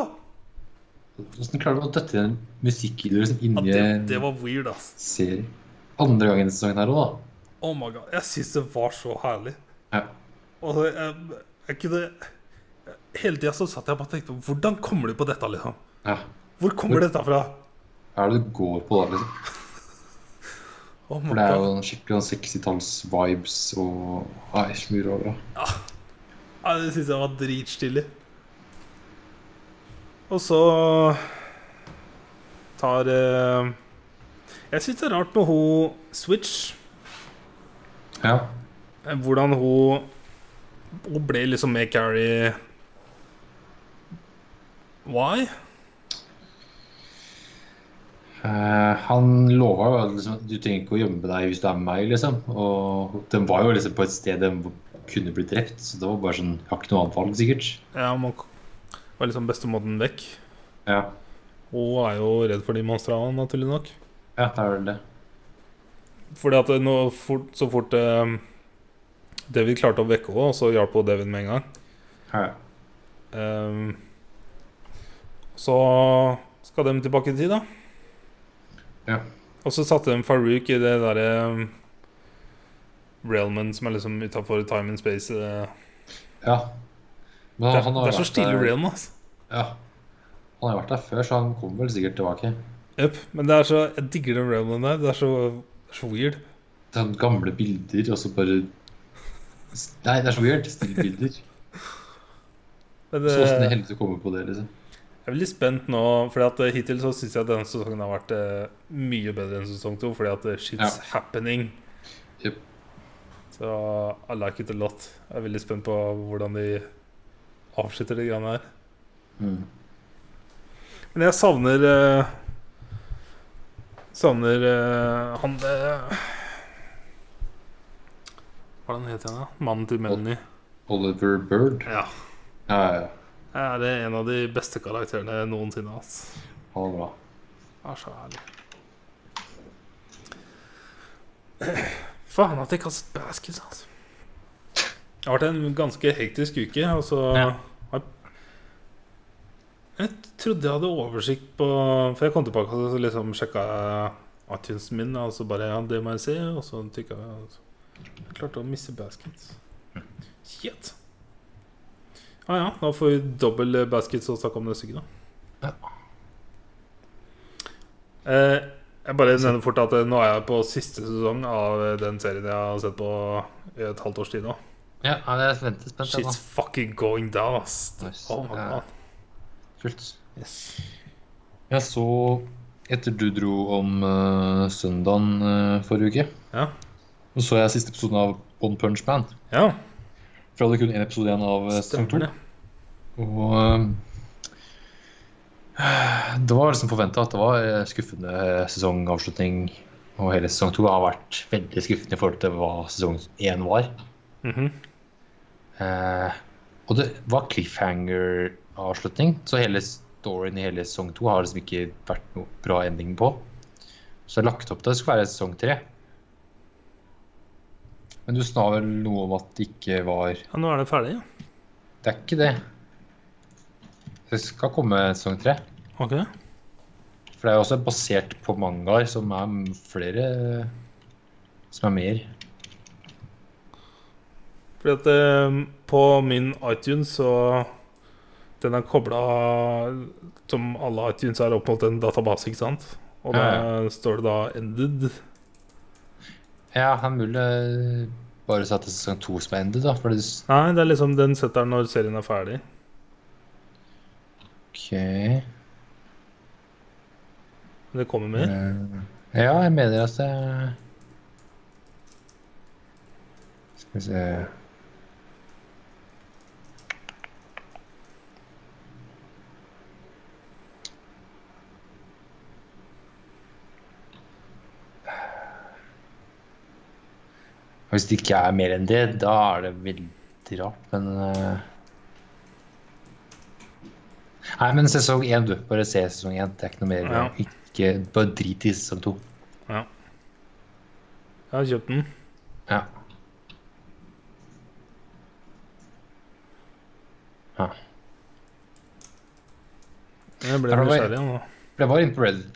[SPEAKER 2] Hvordan klarer du å døtte inn en musikkvideo liksom
[SPEAKER 1] At
[SPEAKER 2] inni
[SPEAKER 1] det,
[SPEAKER 2] en
[SPEAKER 1] det var weird, ass.
[SPEAKER 2] serie? Andre gangen i sesongen her òg,
[SPEAKER 1] Oh my god. Jeg syns det var så herlig.
[SPEAKER 2] da. Ja.
[SPEAKER 1] Og eh, jeg, jeg kunne eh, Hele tida så satt jeg bare og tenkte Hvordan kommer de på dette, liksom?
[SPEAKER 2] ja.
[SPEAKER 1] Hvor kommer dette fra?
[SPEAKER 2] Hva er det du går på, da? liksom?
[SPEAKER 1] Oh my
[SPEAKER 2] For det er
[SPEAKER 1] god.
[SPEAKER 2] jo en skikkelig sånn 60-talls-vibes og Nei, så mye rart. da.
[SPEAKER 1] Nei, Det syns jeg var dritstilig. Og så tar eh, Jeg syns det er rart med hun Switch.
[SPEAKER 2] Ja.
[SPEAKER 1] eh, Hvordan hun Hun ble liksom med Carrie Why?
[SPEAKER 2] Eh, han lova jo at liksom, at du trenger ikke å gjemme deg hvis du er med meg, liksom. Og den var jo liksom på et sted den kunne blitt drept, så det var bare sånn Jeg har ikke noe annet valg, sikkert.
[SPEAKER 1] Ja, man k- var liksom beste måten vekk.
[SPEAKER 2] Ja,
[SPEAKER 1] Hun er jo redd for de monstrene, naturlig nok.
[SPEAKER 2] ja det er vel det.
[SPEAKER 1] Fordi at nå fort, så fort eh, David klarte å vekke henne, og så hjalp hun David med en gang.
[SPEAKER 2] Ja.
[SPEAKER 1] Ehm, så skal de tilbake i tid, da.
[SPEAKER 2] Ja.
[SPEAKER 1] Og så satte de Farouk i det derre um, Railman som er liksom utafor time and space. eh.
[SPEAKER 2] ja. Men
[SPEAKER 1] det,
[SPEAKER 2] han-
[SPEAKER 1] er,
[SPEAKER 2] han har
[SPEAKER 1] det er så
[SPEAKER 2] vært
[SPEAKER 1] stille
[SPEAKER 2] der-
[SPEAKER 1] Railman, altså.
[SPEAKER 2] Ja. Han har vært der før, så han kommer vel sikkert tilbake.
[SPEAKER 1] Jep, Men det er så, jeg digger den Railman der. Det er så, så weird.
[SPEAKER 2] Det er sånne gamle bilder, og så bare Nei, det er så weird. Stille bilder.
[SPEAKER 1] Men,
[SPEAKER 2] Så åssen i
[SPEAKER 1] eh,
[SPEAKER 2] helvete kommer på det, liksom.
[SPEAKER 1] jeg er veldig spent nå, Fordi at eh, hittil så syns jeg at denne sesongen har vært eh, mye bedre enn sesong to, fordi at eh, shit's
[SPEAKER 2] Ja.
[SPEAKER 1] happening.
[SPEAKER 2] Jep.
[SPEAKER 1] Så I like it a lot. Jeg er veldig spent på hvordan de avslutter de greiene her.
[SPEAKER 2] Mm.
[SPEAKER 1] Men jeg savner eh, Savner eh, han eh, Hva er det han heter igjen, da? Mannen til Melanie.
[SPEAKER 2] Oliver Bird.
[SPEAKER 1] Ja.
[SPEAKER 2] Ja, ja, ja.
[SPEAKER 1] Er det en av de beste karakterene noensinne? ass.
[SPEAKER 2] Han er bra.
[SPEAKER 1] Er så ærlig. Faen at jeg kastet baskets, altså. Det har vært en ganske hektisk uke, og så
[SPEAKER 2] Ja.
[SPEAKER 1] har Jeg trodde jeg hadde oversikt på For jeg kom tilbake og så liksom sjekka iTunesen min, og så bare Ja, det må jeg se, og så trykka jeg og så. Jeg klarte å miste baskets. Shit. Ah, Ja ja, da får vi dobbel baskets å snakke om neste uke, da. Eh, jeg bare nevner fort at eh, nå er jeg på siste sesong av eh, den serien jeg har sett på i et halvt års tid nå.
[SPEAKER 2] Ja, nei, jeg venter spent. jeg,
[SPEAKER 1] Shit's fucking going down, ass.
[SPEAKER 2] Nice.
[SPEAKER 1] Oh my
[SPEAKER 2] Ja.
[SPEAKER 1] god.
[SPEAKER 2] da. Kult.
[SPEAKER 1] Yes.
[SPEAKER 2] Jeg så, etter du dro om eh, søndagen eh, forrige uke,
[SPEAKER 1] Ja.
[SPEAKER 2] så så jeg siste episoden av One Punch Man.
[SPEAKER 1] Ja,
[SPEAKER 2] For jeg hadde kun én episode igjen av eh, sesong to.
[SPEAKER 1] stemmer det.
[SPEAKER 2] Og eh, det var liksom forventa at det var eh, skuffende sesongavslutning. Og hele sesong to har vært veldig skuffende i forhold til hva sesong én var.
[SPEAKER 1] Mhm.
[SPEAKER 2] Eh, og det var cliffhanger-avslutning, så hele storyen i hele sesong to har liksom ikke vært noe bra ending på. Så jeg har lagt opp til at det skulle være sesong tre. Men du sa vel noe om at det ikke var
[SPEAKER 1] Ja, nå er det ferdig, ja.
[SPEAKER 2] Det er ikke det. Det skal komme sesong tre.
[SPEAKER 1] Ok.
[SPEAKER 2] For det er jo også basert på mangaer som er m- flere Som er mer.
[SPEAKER 1] Fordi at eh, på min iTunes så Den er kobla Som alle iTunes er opp mot en database, ikke sant? Og da
[SPEAKER 2] Ja,
[SPEAKER 1] står det da 'ended'.
[SPEAKER 2] Ja, det er mulig det bare sa at det er sesong to som er endet, da. For det s-
[SPEAKER 1] Nei, det er liksom den setter når serien er ferdig.
[SPEAKER 2] OK.
[SPEAKER 1] Men Det kommer mer.
[SPEAKER 2] Eh, Ja, jeg mener at det Skal vi se Hvis det ikke er mer enn det, da er det veldig rart, men eh, Nei, men sesong én, du. Bare se sesong én. Det er ikke noe mer.
[SPEAKER 1] Ja.
[SPEAKER 2] Ikke, bare drit i sesong to.
[SPEAKER 1] Jeg har kjøpt den.
[SPEAKER 2] Ja.
[SPEAKER 1] Men Jeg ble
[SPEAKER 2] Er det bare-
[SPEAKER 1] nysgjerrig nå.
[SPEAKER 2] For jeg var inne på Reddit,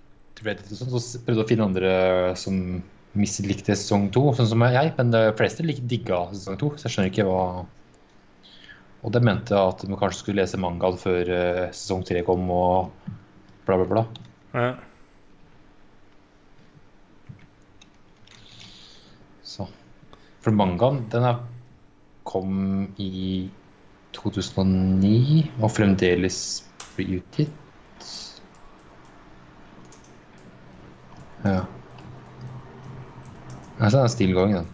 [SPEAKER 2] Reddit og sånn, så s- prøvde å finne andre eh, som mislikte sesong to, sånn som jeg. Men de fleste lik- digga sesong to, så jeg skjønner ikke hva Og de mente at de kanskje skulle lese mangaen før eh, sesong tre kom, og bla, bla, bla.
[SPEAKER 1] Ja.
[SPEAKER 2] Så. For mangaen, den er, kom i 2009 og fremdeles blir utgitt. Ja. Altså, den er still going, den.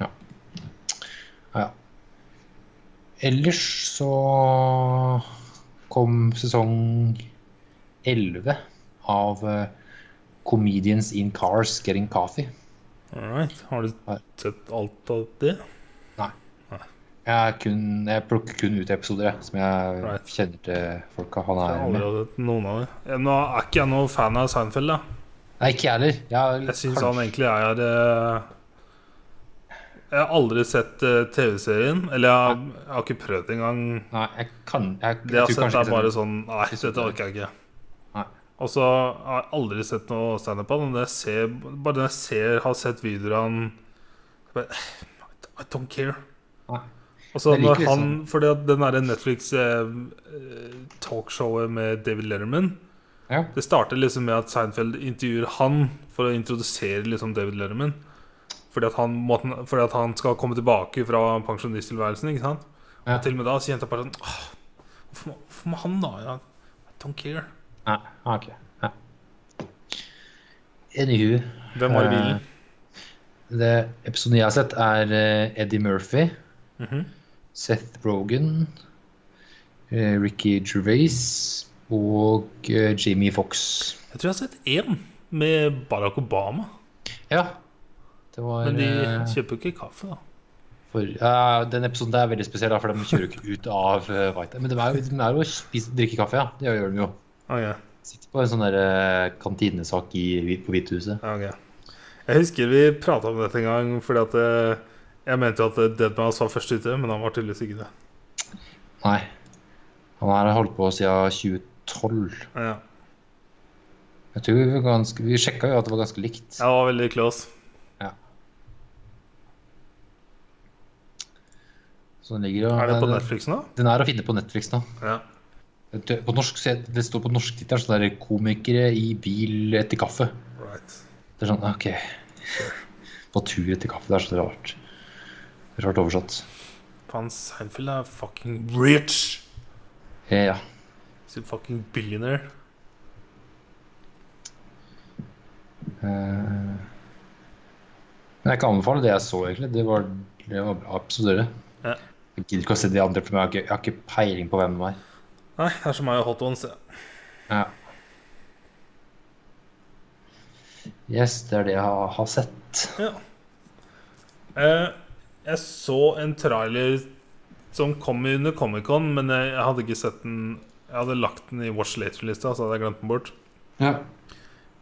[SPEAKER 2] Ja. Ja. ja. Ellers så kom sesong 11 av eh, Comedians in Cars Getting Coffee.
[SPEAKER 1] All right. Har du
[SPEAKER 2] Nei.
[SPEAKER 1] sett alt av det?
[SPEAKER 2] Jeg, er kun, jeg plukker kun ut episoder jeg, som jeg
[SPEAKER 1] Right.
[SPEAKER 2] kjenner til folka han
[SPEAKER 1] Jeg har
[SPEAKER 2] er med.
[SPEAKER 1] aldri sett noen av det. Ja, Nå er ikke jeg noen fan av Seinfeld, da.
[SPEAKER 2] Nei, ikke jeg heller. Jeg,
[SPEAKER 1] Jeg syns han egentlig er eh, Jeg har aldri sett eh, TV-serien. Eller jeg har, jeg har ikke prøvd engang.
[SPEAKER 2] Nei, jeg kan jeg,
[SPEAKER 1] Det jeg har
[SPEAKER 2] tror
[SPEAKER 1] sett,
[SPEAKER 2] kanskje
[SPEAKER 1] er
[SPEAKER 2] ikke
[SPEAKER 1] bare
[SPEAKER 2] jeg
[SPEAKER 1] sånn Nei,
[SPEAKER 2] Ikke sett
[SPEAKER 1] dette
[SPEAKER 2] det.
[SPEAKER 1] orker jeg ikke.
[SPEAKER 2] Nei.
[SPEAKER 1] Og så har jeg aldri sett noe standup av ham. Bare når jeg ser, har sett videoer av han bare, I don't care.
[SPEAKER 2] Nei.
[SPEAKER 1] Og så
[SPEAKER 2] Jeg liker
[SPEAKER 1] når
[SPEAKER 2] liksom- litt
[SPEAKER 1] han Fordi at den derre Netflix-talkshowet eh, med David Letterman
[SPEAKER 2] sånn. Ja.
[SPEAKER 1] Det starter liksom med at Seinfeld intervjuer han for å introdusere liksom David Letterman. Fordi at, han, måten, fordi at han skal komme tilbake fra pensjonisttilværelsen. ikke sant?
[SPEAKER 2] Ja.
[SPEAKER 1] Og til og med da så kjente jeg bare sånn «Åh, Hvorfor må- hvorfor må han, da? Jeg, I don't care.
[SPEAKER 2] Nei, ah, ok. Ja. Anywho, eh,
[SPEAKER 1] Hvem var i bilen?
[SPEAKER 2] det episoden jeg har sett, er eh, Eddie Murphy,
[SPEAKER 1] Mhm.
[SPEAKER 2] Seth Rogen, eh, Ricky Gervais og eh, Jamie Fox.
[SPEAKER 1] Jeg tror jeg har sett én med Barack Obama.
[SPEAKER 2] Ja. Det var
[SPEAKER 1] Men de
[SPEAKER 2] eh,
[SPEAKER 1] kjøper jo ikke kaffe, da.
[SPEAKER 2] for, ja, Den episoden der er veldig spesiell, da, for de kjører jo ikke ut av eh, White House. Men de er jo, de er jo å spise, drikke kaffe, ja. Det gjør de jo.
[SPEAKER 1] Okay.
[SPEAKER 2] Sitter på en sånn der eh, kantinesak i, på Hvitehuset.
[SPEAKER 1] Ja, ok. Jeg husker vi prata om dette en gang, fordi at eh, jeg mente jo at eh, Deadmau5 var først ute, men han var tydeligvis ikke det.
[SPEAKER 2] Nei. Han her har holdt på siden 2012.
[SPEAKER 1] Ja.
[SPEAKER 2] Jeg tror vi, var ganske, vi sjekka jo at det var ganske likt.
[SPEAKER 1] Jeg var veldig close.
[SPEAKER 2] Så den ligger og,
[SPEAKER 1] Er det på Netflix nå?
[SPEAKER 2] Den er å finne på Netflix nå.
[SPEAKER 1] Ja.
[SPEAKER 2] Det- På norsk, så- det står på norsktittelen sånn der 'Komikere i bil etter kaffe'.
[SPEAKER 1] Right.
[SPEAKER 2] Det er sånn, ok. På tur etter kaffe. Det er så rart. Rart oversatt.
[SPEAKER 1] Faen, Seinfeld er fucking rich!
[SPEAKER 2] Eh, Ja.
[SPEAKER 1] He's a fucking billionaire.
[SPEAKER 2] Eh, Men jeg kan anbefale det jeg så, egentlig. Det var, det var bra episoder. det.
[SPEAKER 1] Ja.
[SPEAKER 2] Jeg gidder ikke å se de andre, for jeg har ikke, jeg har ikke peiling på hvem de er.
[SPEAKER 1] Nei, det er som meg og Hot Ones. Ja.
[SPEAKER 2] Ja. Yes, det er det jeg har, har sett.
[SPEAKER 1] Ja. Eh, jeg så en trailer som kom under Comic-Con, men jeg, jeg hadde ikke sett den. Jeg hadde lagt den i Watch Later-lista, så hadde jeg glemt den bort.
[SPEAKER 2] Ja.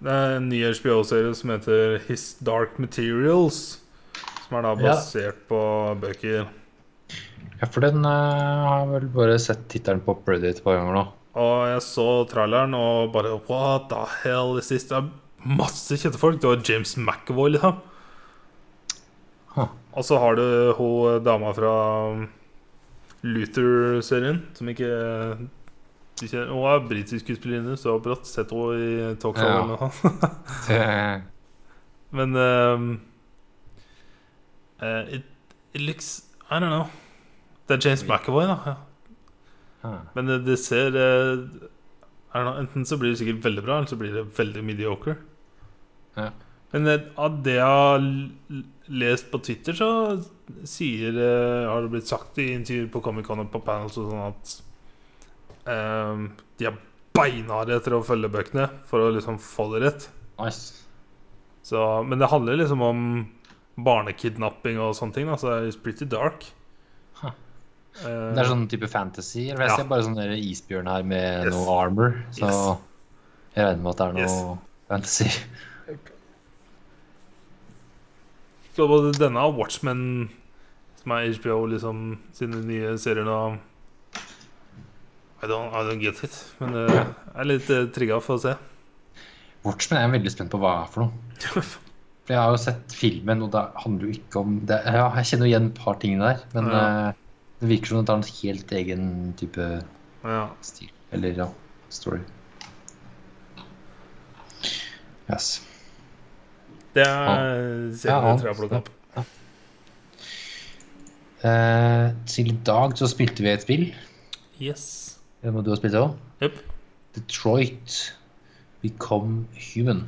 [SPEAKER 1] Det er en ny HBO-serie som heter His Dark Materials. Som er da
[SPEAKER 2] Ja.
[SPEAKER 1] basert på bøker.
[SPEAKER 2] for den eh, har jeg vel bare sett tittelen på Reddit et par ganger nå.
[SPEAKER 1] Og jeg så traileren og bare What the hell is this? Det er masse kjente folk. Du har James McAvoy, liksom.
[SPEAKER 2] Huh.
[SPEAKER 1] Og så har du hun dama fra um, Luther-serien, som ikke du kjenner. Hun er britisk skuespillerinne, så brått sett henne i talkshow
[SPEAKER 2] Ja.
[SPEAKER 1] eller noe sånt.
[SPEAKER 2] Eh,
[SPEAKER 1] Men um, uh, it, it looks I don't know. Det er James
[SPEAKER 2] Mm.
[SPEAKER 1] McAvoy, da. Ja.
[SPEAKER 2] ah,
[SPEAKER 1] Men det, det ser eh, I don't know, Enten så blir det sikkert veldig bra, eller så blir det veldig mediocre.
[SPEAKER 2] Ja.
[SPEAKER 1] Men det, av det jeg har l- lest på Twitter, så sier eh, Har det blitt sagt i intervjuer på Comic-Con og på panels og sånn at eh, de er beinharde etter å følge bøkene for å liksom få det rett.
[SPEAKER 2] nice.
[SPEAKER 1] Så, men det handler liksom om barnekidnapping og sånne ting. Da, så it's pretty dark.
[SPEAKER 2] Huh.
[SPEAKER 1] Eh,
[SPEAKER 2] Det er sånn type fantasy. Eller
[SPEAKER 1] Ja.
[SPEAKER 2] jeg ser bare sånn der isbjørn her med
[SPEAKER 1] Yes.
[SPEAKER 2] noe armor, så
[SPEAKER 1] Yes.
[SPEAKER 2] jeg regner med at det er noe fantasy.
[SPEAKER 1] Så både denne og Watchmen, som er HBO liksom, sine nye serier nå I don't, I don't get it. Men eh, jeg er litt uh, trigga for å se.
[SPEAKER 2] Watchmen er jeg veldig spent på hva er for noe. For jeg har jo sett filmen, og det handler jo ikke om det. Ja, jeg kjenner jo igjen et par tingene der, men
[SPEAKER 1] Ja.
[SPEAKER 2] eh, det virker som det er en helt egen type
[SPEAKER 1] Ja.
[SPEAKER 2] stil. Eller ja, story. Yes.
[SPEAKER 1] Det er serien
[SPEAKER 2] Ja,
[SPEAKER 1] jeg tror jeg har plukket opp.
[SPEAKER 2] Eh, til i dag så spilte vi et spill.
[SPEAKER 1] Yes.
[SPEAKER 2] Det må du ha spilt òg.
[SPEAKER 1] Jep.
[SPEAKER 2] Detroit Become Human.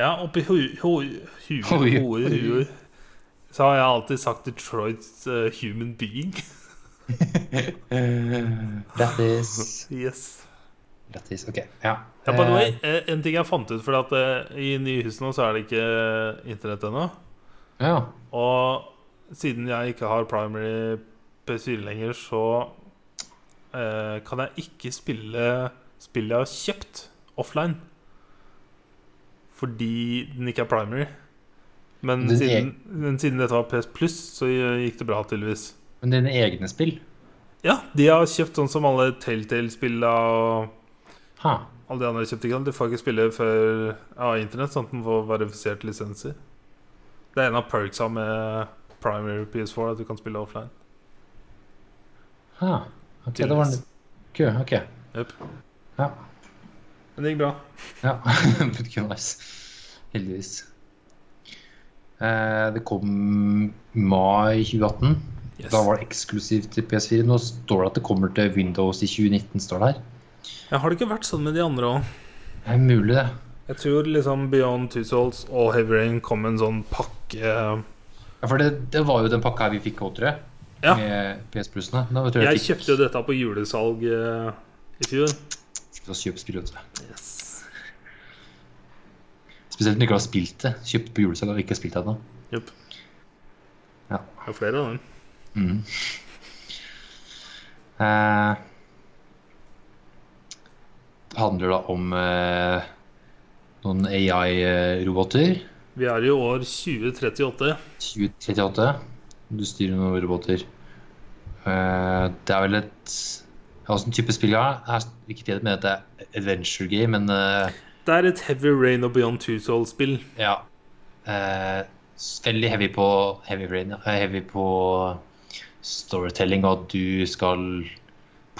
[SPEAKER 1] Ja, oppi huet hu, hu, hu,
[SPEAKER 2] Oi,
[SPEAKER 1] hu,
[SPEAKER 2] oi.
[SPEAKER 1] så har jeg alltid sagt Detroit eh, human being.
[SPEAKER 2] Lættis.
[SPEAKER 1] yes.
[SPEAKER 2] Lættis. OK. Ja.
[SPEAKER 1] Ja, by the way,
[SPEAKER 2] Eh,
[SPEAKER 1] eh, en ting jeg fant ut, for at eh, i nye hus nå så er det ikke eh, internett ennå.
[SPEAKER 2] Eh, ja.
[SPEAKER 1] Og siden jeg ikke har primary PS4 lenger, så eh, kan jeg ikke spille spill jeg har kjøpt offline. Fordi den ikke er primary. Men
[SPEAKER 2] Den
[SPEAKER 1] siden, men siden dette var PS Pluss, så gikk det bra, tydeligvis.
[SPEAKER 2] Men dine egne spill?
[SPEAKER 1] Ja, de har kjøpt sånn som alle Telltale-spilla og
[SPEAKER 2] Ha.
[SPEAKER 1] alle de andre kjøpte ikke sant? Du får ikke spille før av internett, sånn at den får verifiserte lisenser. Det er en av perksa med primary PS4, at du kan spille offline.
[SPEAKER 2] ha. Ok, da var det Kø, ok.
[SPEAKER 1] Jep.
[SPEAKER 2] Ja.
[SPEAKER 1] Men det gikk bra.
[SPEAKER 2] ja. But good nice. Heldigvis. Eh, det kom mai 2018.
[SPEAKER 1] Yes.
[SPEAKER 2] Da var det eksklusivt til PS4. Nå står det at det kommer til Windows i 2019. står det her.
[SPEAKER 1] Ja, har det ikke vært sånn med de andre òg?
[SPEAKER 2] Det er mulig, det.
[SPEAKER 1] Jeg tror liksom Beyond Two Souls og Heavy Rain kom med en sånn pakke eh,
[SPEAKER 2] Ja, for det, det var jo den pakka her vi fikk òg, tror jeg.
[SPEAKER 1] Ja.
[SPEAKER 2] Med PS Plus-ene. Da tror jeg
[SPEAKER 1] Jeg
[SPEAKER 2] jeg fikk
[SPEAKER 1] kjøpte jo dette på julesalg eh, i fjor.
[SPEAKER 2] kjøpt oss kjøpt spill. vet du.
[SPEAKER 1] Yes.
[SPEAKER 2] Spesielt når du ikke har spilt det. Kjøpt på julesalg og ikke spilt det ennå.
[SPEAKER 1] Jupp.
[SPEAKER 2] Ja.
[SPEAKER 1] Det er flere av dem.
[SPEAKER 2] Mm. Eh, det handler da om eh, noen AI-roboter.
[SPEAKER 1] Vi er i år 2038.
[SPEAKER 2] 2038. Du styrer noen roboter. Eh, det er vel et ja, Åssen type spill er det? Jeg er ikke helt med at det er adventure game, men eh,
[SPEAKER 1] Det er et Heavy Rain og Beyond Two Souls-spill.
[SPEAKER 2] ja. Eh, veldig heavy på heavy, brain, ja. Eh, heavy på storytelling, og at du skal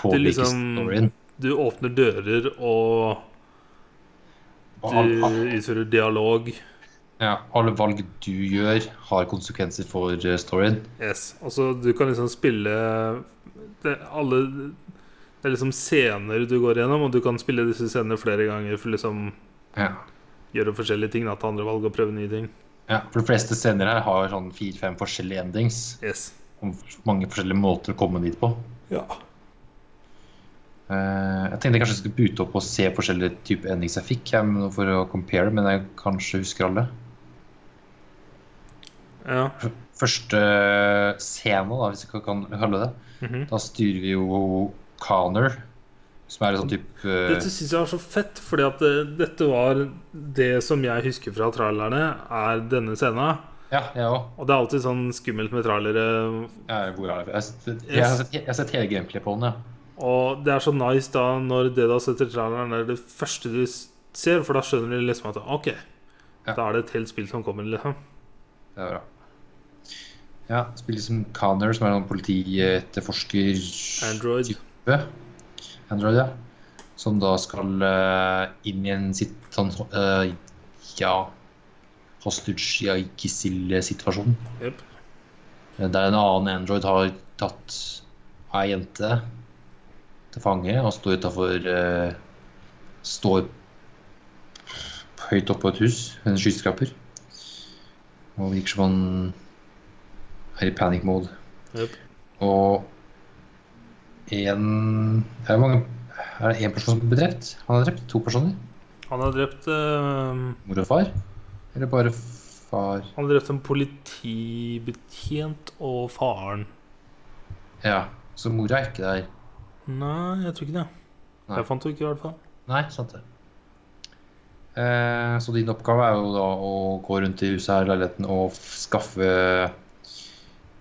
[SPEAKER 2] påvirke
[SPEAKER 1] liksom-
[SPEAKER 2] storyen.
[SPEAKER 1] Du åpner dører, og
[SPEAKER 2] Og al- al-
[SPEAKER 1] du utfører dialog.
[SPEAKER 2] Ja, alle valg du gjør, har konsekvenser for eh, storyen.
[SPEAKER 1] Yes. Altså, du kan liksom spille det, alle Det er liksom scener du går gjennom, og du kan spille disse scenene flere ganger for liksom
[SPEAKER 2] Ja.
[SPEAKER 1] gjøre forskjellige ting. Da, ta andre valg og prøve nye ting.
[SPEAKER 2] ja for de fleste scener her har sånn fire-fem forskjellige endings.
[SPEAKER 1] Yes.
[SPEAKER 2] Om mange forskjellige måter å komme dit på.
[SPEAKER 1] Ja.
[SPEAKER 2] Eh, jeg tenkte jeg kanskje skulle bute opp og se forskjellige typer endings jeg fikk, jeg, men- for å compare, men jeg kanskje husker alle.
[SPEAKER 1] ja.
[SPEAKER 2] Første scene, da, hvis jeg kan kalle det
[SPEAKER 1] Mhm.
[SPEAKER 2] da styrer vi jo Connor, som er en sånn type eh,
[SPEAKER 1] Dette syns jeg var så fett, fordi at det, dette var det som jeg husker fra trailerne, er denne scena.
[SPEAKER 2] Ja, jeg òg.
[SPEAKER 1] Og det er alltid sånn skummelt med trailere.
[SPEAKER 2] Jeg, hvor er det? jeg, har sett- jeg, har sett- jeg har sett hele gameplayet på den, ja.
[SPEAKER 1] Og det er så nice da når det du har sett i traileren, er det første du s- ser, for da skjønner du liksom at OK,
[SPEAKER 2] Ja.
[SPEAKER 1] da er det et helt spill som kommer, liksom.
[SPEAKER 2] Det er bra. Ja, spiller som Connor, som er en politietterforsker
[SPEAKER 1] Android.
[SPEAKER 2] Android, ja. Som da skal eh, inn i en sitt, sånn, eh, ja, hostage ja, gisselsituasjon.
[SPEAKER 1] Jep.
[SPEAKER 2] Eh, Der en annen Android har tatt ei jente til fange og står utafor Står høyt oppe på et hus, en skyskraper. Og virker som han er i panic mode.
[SPEAKER 1] Jep.
[SPEAKER 2] Og en Er det mange Er det én person som blir drept? Han er drept? To personer?
[SPEAKER 1] Han har drept eh,
[SPEAKER 2] Mor og far? Eller bare far
[SPEAKER 1] Han har drept en politibetjent og faren.
[SPEAKER 2] Ja, så mora er ikke der.
[SPEAKER 1] Nei, jeg tror ikke det.
[SPEAKER 2] Nei.
[SPEAKER 1] Jeg fant henne ikke, i hvert fall.
[SPEAKER 2] Nei, sant det. Eh, så din oppgave er jo da å gå rundt i huset her, leiligheten, og f- skaffe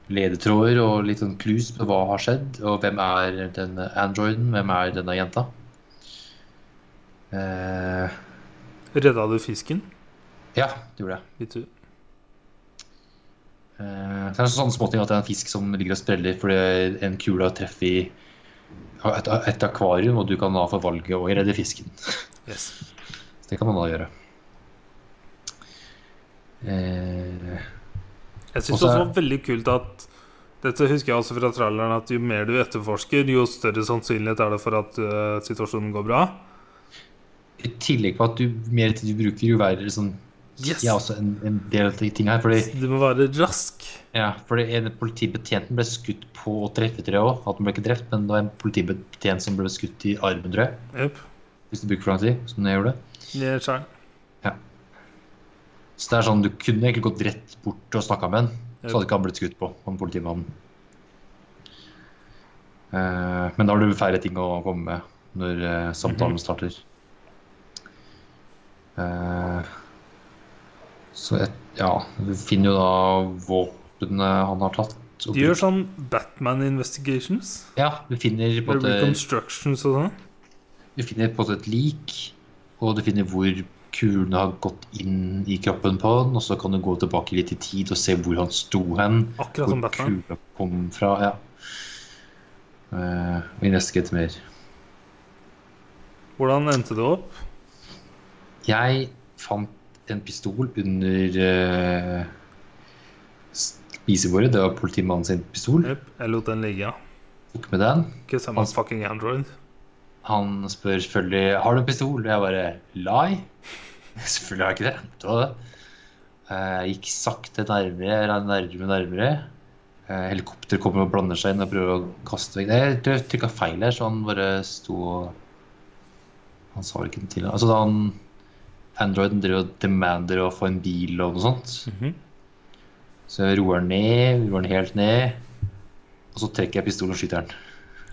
[SPEAKER 2] ledetråder og litt sånn clues på hva har skjedd, og hvem er denne androiden, hvem er denne jenta. Eh,
[SPEAKER 1] Redda du fisken?
[SPEAKER 2] ja, det gjorde jeg.
[SPEAKER 1] Litt u-
[SPEAKER 2] Eh, så er det sånne småting at det er en fisk som ligger og spreller fordi en kule treffer i et, et akvarium, og du kan da få valget å redde fisken.
[SPEAKER 1] Yes.
[SPEAKER 2] Så det kan man da gjøre. Eh,
[SPEAKER 1] Jeg syns
[SPEAKER 2] Og så
[SPEAKER 1] også det
[SPEAKER 2] er-
[SPEAKER 1] var veldig kult at Dette husker jeg også fra traileren, at jo mer du etterforsker, jo større sannsynlighet er det for at eh, situasjonen går bra.
[SPEAKER 2] I tillegg på at jo mer tid du bruker, jo verre sånn
[SPEAKER 1] Yes.
[SPEAKER 2] Ja, også en, en del av de tingene her. Fordi,
[SPEAKER 1] Du må være rask.
[SPEAKER 2] ja, fordi en politibetjenten ble skutt på å treffe tre òg. At han ble ikke drept, men det var en politibetjent som ble skutt i armen, tror jeg.
[SPEAKER 1] Jep.
[SPEAKER 2] Hvis du bruker for lang tid, som jeg gjorde.
[SPEAKER 1] Ned skjæren.
[SPEAKER 2] Så det er sånn, Du kunne egentlig gått rett bort og snakka med han. Så hadde ikke han blitt skutt på, han politimannen. Eh, men da har du færre ting å komme med når eh,
[SPEAKER 1] Mhm.
[SPEAKER 2] samtalen starter. Eh, Så jeg, ja, vi finner jo da våpenet han har tatt. og
[SPEAKER 1] De gjør sånn Batman Investigations.
[SPEAKER 2] Ja, vi finner på en måte
[SPEAKER 1] Reconstructions og sånn.
[SPEAKER 2] Du finner på en måte et lik, og du finner hvor kulene har gått inn i kroppen på han, og så kan du gå tilbake litt i tid og se hvor han sto hen,
[SPEAKER 1] Akkurat
[SPEAKER 2] hvor
[SPEAKER 1] som Batman.
[SPEAKER 2] kula kom fra. ja. Eh, og i neste skritt mer.
[SPEAKER 1] Hvordan endte det opp?
[SPEAKER 2] Jeg fant en pistol under eh, spisebordet. Det var politimannen sin pistol.
[SPEAKER 1] Jep, jeg lot den ligge.
[SPEAKER 2] Tok med den.
[SPEAKER 1] Ikke samme
[SPEAKER 2] Altså-
[SPEAKER 1] fucking Android.
[SPEAKER 2] Han spør selvfølgelig har du en pistol. Og jeg bare lie. Selvfølgelig har jeg ikke det. Det var det. Eh, Jeg gikk sakte nærmere, eller nærmere, nærmere. Eh, Helikopter kommer og blander seg inn og prøver å kaste vekk Jeg tror jeg trykka feil her, så han bare sto og Han sa vel ikke noe til. Altså, da han Androiden drev og demander å få en bil og noe sånt.
[SPEAKER 1] Mhm.
[SPEAKER 2] Så jeg roer den ned, roer den helt ned. Og så trekker jeg pistolen og skyter den.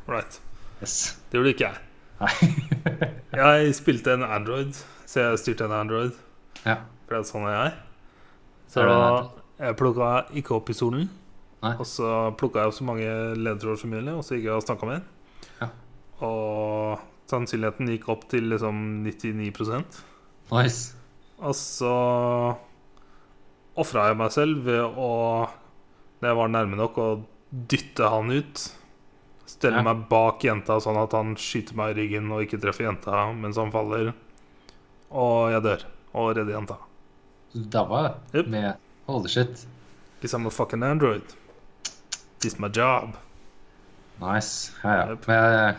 [SPEAKER 1] Right.
[SPEAKER 2] Yes.
[SPEAKER 1] Det gjorde ikke jeg.
[SPEAKER 2] Nei.
[SPEAKER 1] Jeg spilte en Android, så jeg styrte en Android.
[SPEAKER 2] ja.
[SPEAKER 1] For det er sånn jeg er.
[SPEAKER 2] Er
[SPEAKER 1] Så
[SPEAKER 2] det en
[SPEAKER 1] jeg plukka ikke opp pistolen.
[SPEAKER 2] Nei.
[SPEAKER 1] Og så plukka jeg opp så mange ledetråder som mulig, og så gikk jeg og snakka med en.
[SPEAKER 2] Ja.
[SPEAKER 1] Og sannsynligheten gikk opp til liksom 99
[SPEAKER 2] Nice.
[SPEAKER 1] Og så ofra jeg meg selv ved å, når jeg var nærme nok, å dytte han ut. Stelle
[SPEAKER 2] Ja.
[SPEAKER 1] meg bak jenta sånn at han skyter meg i ryggen og ikke treffer jenta mens han faller. Og jeg dør. Og redder jenta.
[SPEAKER 2] Så du daua
[SPEAKER 1] Yep.
[SPEAKER 2] med Holy shit.
[SPEAKER 1] Because I'm a fucking android. This is my job.
[SPEAKER 2] Nice. Ja, ja.
[SPEAKER 1] Yep.
[SPEAKER 2] Men jeg,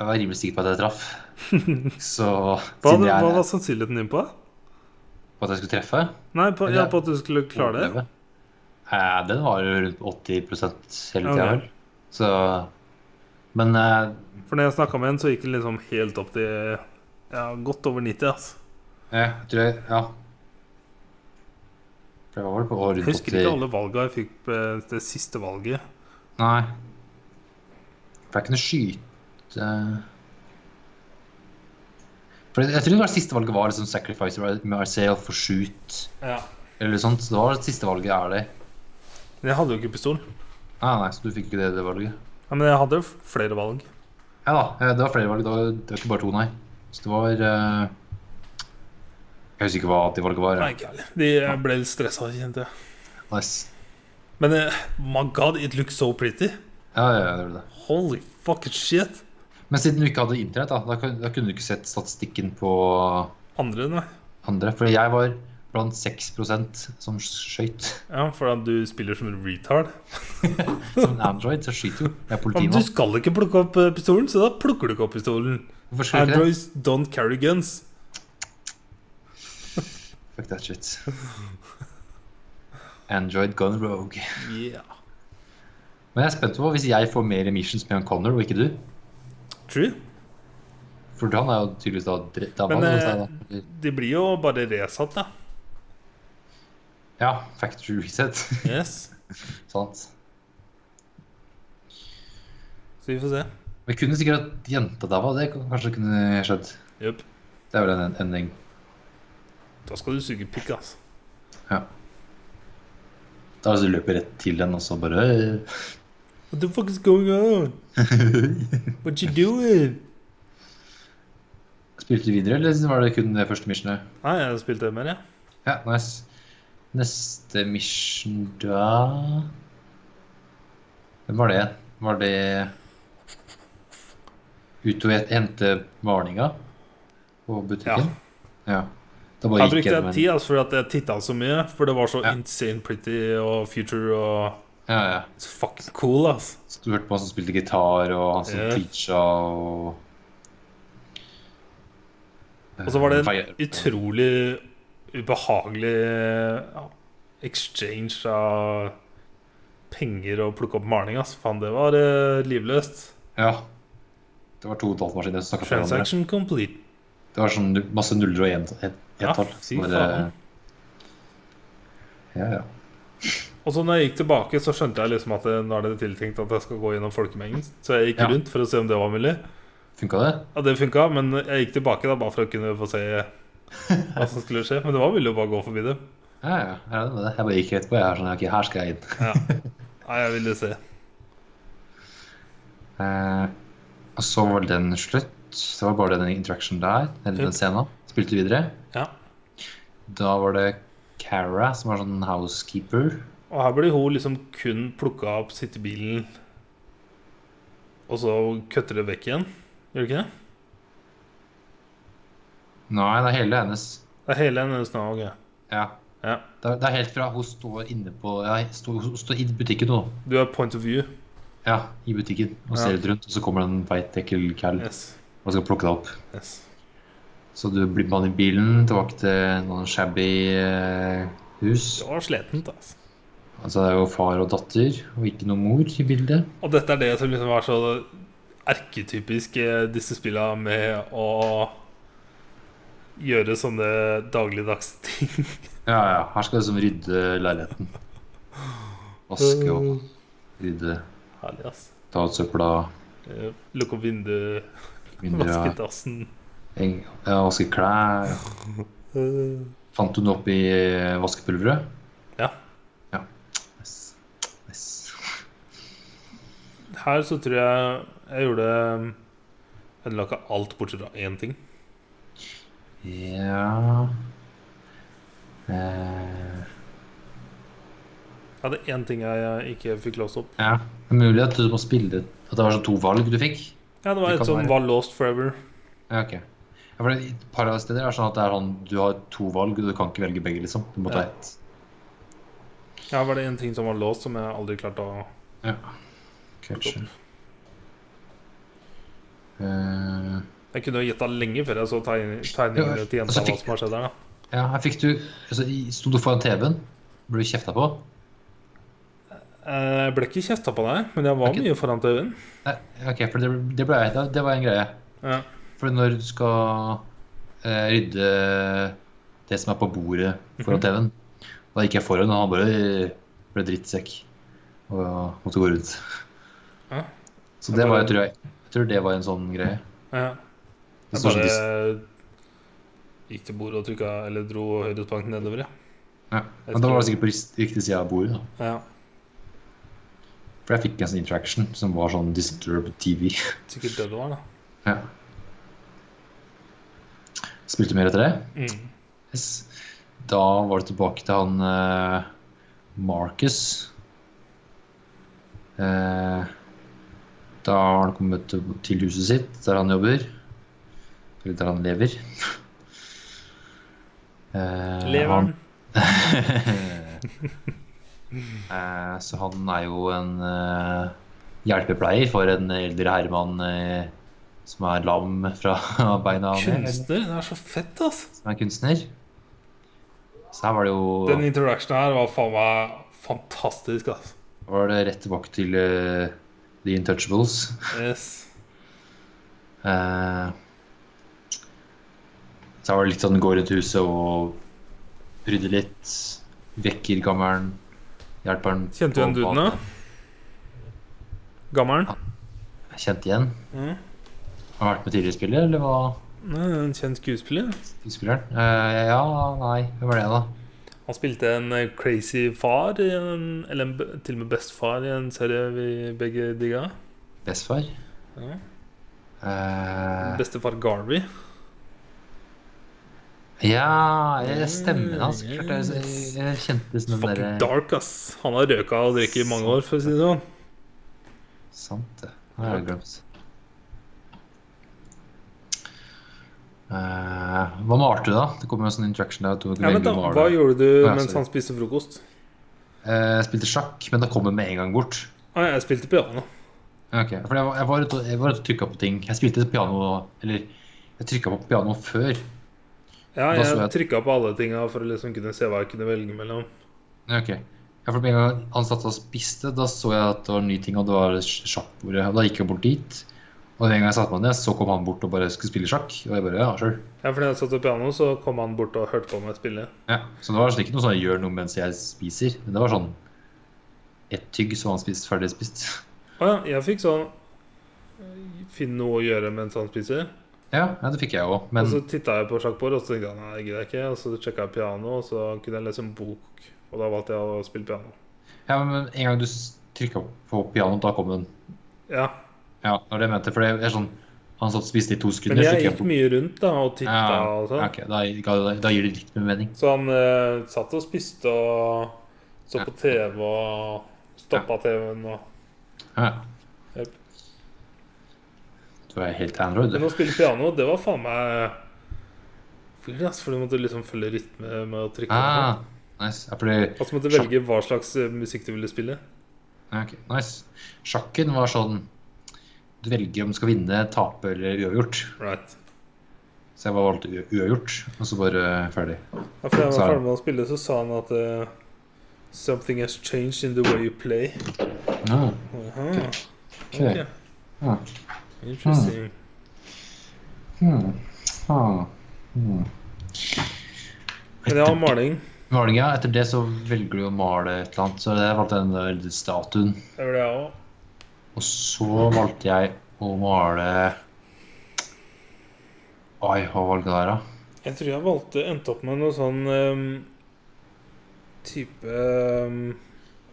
[SPEAKER 2] jeg var rimelig sikker på at jeg traff. Så
[SPEAKER 1] Hva,
[SPEAKER 2] siden
[SPEAKER 1] hadde-
[SPEAKER 2] jeg
[SPEAKER 1] hva var
[SPEAKER 2] på
[SPEAKER 1] sannsynligheten din på det?
[SPEAKER 2] at jeg skulle treffe
[SPEAKER 1] Nei, på, ja,
[SPEAKER 2] Eller-
[SPEAKER 1] på at du skulle klare det?
[SPEAKER 2] overleve, eh, Den var jo rundt 80 hele tida,
[SPEAKER 1] Ok.
[SPEAKER 2] vel. Så Men eh,
[SPEAKER 1] For når jeg snakka med en, så gikk det liksom helt opp til ja, godt over 90. Altså.
[SPEAKER 2] jeg tror jeg Ja. For jeg var vel på år
[SPEAKER 1] Jeg
[SPEAKER 2] rundt
[SPEAKER 1] husker ikke
[SPEAKER 2] 80
[SPEAKER 1] alle valga jeg fikk på det siste valget.
[SPEAKER 2] Nei. For jeg kunne skyte eh, For jeg, jeg tror det var siste valget var liksom sacrifice med RCL for shoot.
[SPEAKER 1] Ja.
[SPEAKER 2] Eller sånt, så det var det siste valget er det.
[SPEAKER 1] Men jeg hadde jo ikke pistol.
[SPEAKER 2] Nei, nei, så du fikk ikke det, det valget.
[SPEAKER 1] Ja, men jeg hadde jo flere valg.
[SPEAKER 2] Ja da, eh, det var flere valg, det var, det var ikke bare to, nei. Så det var... eh, Jeg husker ikke hva det valget var.
[SPEAKER 1] Nei, ikke heller. De jeg ble litt stressa, kjente jeg.
[SPEAKER 2] Nice.
[SPEAKER 1] Men eh, my god, it looks so pretty.
[SPEAKER 2] Ja, ja, ja, det var det.
[SPEAKER 1] Holy fucking shit.
[SPEAKER 2] Men siden du ikke hadde internett da, da, kun- da kunne du ikke sett statistikken på
[SPEAKER 1] Andre, nei.
[SPEAKER 2] andre. For jeg var blant 6% som skjøyt.
[SPEAKER 1] Ja, for at du spiller som en retard.
[SPEAKER 2] Som en Android, så skyter jo. Jeg er
[SPEAKER 1] Ja,
[SPEAKER 2] politi
[SPEAKER 1] men
[SPEAKER 2] nå.
[SPEAKER 1] du skal ikke plukke opp eh, pistolen, så da plukker du ikke opp pistolen.
[SPEAKER 2] Hvorfor skal jeg ikke det?
[SPEAKER 1] Androids don't carry guns.
[SPEAKER 2] Fuck that shit. Android gone rogue.
[SPEAKER 1] Yeah.
[SPEAKER 2] Men jeg er spent på hvis jeg får mer emissions med han Connor, og ikke du.
[SPEAKER 1] True.
[SPEAKER 2] For han er jo tydeligvis da drept av
[SPEAKER 1] Men,
[SPEAKER 2] han,
[SPEAKER 1] eh,
[SPEAKER 2] altså, da.
[SPEAKER 1] De blir jo bare resatt, da.
[SPEAKER 2] Ja, factory reset.
[SPEAKER 1] Yes.
[SPEAKER 2] Sant.
[SPEAKER 1] Så vi får se.
[SPEAKER 2] Men kunne sikkert at jenta daua, det kan- kanskje kunne skjedd.
[SPEAKER 1] Jepp.
[SPEAKER 2] Det er vel en ending.
[SPEAKER 1] Da skal du suge pikk, altså.
[SPEAKER 2] Da altså løper rett til den, og så bare eh,
[SPEAKER 1] What the fuck is going on? What you doing?
[SPEAKER 2] Spilte du videre, eller var det kun det første missionet?
[SPEAKER 1] Nei, jeg spilte mer, jeg.
[SPEAKER 2] Ja, nice. Neste mission da Hvem var det igjen? Var det ut og het- hente varninga på butikken? Ja. Da bare
[SPEAKER 1] Jeg
[SPEAKER 2] gikk
[SPEAKER 1] brukte
[SPEAKER 2] gjennom
[SPEAKER 1] jeg
[SPEAKER 2] en-
[SPEAKER 1] tid altså, fordi at jeg titta så mye. For det var så
[SPEAKER 2] Ja.
[SPEAKER 1] insane pretty og future og
[SPEAKER 2] Ja, ja.
[SPEAKER 1] It's fucking cool, altså.
[SPEAKER 2] Så du hørte på han som spilte gitar, og han som
[SPEAKER 1] Ja.
[SPEAKER 2] preacha, og
[SPEAKER 1] Og så var det
[SPEAKER 2] Feier-
[SPEAKER 1] en utrolig ubehagelig ja, exchange av penger og plukke opp maling. ass. Faen, det var eh, livløst.
[SPEAKER 2] Ja. Det var to datamaskiner som snakka til hverandre.
[SPEAKER 1] Transaction complete.
[SPEAKER 2] Det var sånn nu- masse nuller og en- et-
[SPEAKER 1] Ja,
[SPEAKER 2] ett-tall.
[SPEAKER 1] fy faen.
[SPEAKER 2] Bare- Ja, ja.
[SPEAKER 1] Og så når jeg gikk tilbake, så skjønte jeg liksom at eh, nå er det tiltenkt at jeg skal gå gjennom folkemengden. Så jeg gikk
[SPEAKER 2] Ja.
[SPEAKER 1] rundt for å se om det var mulig.
[SPEAKER 2] Funka det?
[SPEAKER 1] Ja, det funka, men jeg gikk tilbake da bare for å kunne få se hva som skulle skje. Men det var mulig å bare gå forbi dem.
[SPEAKER 2] Ja, ja. ja, det var det. Jeg bare gikk rett på. Jeg er sånn, ok, her skal jeg inn.
[SPEAKER 1] Ja. Nei, jeg ville se.
[SPEAKER 2] Eh, og så var den slutt. Det var bare den interaction der. Eller
[SPEAKER 1] Yep.
[SPEAKER 2] den scenen. Spilte videre.
[SPEAKER 1] Ja.
[SPEAKER 2] Da var det Cara, som var sånn housekeeper.
[SPEAKER 1] Og her blir hun liksom kun plukka opp sittebilen, og så kutter det vekk igjen. Gjør det ikke det?
[SPEAKER 2] Nei, det er hele hennes
[SPEAKER 1] Det er hele hennes navn. ja.
[SPEAKER 2] Ja.
[SPEAKER 1] Ja.
[SPEAKER 2] Det er, det er helt fra hun står inne på ja, står- Hun står i butikken nå.
[SPEAKER 1] Du er point of view.
[SPEAKER 2] Ja, i butikken. Og
[SPEAKER 1] Ja.
[SPEAKER 2] ser litt rundt, og så kommer det en feit, ekkel kall
[SPEAKER 1] Yes.
[SPEAKER 2] og skal plukke deg opp.
[SPEAKER 1] yes.
[SPEAKER 2] Så du blir med han i bilen tilbake til noen shabby eh, hus.
[SPEAKER 1] Det var sletent, altså.
[SPEAKER 2] Altså det er jo far og datter, og ikke noe mor i bildet.
[SPEAKER 1] Og dette er det som liksom var så erketypisk eh, disse spilla med å gjøre sånne dagligdags ting.
[SPEAKER 2] Ja, ja. Her skal du liksom rydde leiligheten. Vaske opp, rydde,
[SPEAKER 1] Herlig, ass.
[SPEAKER 2] ta ut søpla,
[SPEAKER 1] Eh, Lukke opp vinduet, vaske
[SPEAKER 2] vinduer,
[SPEAKER 1] dassen.
[SPEAKER 2] heng- ja, vaske klær.
[SPEAKER 1] Eh,
[SPEAKER 2] Fant du noe oppi eh, vaskepulveret?
[SPEAKER 1] Ja.
[SPEAKER 2] Ja. Nice. Nice.
[SPEAKER 1] Her så tror jeg jeg gjorde Jeg ødela ikke alt bortsett fra én ting.
[SPEAKER 2] Ja eh,
[SPEAKER 1] Jeg hadde én ting jeg eh, ikke fikk låst opp.
[SPEAKER 2] Ja, det er mulig at du må spille At det var sånn to valg du fikk?
[SPEAKER 1] Ja, det
[SPEAKER 2] Det
[SPEAKER 1] var
[SPEAKER 2] kan
[SPEAKER 1] et som
[SPEAKER 2] være.
[SPEAKER 1] var lost forever.
[SPEAKER 2] Ja, ok. Ja, for det, I et par av steder er det sånn at det er sånn du har to valg, og du kan ikke velge begge, liksom. Du må ta
[SPEAKER 1] Ja.
[SPEAKER 2] ett.
[SPEAKER 1] Ja, var det en ting som var låst, som jeg aldri klarte å
[SPEAKER 2] Ja. Kanskje. Eh,
[SPEAKER 1] Jeg kunne jo gjetta lenge før jeg så tegn- tegningene til
[SPEAKER 2] Ja,
[SPEAKER 1] jenta
[SPEAKER 2] altså,
[SPEAKER 1] hva
[SPEAKER 2] fikk-
[SPEAKER 1] som har skjedd der, da.
[SPEAKER 2] ja, her fikk du altså, i- Sto du foran TV-en? Ble du kjefta på?
[SPEAKER 1] Eh, Jeg ble ikke kjefta på deg, men jeg var
[SPEAKER 2] Ok.
[SPEAKER 1] mye foran TV-en.
[SPEAKER 2] Nei, ok, for det, det, ble, det, det var en greie.
[SPEAKER 1] Ja.
[SPEAKER 2] For når du skal eh, rydde det som er på bordet foran TV-en Da gikk jeg foran, og han bare eh, ble drittsekk og måtte gå rundt.
[SPEAKER 1] Ja.
[SPEAKER 2] Så det var, jeg tror, jeg, jeg tror det var en sånn greie.
[SPEAKER 1] Ja.
[SPEAKER 2] Det
[SPEAKER 1] Jeg
[SPEAKER 2] står sånn
[SPEAKER 1] bare
[SPEAKER 2] dis-
[SPEAKER 1] gikk til bordet og trykka Eller dro høyrespanken nedover, ja.
[SPEAKER 2] ja. Men da var det sikkert på rist- riktig side av bordet. Da.
[SPEAKER 1] ja.
[SPEAKER 2] For jeg fikk en sånn interaction som var sånn disturbed TV.
[SPEAKER 1] Sikkert det det var, da.
[SPEAKER 2] ja. Spilte mer etter det.
[SPEAKER 1] Mm.
[SPEAKER 2] Yes. Da var det tilbake til han eh, Marcus. Eh, da har han kommet til til huset sitt, der han jobber. Eller der han lever. Eh,
[SPEAKER 1] Leveren.
[SPEAKER 2] han- eh, så han er jo en eh, hjelpepleier for en eldre herremann eh, som er lam fra beina og ned.
[SPEAKER 1] Kunstner. Det er så fett, altså.
[SPEAKER 2] som er kunstner. Så her var det jo
[SPEAKER 1] Den interactionen her var faen meg fantastisk, altså.
[SPEAKER 2] var det rett tilbake til eh, The Untouchables.
[SPEAKER 1] Yes.
[SPEAKER 2] Eh, så her var det litt sånn gå rundt huset og rydde litt. Vekker gammelen. Hjelper han.
[SPEAKER 1] Kjente du igjen
[SPEAKER 2] på-
[SPEAKER 1] duden, da? Gammelen?
[SPEAKER 2] Jeg Kjente igjen.
[SPEAKER 1] Mm.
[SPEAKER 2] Har han vært med tidligere i spillet, eller hva?
[SPEAKER 1] Nei, En kjent skuespiller.
[SPEAKER 2] Skuespilleren? Eh, ja, nei. Hvem var det, da?
[SPEAKER 1] Han spilte en eh, crazy far, i en, eller en, b- til og med bestefar, i en serie vi begge digga.
[SPEAKER 2] Bestefar?
[SPEAKER 1] Ja.
[SPEAKER 2] Eh,
[SPEAKER 1] Bestefar Garvey.
[SPEAKER 2] ja, jeg stemmer hans.
[SPEAKER 1] Mm,
[SPEAKER 2] Klart jeg,
[SPEAKER 1] yes.
[SPEAKER 2] jeg kjente som den eh,
[SPEAKER 1] Fucking
[SPEAKER 2] derre
[SPEAKER 1] dark, ass. Han har røka og drukket i mange år, for å si det sånn.
[SPEAKER 2] Sant det. Det har jeg glemt. Eh, hva med Arthur, da? Det kommer jo en sånn interaction der. at du kan
[SPEAKER 1] Ja,
[SPEAKER 2] velge
[SPEAKER 1] vent da,
[SPEAKER 2] om Arthur.
[SPEAKER 1] Hva gjorde du
[SPEAKER 2] Ja,
[SPEAKER 1] mens
[SPEAKER 2] sorry.
[SPEAKER 1] han spiste frokost?
[SPEAKER 2] Eh, jeg spilte sjakk, men det kommer med en gang bort.
[SPEAKER 1] Ah, jeg spilte piano.
[SPEAKER 2] Ok, for Jeg var, jeg var ute og- jeg var ute og trykka på ting. Jeg spilte piano Eller jeg trykka på piano før.
[SPEAKER 1] Ja,
[SPEAKER 2] Da så
[SPEAKER 1] jeg
[SPEAKER 2] jeg-
[SPEAKER 1] trykka på alle tinga for å liksom kunne se hva jeg kunne velge mellom.
[SPEAKER 2] Ja, Ok. Ja, for Med en gang han satt og spiste, da så jeg at det var en ny ting, og det var sj- sjakkbordet. Og Da gikk jeg bort dit. Og med en gang jeg satte meg ned, så kom han bort og bare skulle spille sjakk. Og jeg bare, ja, sure.
[SPEAKER 1] Ja, for da jeg satt på piano, så kom han bort og hørte på meg spille.
[SPEAKER 2] Ja, så det var liksom ikke noe sånn gjør noe mens jeg spiser. Men det var sånn ett tygg så han spiste ferdig spist.
[SPEAKER 1] Å ja, jeg fikk sånn Finn noe å gjøre mens han spiser.
[SPEAKER 2] Ja, ja det fikk jeg òg. Men
[SPEAKER 1] Og så titta jeg på sjakkbord, og så tenkte jeg nei, det gidder jeg ikke. Og så sjekka jeg piano, og så kunne jeg lese en bok. Og da valgte jeg å spille piano.
[SPEAKER 2] Ja, men en gang du trykka på pianoet, da kom den.
[SPEAKER 1] Ja,
[SPEAKER 2] Ja, det var det jeg mente. For det er sånn Han satt og spiste i to sekunder.
[SPEAKER 1] Men jeg
[SPEAKER 2] så
[SPEAKER 1] gikk mye rundt da og titta
[SPEAKER 2] ja,
[SPEAKER 1] og
[SPEAKER 2] ja,
[SPEAKER 1] sånn.
[SPEAKER 2] ok, da, ga- da gir det litt mer mening.
[SPEAKER 1] Så han eh, satt og spiste og så på TV og stoppa TV-en og
[SPEAKER 2] Ja.
[SPEAKER 1] Jep.
[SPEAKER 2] Du er helt Android,
[SPEAKER 1] Men
[SPEAKER 2] du.
[SPEAKER 1] å spille piano, det var faen meg weird, ass, for du måtte liksom følge rytme med å trykke. Ah.
[SPEAKER 2] Ah, nice. Ja, fordi
[SPEAKER 1] Altså måtte du velge hva slags eh, musikk du ville spille.
[SPEAKER 2] ja, ok, Nice. Sjakken var sånn Du velger om du skal vinne, tape eller uavgjort.
[SPEAKER 1] Right.
[SPEAKER 2] Så jeg valgte u- uavgjort, og så bare eh, ferdig.
[SPEAKER 1] Ja, for da jeg
[SPEAKER 2] Så
[SPEAKER 1] var
[SPEAKER 2] er det-
[SPEAKER 1] ferdig med å spille, så sa han at eh, Something has changed in the way you play.
[SPEAKER 2] Ja,
[SPEAKER 1] Aha.
[SPEAKER 2] ok.
[SPEAKER 1] ok.
[SPEAKER 2] Ja.
[SPEAKER 1] Interesting.
[SPEAKER 2] Hmm. Ah. Hmm.
[SPEAKER 1] Men ja, maling.
[SPEAKER 2] Maling, ja. Etter det så velger du å male et eller annet. Så jeg valgte den der statuen.
[SPEAKER 1] Det var det jeg òg.
[SPEAKER 2] Og så valgte jeg å male Oi, hva valgte jeg der, da?
[SPEAKER 1] Jeg tror jeg valgte endte opp med noe sånn ehm, type ehm,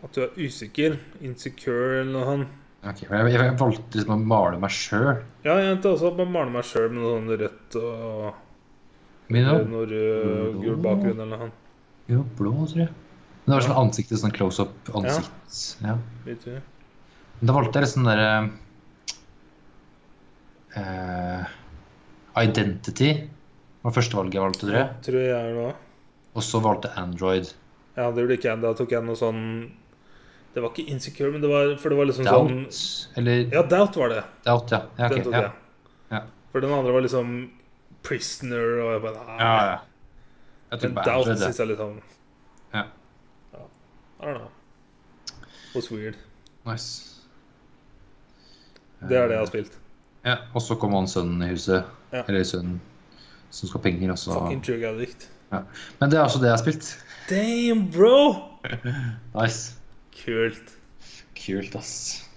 [SPEAKER 1] At du er usikker. Insecure eller noe sånt.
[SPEAKER 2] Ok, men jeg, jeg valgte liksom å male meg sjøl.
[SPEAKER 1] Ja, jeg endte også opp med å male meg sjøl med noe sånn rødt og eller
[SPEAKER 2] Jo,
[SPEAKER 1] noe rød og
[SPEAKER 2] Mm.
[SPEAKER 1] gul bakgrunn eller noe sånt.
[SPEAKER 2] blå, tror jeg. Men det var sånn ansiktet, sånn close up ansikt. Ja.
[SPEAKER 1] Vet du.
[SPEAKER 2] Men da valgte jeg litt sånn derre eh, Identity var førstevalget jeg valgte, tror jeg.
[SPEAKER 1] Tror jeg er det òg.
[SPEAKER 2] Og så valgte Android.
[SPEAKER 1] Ja, det ble ikke jeg. Da tok jeg noe sånn Det var ikke insecure, men det var For det var liksom sånn
[SPEAKER 2] Doubt, eller
[SPEAKER 1] Ja, doubt var det.
[SPEAKER 2] Doubt, ja. Ja, ok,
[SPEAKER 1] Den tok
[SPEAKER 2] ja.
[SPEAKER 1] jeg.
[SPEAKER 2] Ja.
[SPEAKER 1] For den andre var liksom prisoner og jeg bare nei.
[SPEAKER 2] ja, ja. Jeg tok
[SPEAKER 1] Men
[SPEAKER 2] på
[SPEAKER 1] doubt
[SPEAKER 2] Android, det.
[SPEAKER 1] syns jeg er litt sånn
[SPEAKER 2] Ja.
[SPEAKER 1] ja. I don't know. Was weird.
[SPEAKER 2] Nice.
[SPEAKER 1] Det er det
[SPEAKER 2] Eh,
[SPEAKER 1] jeg har spilt.
[SPEAKER 2] Ja, og så kom han sønnen i huset.
[SPEAKER 1] Ja.
[SPEAKER 2] Eller sønnen som skal ha penger. Også.
[SPEAKER 1] Fucking drug addict.
[SPEAKER 2] Men det er også det jeg har spilt.
[SPEAKER 1] Damn, bro!
[SPEAKER 2] Nice.
[SPEAKER 1] Kult.
[SPEAKER 2] Kult, ass.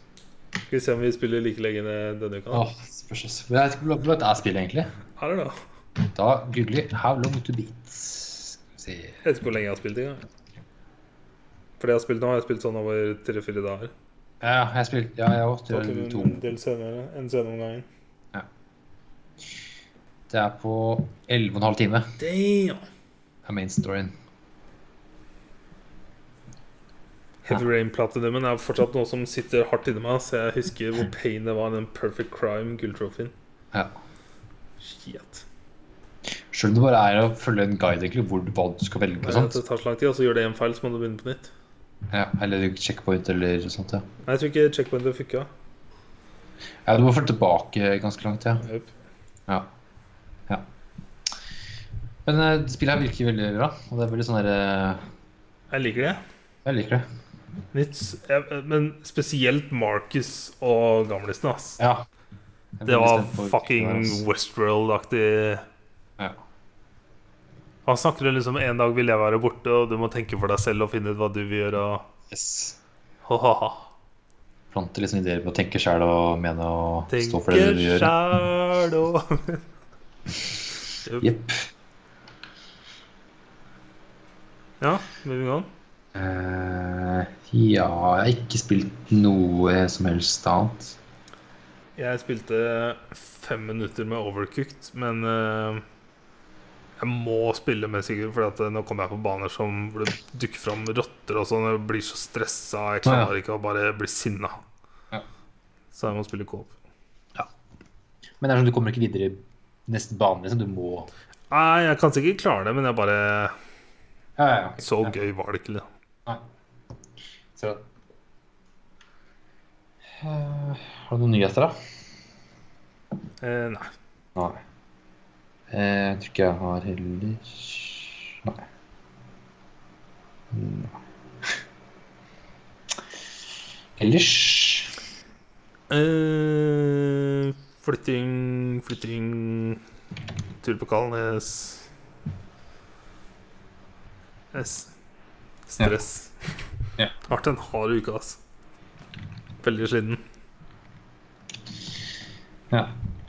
[SPEAKER 1] Skal vi se om vi spiller like lenge ned denne uka. da?
[SPEAKER 2] Åh, spørs ass. Men jeg vet ikke hvor langt er spillet egentlig.
[SPEAKER 1] I don't know.
[SPEAKER 2] Da googler jeg How long to beat. Skal vi se.
[SPEAKER 1] Jeg vet ikke hvor lenge jeg har spilt engang. For det jeg har spilt nå, har jeg spilt sånn over tre-fire dager.
[SPEAKER 2] Ja, jeg har spilt Ja, jeg har
[SPEAKER 1] Så
[SPEAKER 2] også
[SPEAKER 1] til
[SPEAKER 2] til to.
[SPEAKER 1] en del senere, en scene om gangen.
[SPEAKER 2] Det er på 11,5 time.
[SPEAKER 1] Damn!
[SPEAKER 2] er main storyen.
[SPEAKER 1] Heavy Rain-platinumen er fortsatt noe som sitter hardt inni meg. Så jeg husker hvor pain det var i den Perfect Crime-gulltrofeen.
[SPEAKER 2] Ja.
[SPEAKER 1] Shit.
[SPEAKER 2] Selv om det bare er å følge en guide egentlig, hvor, hva du skal velge. og
[SPEAKER 1] Nei,
[SPEAKER 2] sånt.
[SPEAKER 1] Det tar så lang tid, og så gjør det en feil, så må du begynne på nytt.
[SPEAKER 2] Ja, eller checkpoint eller sånt. Ja.
[SPEAKER 1] Nei, jeg tror ikke checkpointet funka.
[SPEAKER 2] ja, du må følge tilbake ganske langt. ja.
[SPEAKER 1] Yep.
[SPEAKER 2] Ja. ja. Men eh, spillet her virker veldig bra. Og det er veldig sånn der eh,
[SPEAKER 1] Jeg liker det.
[SPEAKER 2] Jeg liker det.
[SPEAKER 1] Nytt, s- jeg- men spesielt Marcus og gamlisen, ass.
[SPEAKER 2] Ja. Jeg er
[SPEAKER 1] Det
[SPEAKER 2] veldig
[SPEAKER 1] var
[SPEAKER 2] spent på-
[SPEAKER 1] fucking Westworld-aktig.
[SPEAKER 2] Ja.
[SPEAKER 1] Han snakker om liksom en dag vil jeg være borte, og du må tenke for deg selv og finne ut hva du vil gjøre. Og...
[SPEAKER 2] Yes.
[SPEAKER 1] Ha-ha-ha.
[SPEAKER 2] Planter liksom ideer på å tenke sjæl og mene og stå for det
[SPEAKER 1] Tenker
[SPEAKER 2] du gjør.
[SPEAKER 1] sjæl og
[SPEAKER 2] Jepp.
[SPEAKER 1] Ja, moving on.
[SPEAKER 2] Eh, ja, jeg har ikke spilt noe som helst annet.
[SPEAKER 1] Jeg spilte fem minutter med Overcooked, men eh, jeg må spille med Sigurd, for at eh, nå kommer jeg på baner som hvor det dukker fram rotter og sånn. og Jeg blir så stressa, jeg
[SPEAKER 2] Ja, ja.
[SPEAKER 1] klarer ikke å bare bli sinna.
[SPEAKER 2] Ja.
[SPEAKER 1] Så jeg må spille coop.
[SPEAKER 2] Men det er sånn, du kommer ikke videre i neste bane, liksom. Du må
[SPEAKER 1] Nei, jeg kan sikkert klare det, men jeg bare
[SPEAKER 2] Ja, ja, ja. ok.
[SPEAKER 1] Så gøy var det ikke. liksom. da.
[SPEAKER 2] Ser du det? Eh, har du noen nyheter, da?
[SPEAKER 1] Eh, nei.
[SPEAKER 2] Nei. Eh, Jeg tror ikke jeg har heller Nei. Nei. Ellers
[SPEAKER 1] Eh, flytting, flytting Tur på Kalnes. S. Stress.
[SPEAKER 2] Ja.
[SPEAKER 1] Har vært en hard uke, ass. Veldig sliten.
[SPEAKER 2] Ja.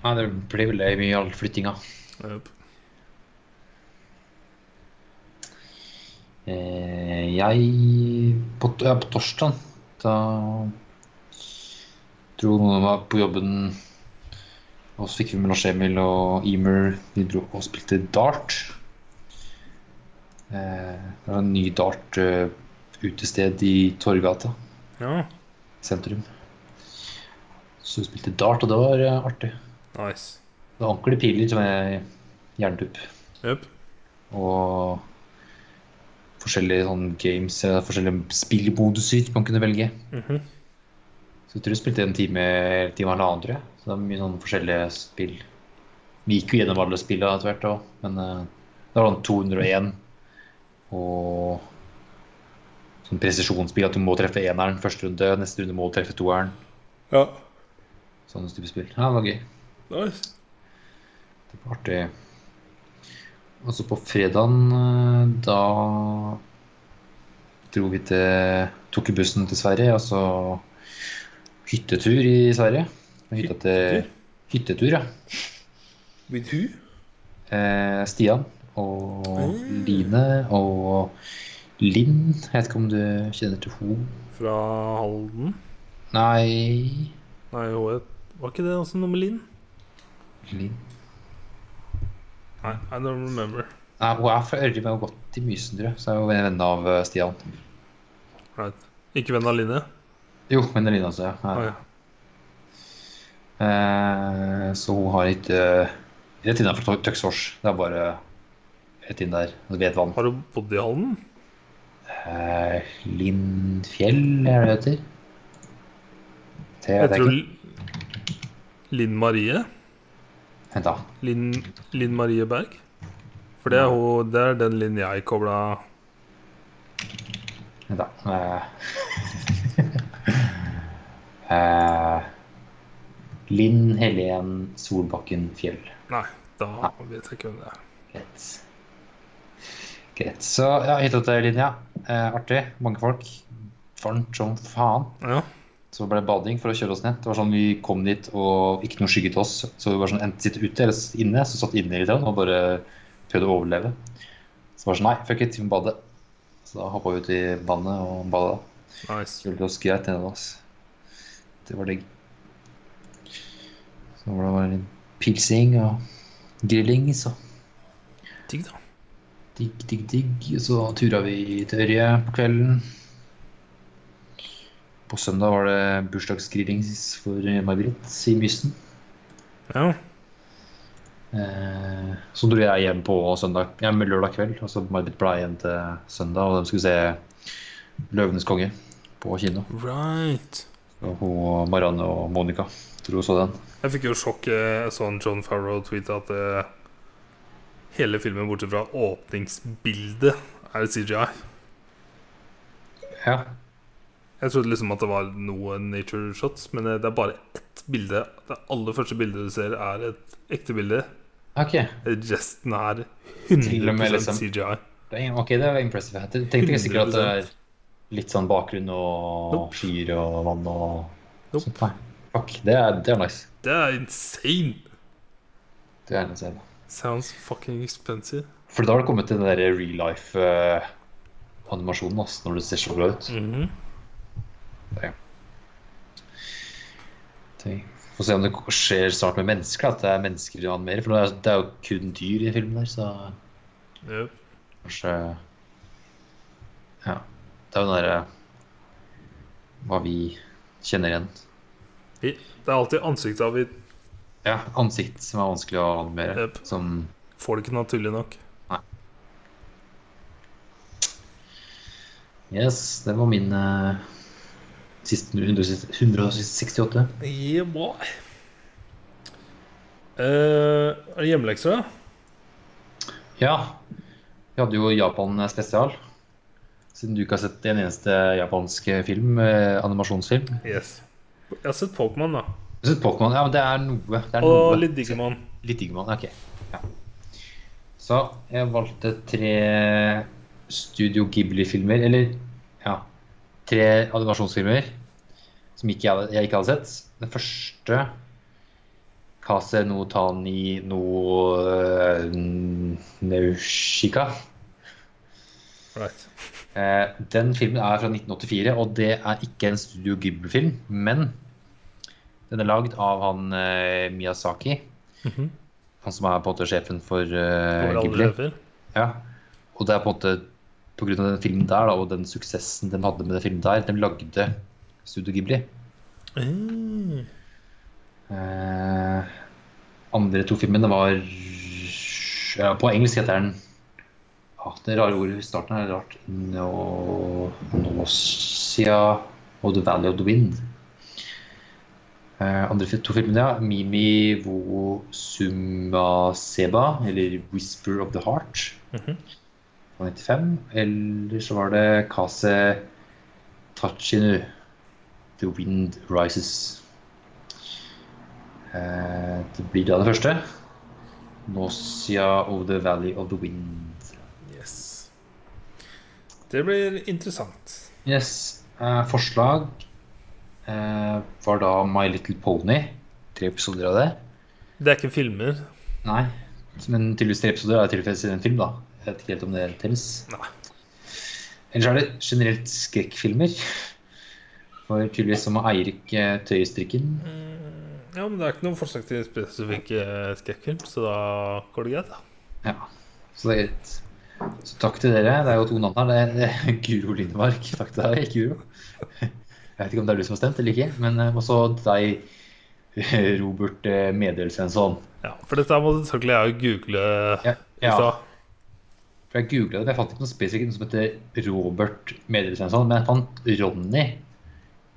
[SPEAKER 2] Nei, det blir veldig mye all flyttinga.
[SPEAKER 1] Yep.
[SPEAKER 2] Eh, jeg på, t- ja, på torsdag da dro noen av meg på jobben. Og så fikk vi med Lars Emil og Emer. Vi dro og spilte dart. Eh, det var en ny dart-utested i Torgata
[SPEAKER 1] Ja,
[SPEAKER 2] sentrum. Så vi spilte dart, og det var eh, artig.
[SPEAKER 1] nice.
[SPEAKER 2] Det var ordentlig piler som er jerntupp.
[SPEAKER 1] Yep.
[SPEAKER 2] Og forskjellige sånne games, eh, forskjellige spillmoduser man kunne velge.
[SPEAKER 1] Mhm.
[SPEAKER 2] Så jeg tror jeg spilte en time eller time og en annen, tror jeg. Så det var mye sånne forskjellige spill. Vi gikk jo gjennom alle spillene etter hvert, også, men eh, det var sånn 201 og sånn presisjonsspill at du må treffe eneren første runde, neste runde må du treffe toeren.
[SPEAKER 1] Ja,
[SPEAKER 2] Sånne type spill. Ja, det var gøy.
[SPEAKER 1] nice.
[SPEAKER 2] Det var artig. Og så Altså, på fredagen, eh, da dro vi til Tok vi bussen til Sverige, altså hyttetur i Sverige. Og Hytta til, hyttetur, ja.
[SPEAKER 1] With who?
[SPEAKER 2] Eh, Stian og
[SPEAKER 1] Mm.
[SPEAKER 2] Line og Linn. Jeg vet ikke om du kjenner til henne?
[SPEAKER 1] Fra Halden.
[SPEAKER 2] Nei
[SPEAKER 1] Nei, HF. Var ikke det også noe med Linn?
[SPEAKER 2] Linn
[SPEAKER 1] Nei, I don't remember.
[SPEAKER 2] Nei, Hun er fra Ørje, men hun har gått i Mysen, tror jeg. Så er hun venn av eh, Stian.
[SPEAKER 1] Right. Ikke venn av Linne?
[SPEAKER 2] Jo, men Linn også, ja. ja.
[SPEAKER 1] Ah, ja.
[SPEAKER 2] Eh, Så hun har ikke eh, rett innenfor Tø- Tøksfors. Det er bare rett inn der. altså Ved et vann.
[SPEAKER 1] Har du bodd i Halden?
[SPEAKER 2] Eh, Lindfjell, er det det heter? Det
[SPEAKER 1] Jeg
[SPEAKER 2] vet jeg
[SPEAKER 1] tror
[SPEAKER 2] ikke.
[SPEAKER 1] Linn Marie.
[SPEAKER 2] Vent, da.
[SPEAKER 1] Linn Linn Marie Berg. For det er, hun, det er den Linn jeg kobla
[SPEAKER 2] Vent da. Eh, eh, Linn Helen Solbakken Fjell.
[SPEAKER 1] Nei, da vet jeg ikke hvem det er.
[SPEAKER 2] Greit. Greit. Så ja, hytta til Linn, ja. Eh, artig. Mange folk. Varmt som faen.
[SPEAKER 1] Ja,
[SPEAKER 2] Så ble det bading for å kjøre oss ned. Det var sånn Vi kom dit, og ikke noe skygge til oss. Så vi var sånn enten sitte ute eller s- inne. Så satt inne litt grann og bare prøvde å overleve. Så var det sånn Nei, fuck it, vi må bade. Så da hoppa vi ut i vannet og bada.
[SPEAKER 1] nice.
[SPEAKER 2] Kjølte oss greit ned oss. Det var digg. Så var det bare litt pilsing og grilling, så
[SPEAKER 1] Digg, da.
[SPEAKER 2] digg, digg, digg. Så tura vi til Ørje på kvelden. På søndag var det bursdagsgrilling for Margrit i Mysen.
[SPEAKER 1] Ja.
[SPEAKER 2] Eh, Så dro jeg hjem på søndag, ja, men lørdag kveld, og så Marbit ble igjen til søndag, og de skulle se 'Løvenes konge' på kino.
[SPEAKER 1] Right.
[SPEAKER 2] Og hun, Marianne og Monica tror hun så den.
[SPEAKER 1] Jeg fikk jo sjokk. eh, Jeg så en John Farrow tweete at eh, hele filmen bortsett fra åpningsbildet er CGI.
[SPEAKER 2] Ja.
[SPEAKER 1] Jeg trodde liksom at det var noe nature shots, men eh, det er bare ett bilde. Det aller første bildet du ser, er et ekte bilde.
[SPEAKER 2] Ok, det
[SPEAKER 1] Resten er
[SPEAKER 2] Til og med
[SPEAKER 1] 100
[SPEAKER 2] liksom-
[SPEAKER 1] CGI.
[SPEAKER 2] er, ingen- ok, det var impressive. Jeg tenkte ikke sikkert at det er
[SPEAKER 1] 100%.
[SPEAKER 2] litt sånn bakgrunn og
[SPEAKER 1] Nope.
[SPEAKER 2] skyer og vann og
[SPEAKER 1] Nope.
[SPEAKER 2] sånt. Nei, fuck, det er, det er nice.
[SPEAKER 1] Det er insane!
[SPEAKER 2] Det er nice.
[SPEAKER 1] Sounds fucking expensive.
[SPEAKER 2] For da har det kommet til den der real life-animasjonen, altså, når det ser så bra ut.
[SPEAKER 1] Mhm.
[SPEAKER 2] ting. Få se om det k- skjer snart med mennesker, at det er mennesker de animerer. For det er, det er jo kun dyr i filmen der, så
[SPEAKER 1] Yep.
[SPEAKER 2] kanskje Ja. Det er jo den derre Hva vi kjenner igjen.
[SPEAKER 1] Det er alltid ansiktet av vi
[SPEAKER 2] Ja, ansikt som er vanskelig å animere.
[SPEAKER 1] Yep.
[SPEAKER 2] Som
[SPEAKER 1] får det ikke naturlig nok.
[SPEAKER 2] Yes, det var min eh, siste 168.
[SPEAKER 1] Yeah, boy. Eh, er det hjemmelekser, da?
[SPEAKER 2] Ja. Vi hadde jo Japan spesial. Siden du ikke har sett en eneste japansk film, eh, animasjonsfilm.
[SPEAKER 1] Yes. Jeg har sett Pokémon, da.
[SPEAKER 2] Jeg synes Pokémon, ja, men det er noe. Det er noe.
[SPEAKER 1] Og litt Digimon.
[SPEAKER 2] Litt Digimon, ok. Ja. Så jeg valgte tre Studio Ghibli-filmer, eller ja, tre animasjonsfilmer som ikke jeg, hadde- jeg ikke hadde sett. Den første Kase no tani no eh, Naushika.
[SPEAKER 1] Right.
[SPEAKER 2] Eh, Den filmen er fra 1984, og det er ikke en Studio Ghibli-film, men den er lagd av han eh, Miyazaki,
[SPEAKER 1] Mhm.
[SPEAKER 2] han som er på en måte sjefen for
[SPEAKER 1] Kommer
[SPEAKER 2] eh,
[SPEAKER 1] det aldri
[SPEAKER 2] Ghibli.
[SPEAKER 1] sjefer?
[SPEAKER 2] Ja. Og det er på en måte på grunn av den filmen der, da, og den suksessen de hadde med den filmen der, de lagde Studio Ghibli.
[SPEAKER 1] Mm.
[SPEAKER 2] Eh, andre to filmene var ja, På engelsk heter den ah, Det rare ordet i starten er rart. No, nausea og The Valley of the Wind. Eh, andre fi- to filmene, ja. Mimi wo sumaseba, eller Whisper of the Heart
[SPEAKER 1] Mhm.
[SPEAKER 2] fra 95. Eller så var det Kase Tachinu, The Wind Rises. Eh, Det blir da det første. Nausea of the Valley of the Wind.
[SPEAKER 1] Yes. Det blir interessant.
[SPEAKER 2] Yes. Eh, forslag eh, var da My Little Pony. Tre episoder av det.
[SPEAKER 1] Det er ikke filmer.
[SPEAKER 2] Nei, men tydeligvis tre episoder er tilfeldigvis en film, da. Jeg vet ikke helt om det telles.
[SPEAKER 1] Nei.
[SPEAKER 2] Ellers er det generelt skrekkfilmer. For tydeligvis som Eirik eh, Tøyestrikken.
[SPEAKER 1] Ja, men det er ikke noe forslag til spesifikke skrekkfilm, så da går det greit, da.
[SPEAKER 2] Ja, så det er greit. Så takk til dere. Det er jo to navn her. Det er- Det er Guro Lindemark. Takk til deg, Guro. Jeg vet ikke om det er du som har stemt eller ikke, men eh, også deg, eh, Robert eh, Medøl Svensson.
[SPEAKER 1] Ja, For dette her måtte selvfølgelig jeg google
[SPEAKER 2] Ja,
[SPEAKER 1] i
[SPEAKER 2] ja.
[SPEAKER 1] stad.
[SPEAKER 2] For jeg googla det, men jeg fant ikke noe spesifikt noe som heter Robert Medøl Svensson, men jeg fant Ronny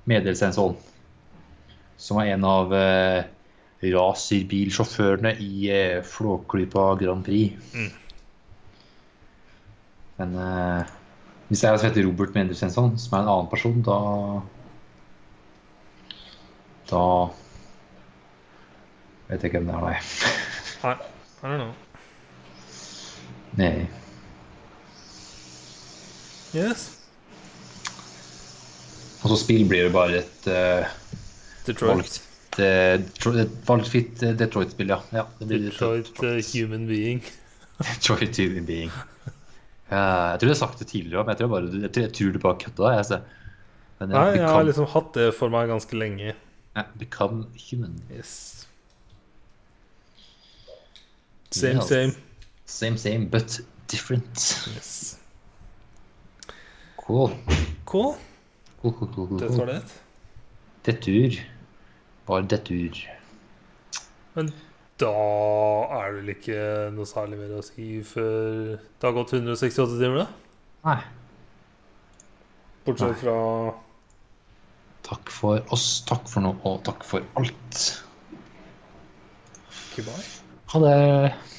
[SPEAKER 2] Medøl Svensson, som er en av eh, racerbilsjåførene i eh, Flåklypa Grand Prix.
[SPEAKER 1] Mm.
[SPEAKER 2] Men eh, hvis det er en som heter Robert Medøl Svensson, som er en annen person, da Da vet jeg ikke hvem det er, nei.
[SPEAKER 1] Nei, I don't know.
[SPEAKER 2] nei.
[SPEAKER 1] Yes.
[SPEAKER 2] Og så spill blir det bare et eh,
[SPEAKER 1] Detroit.
[SPEAKER 2] Det er Detro- et valgfritt eh, Detroit-spill, ja. ja. Det blir
[SPEAKER 1] Detroit eh, Human Being.
[SPEAKER 2] Detroit Human Being. Eh, jeg tror jeg har sagt det tidligere òg, men jeg tror, bare, jeg tror, jeg tror du bare kødda. Jeg, så. Men, eh,
[SPEAKER 1] Nei, jeg har
[SPEAKER 2] become,
[SPEAKER 1] liksom hatt det for meg ganske lenge.
[SPEAKER 2] eh, become human.
[SPEAKER 1] Yes. Same,
[SPEAKER 2] Yes.
[SPEAKER 1] same.
[SPEAKER 2] Same, same, but different.
[SPEAKER 1] Yes.
[SPEAKER 2] Cool.
[SPEAKER 1] Cool.
[SPEAKER 2] cool, cool, cool, cool.
[SPEAKER 1] Det var det.
[SPEAKER 2] Detur. Bare detur.
[SPEAKER 1] Men da er det vel ikke noe særlig mer å si før det har gått 168 timer, da?
[SPEAKER 2] Nei.
[SPEAKER 1] Bortsett fra
[SPEAKER 2] Takk for oss, takk for nå, og takk for alt.
[SPEAKER 1] Kubai.
[SPEAKER 2] Ha det.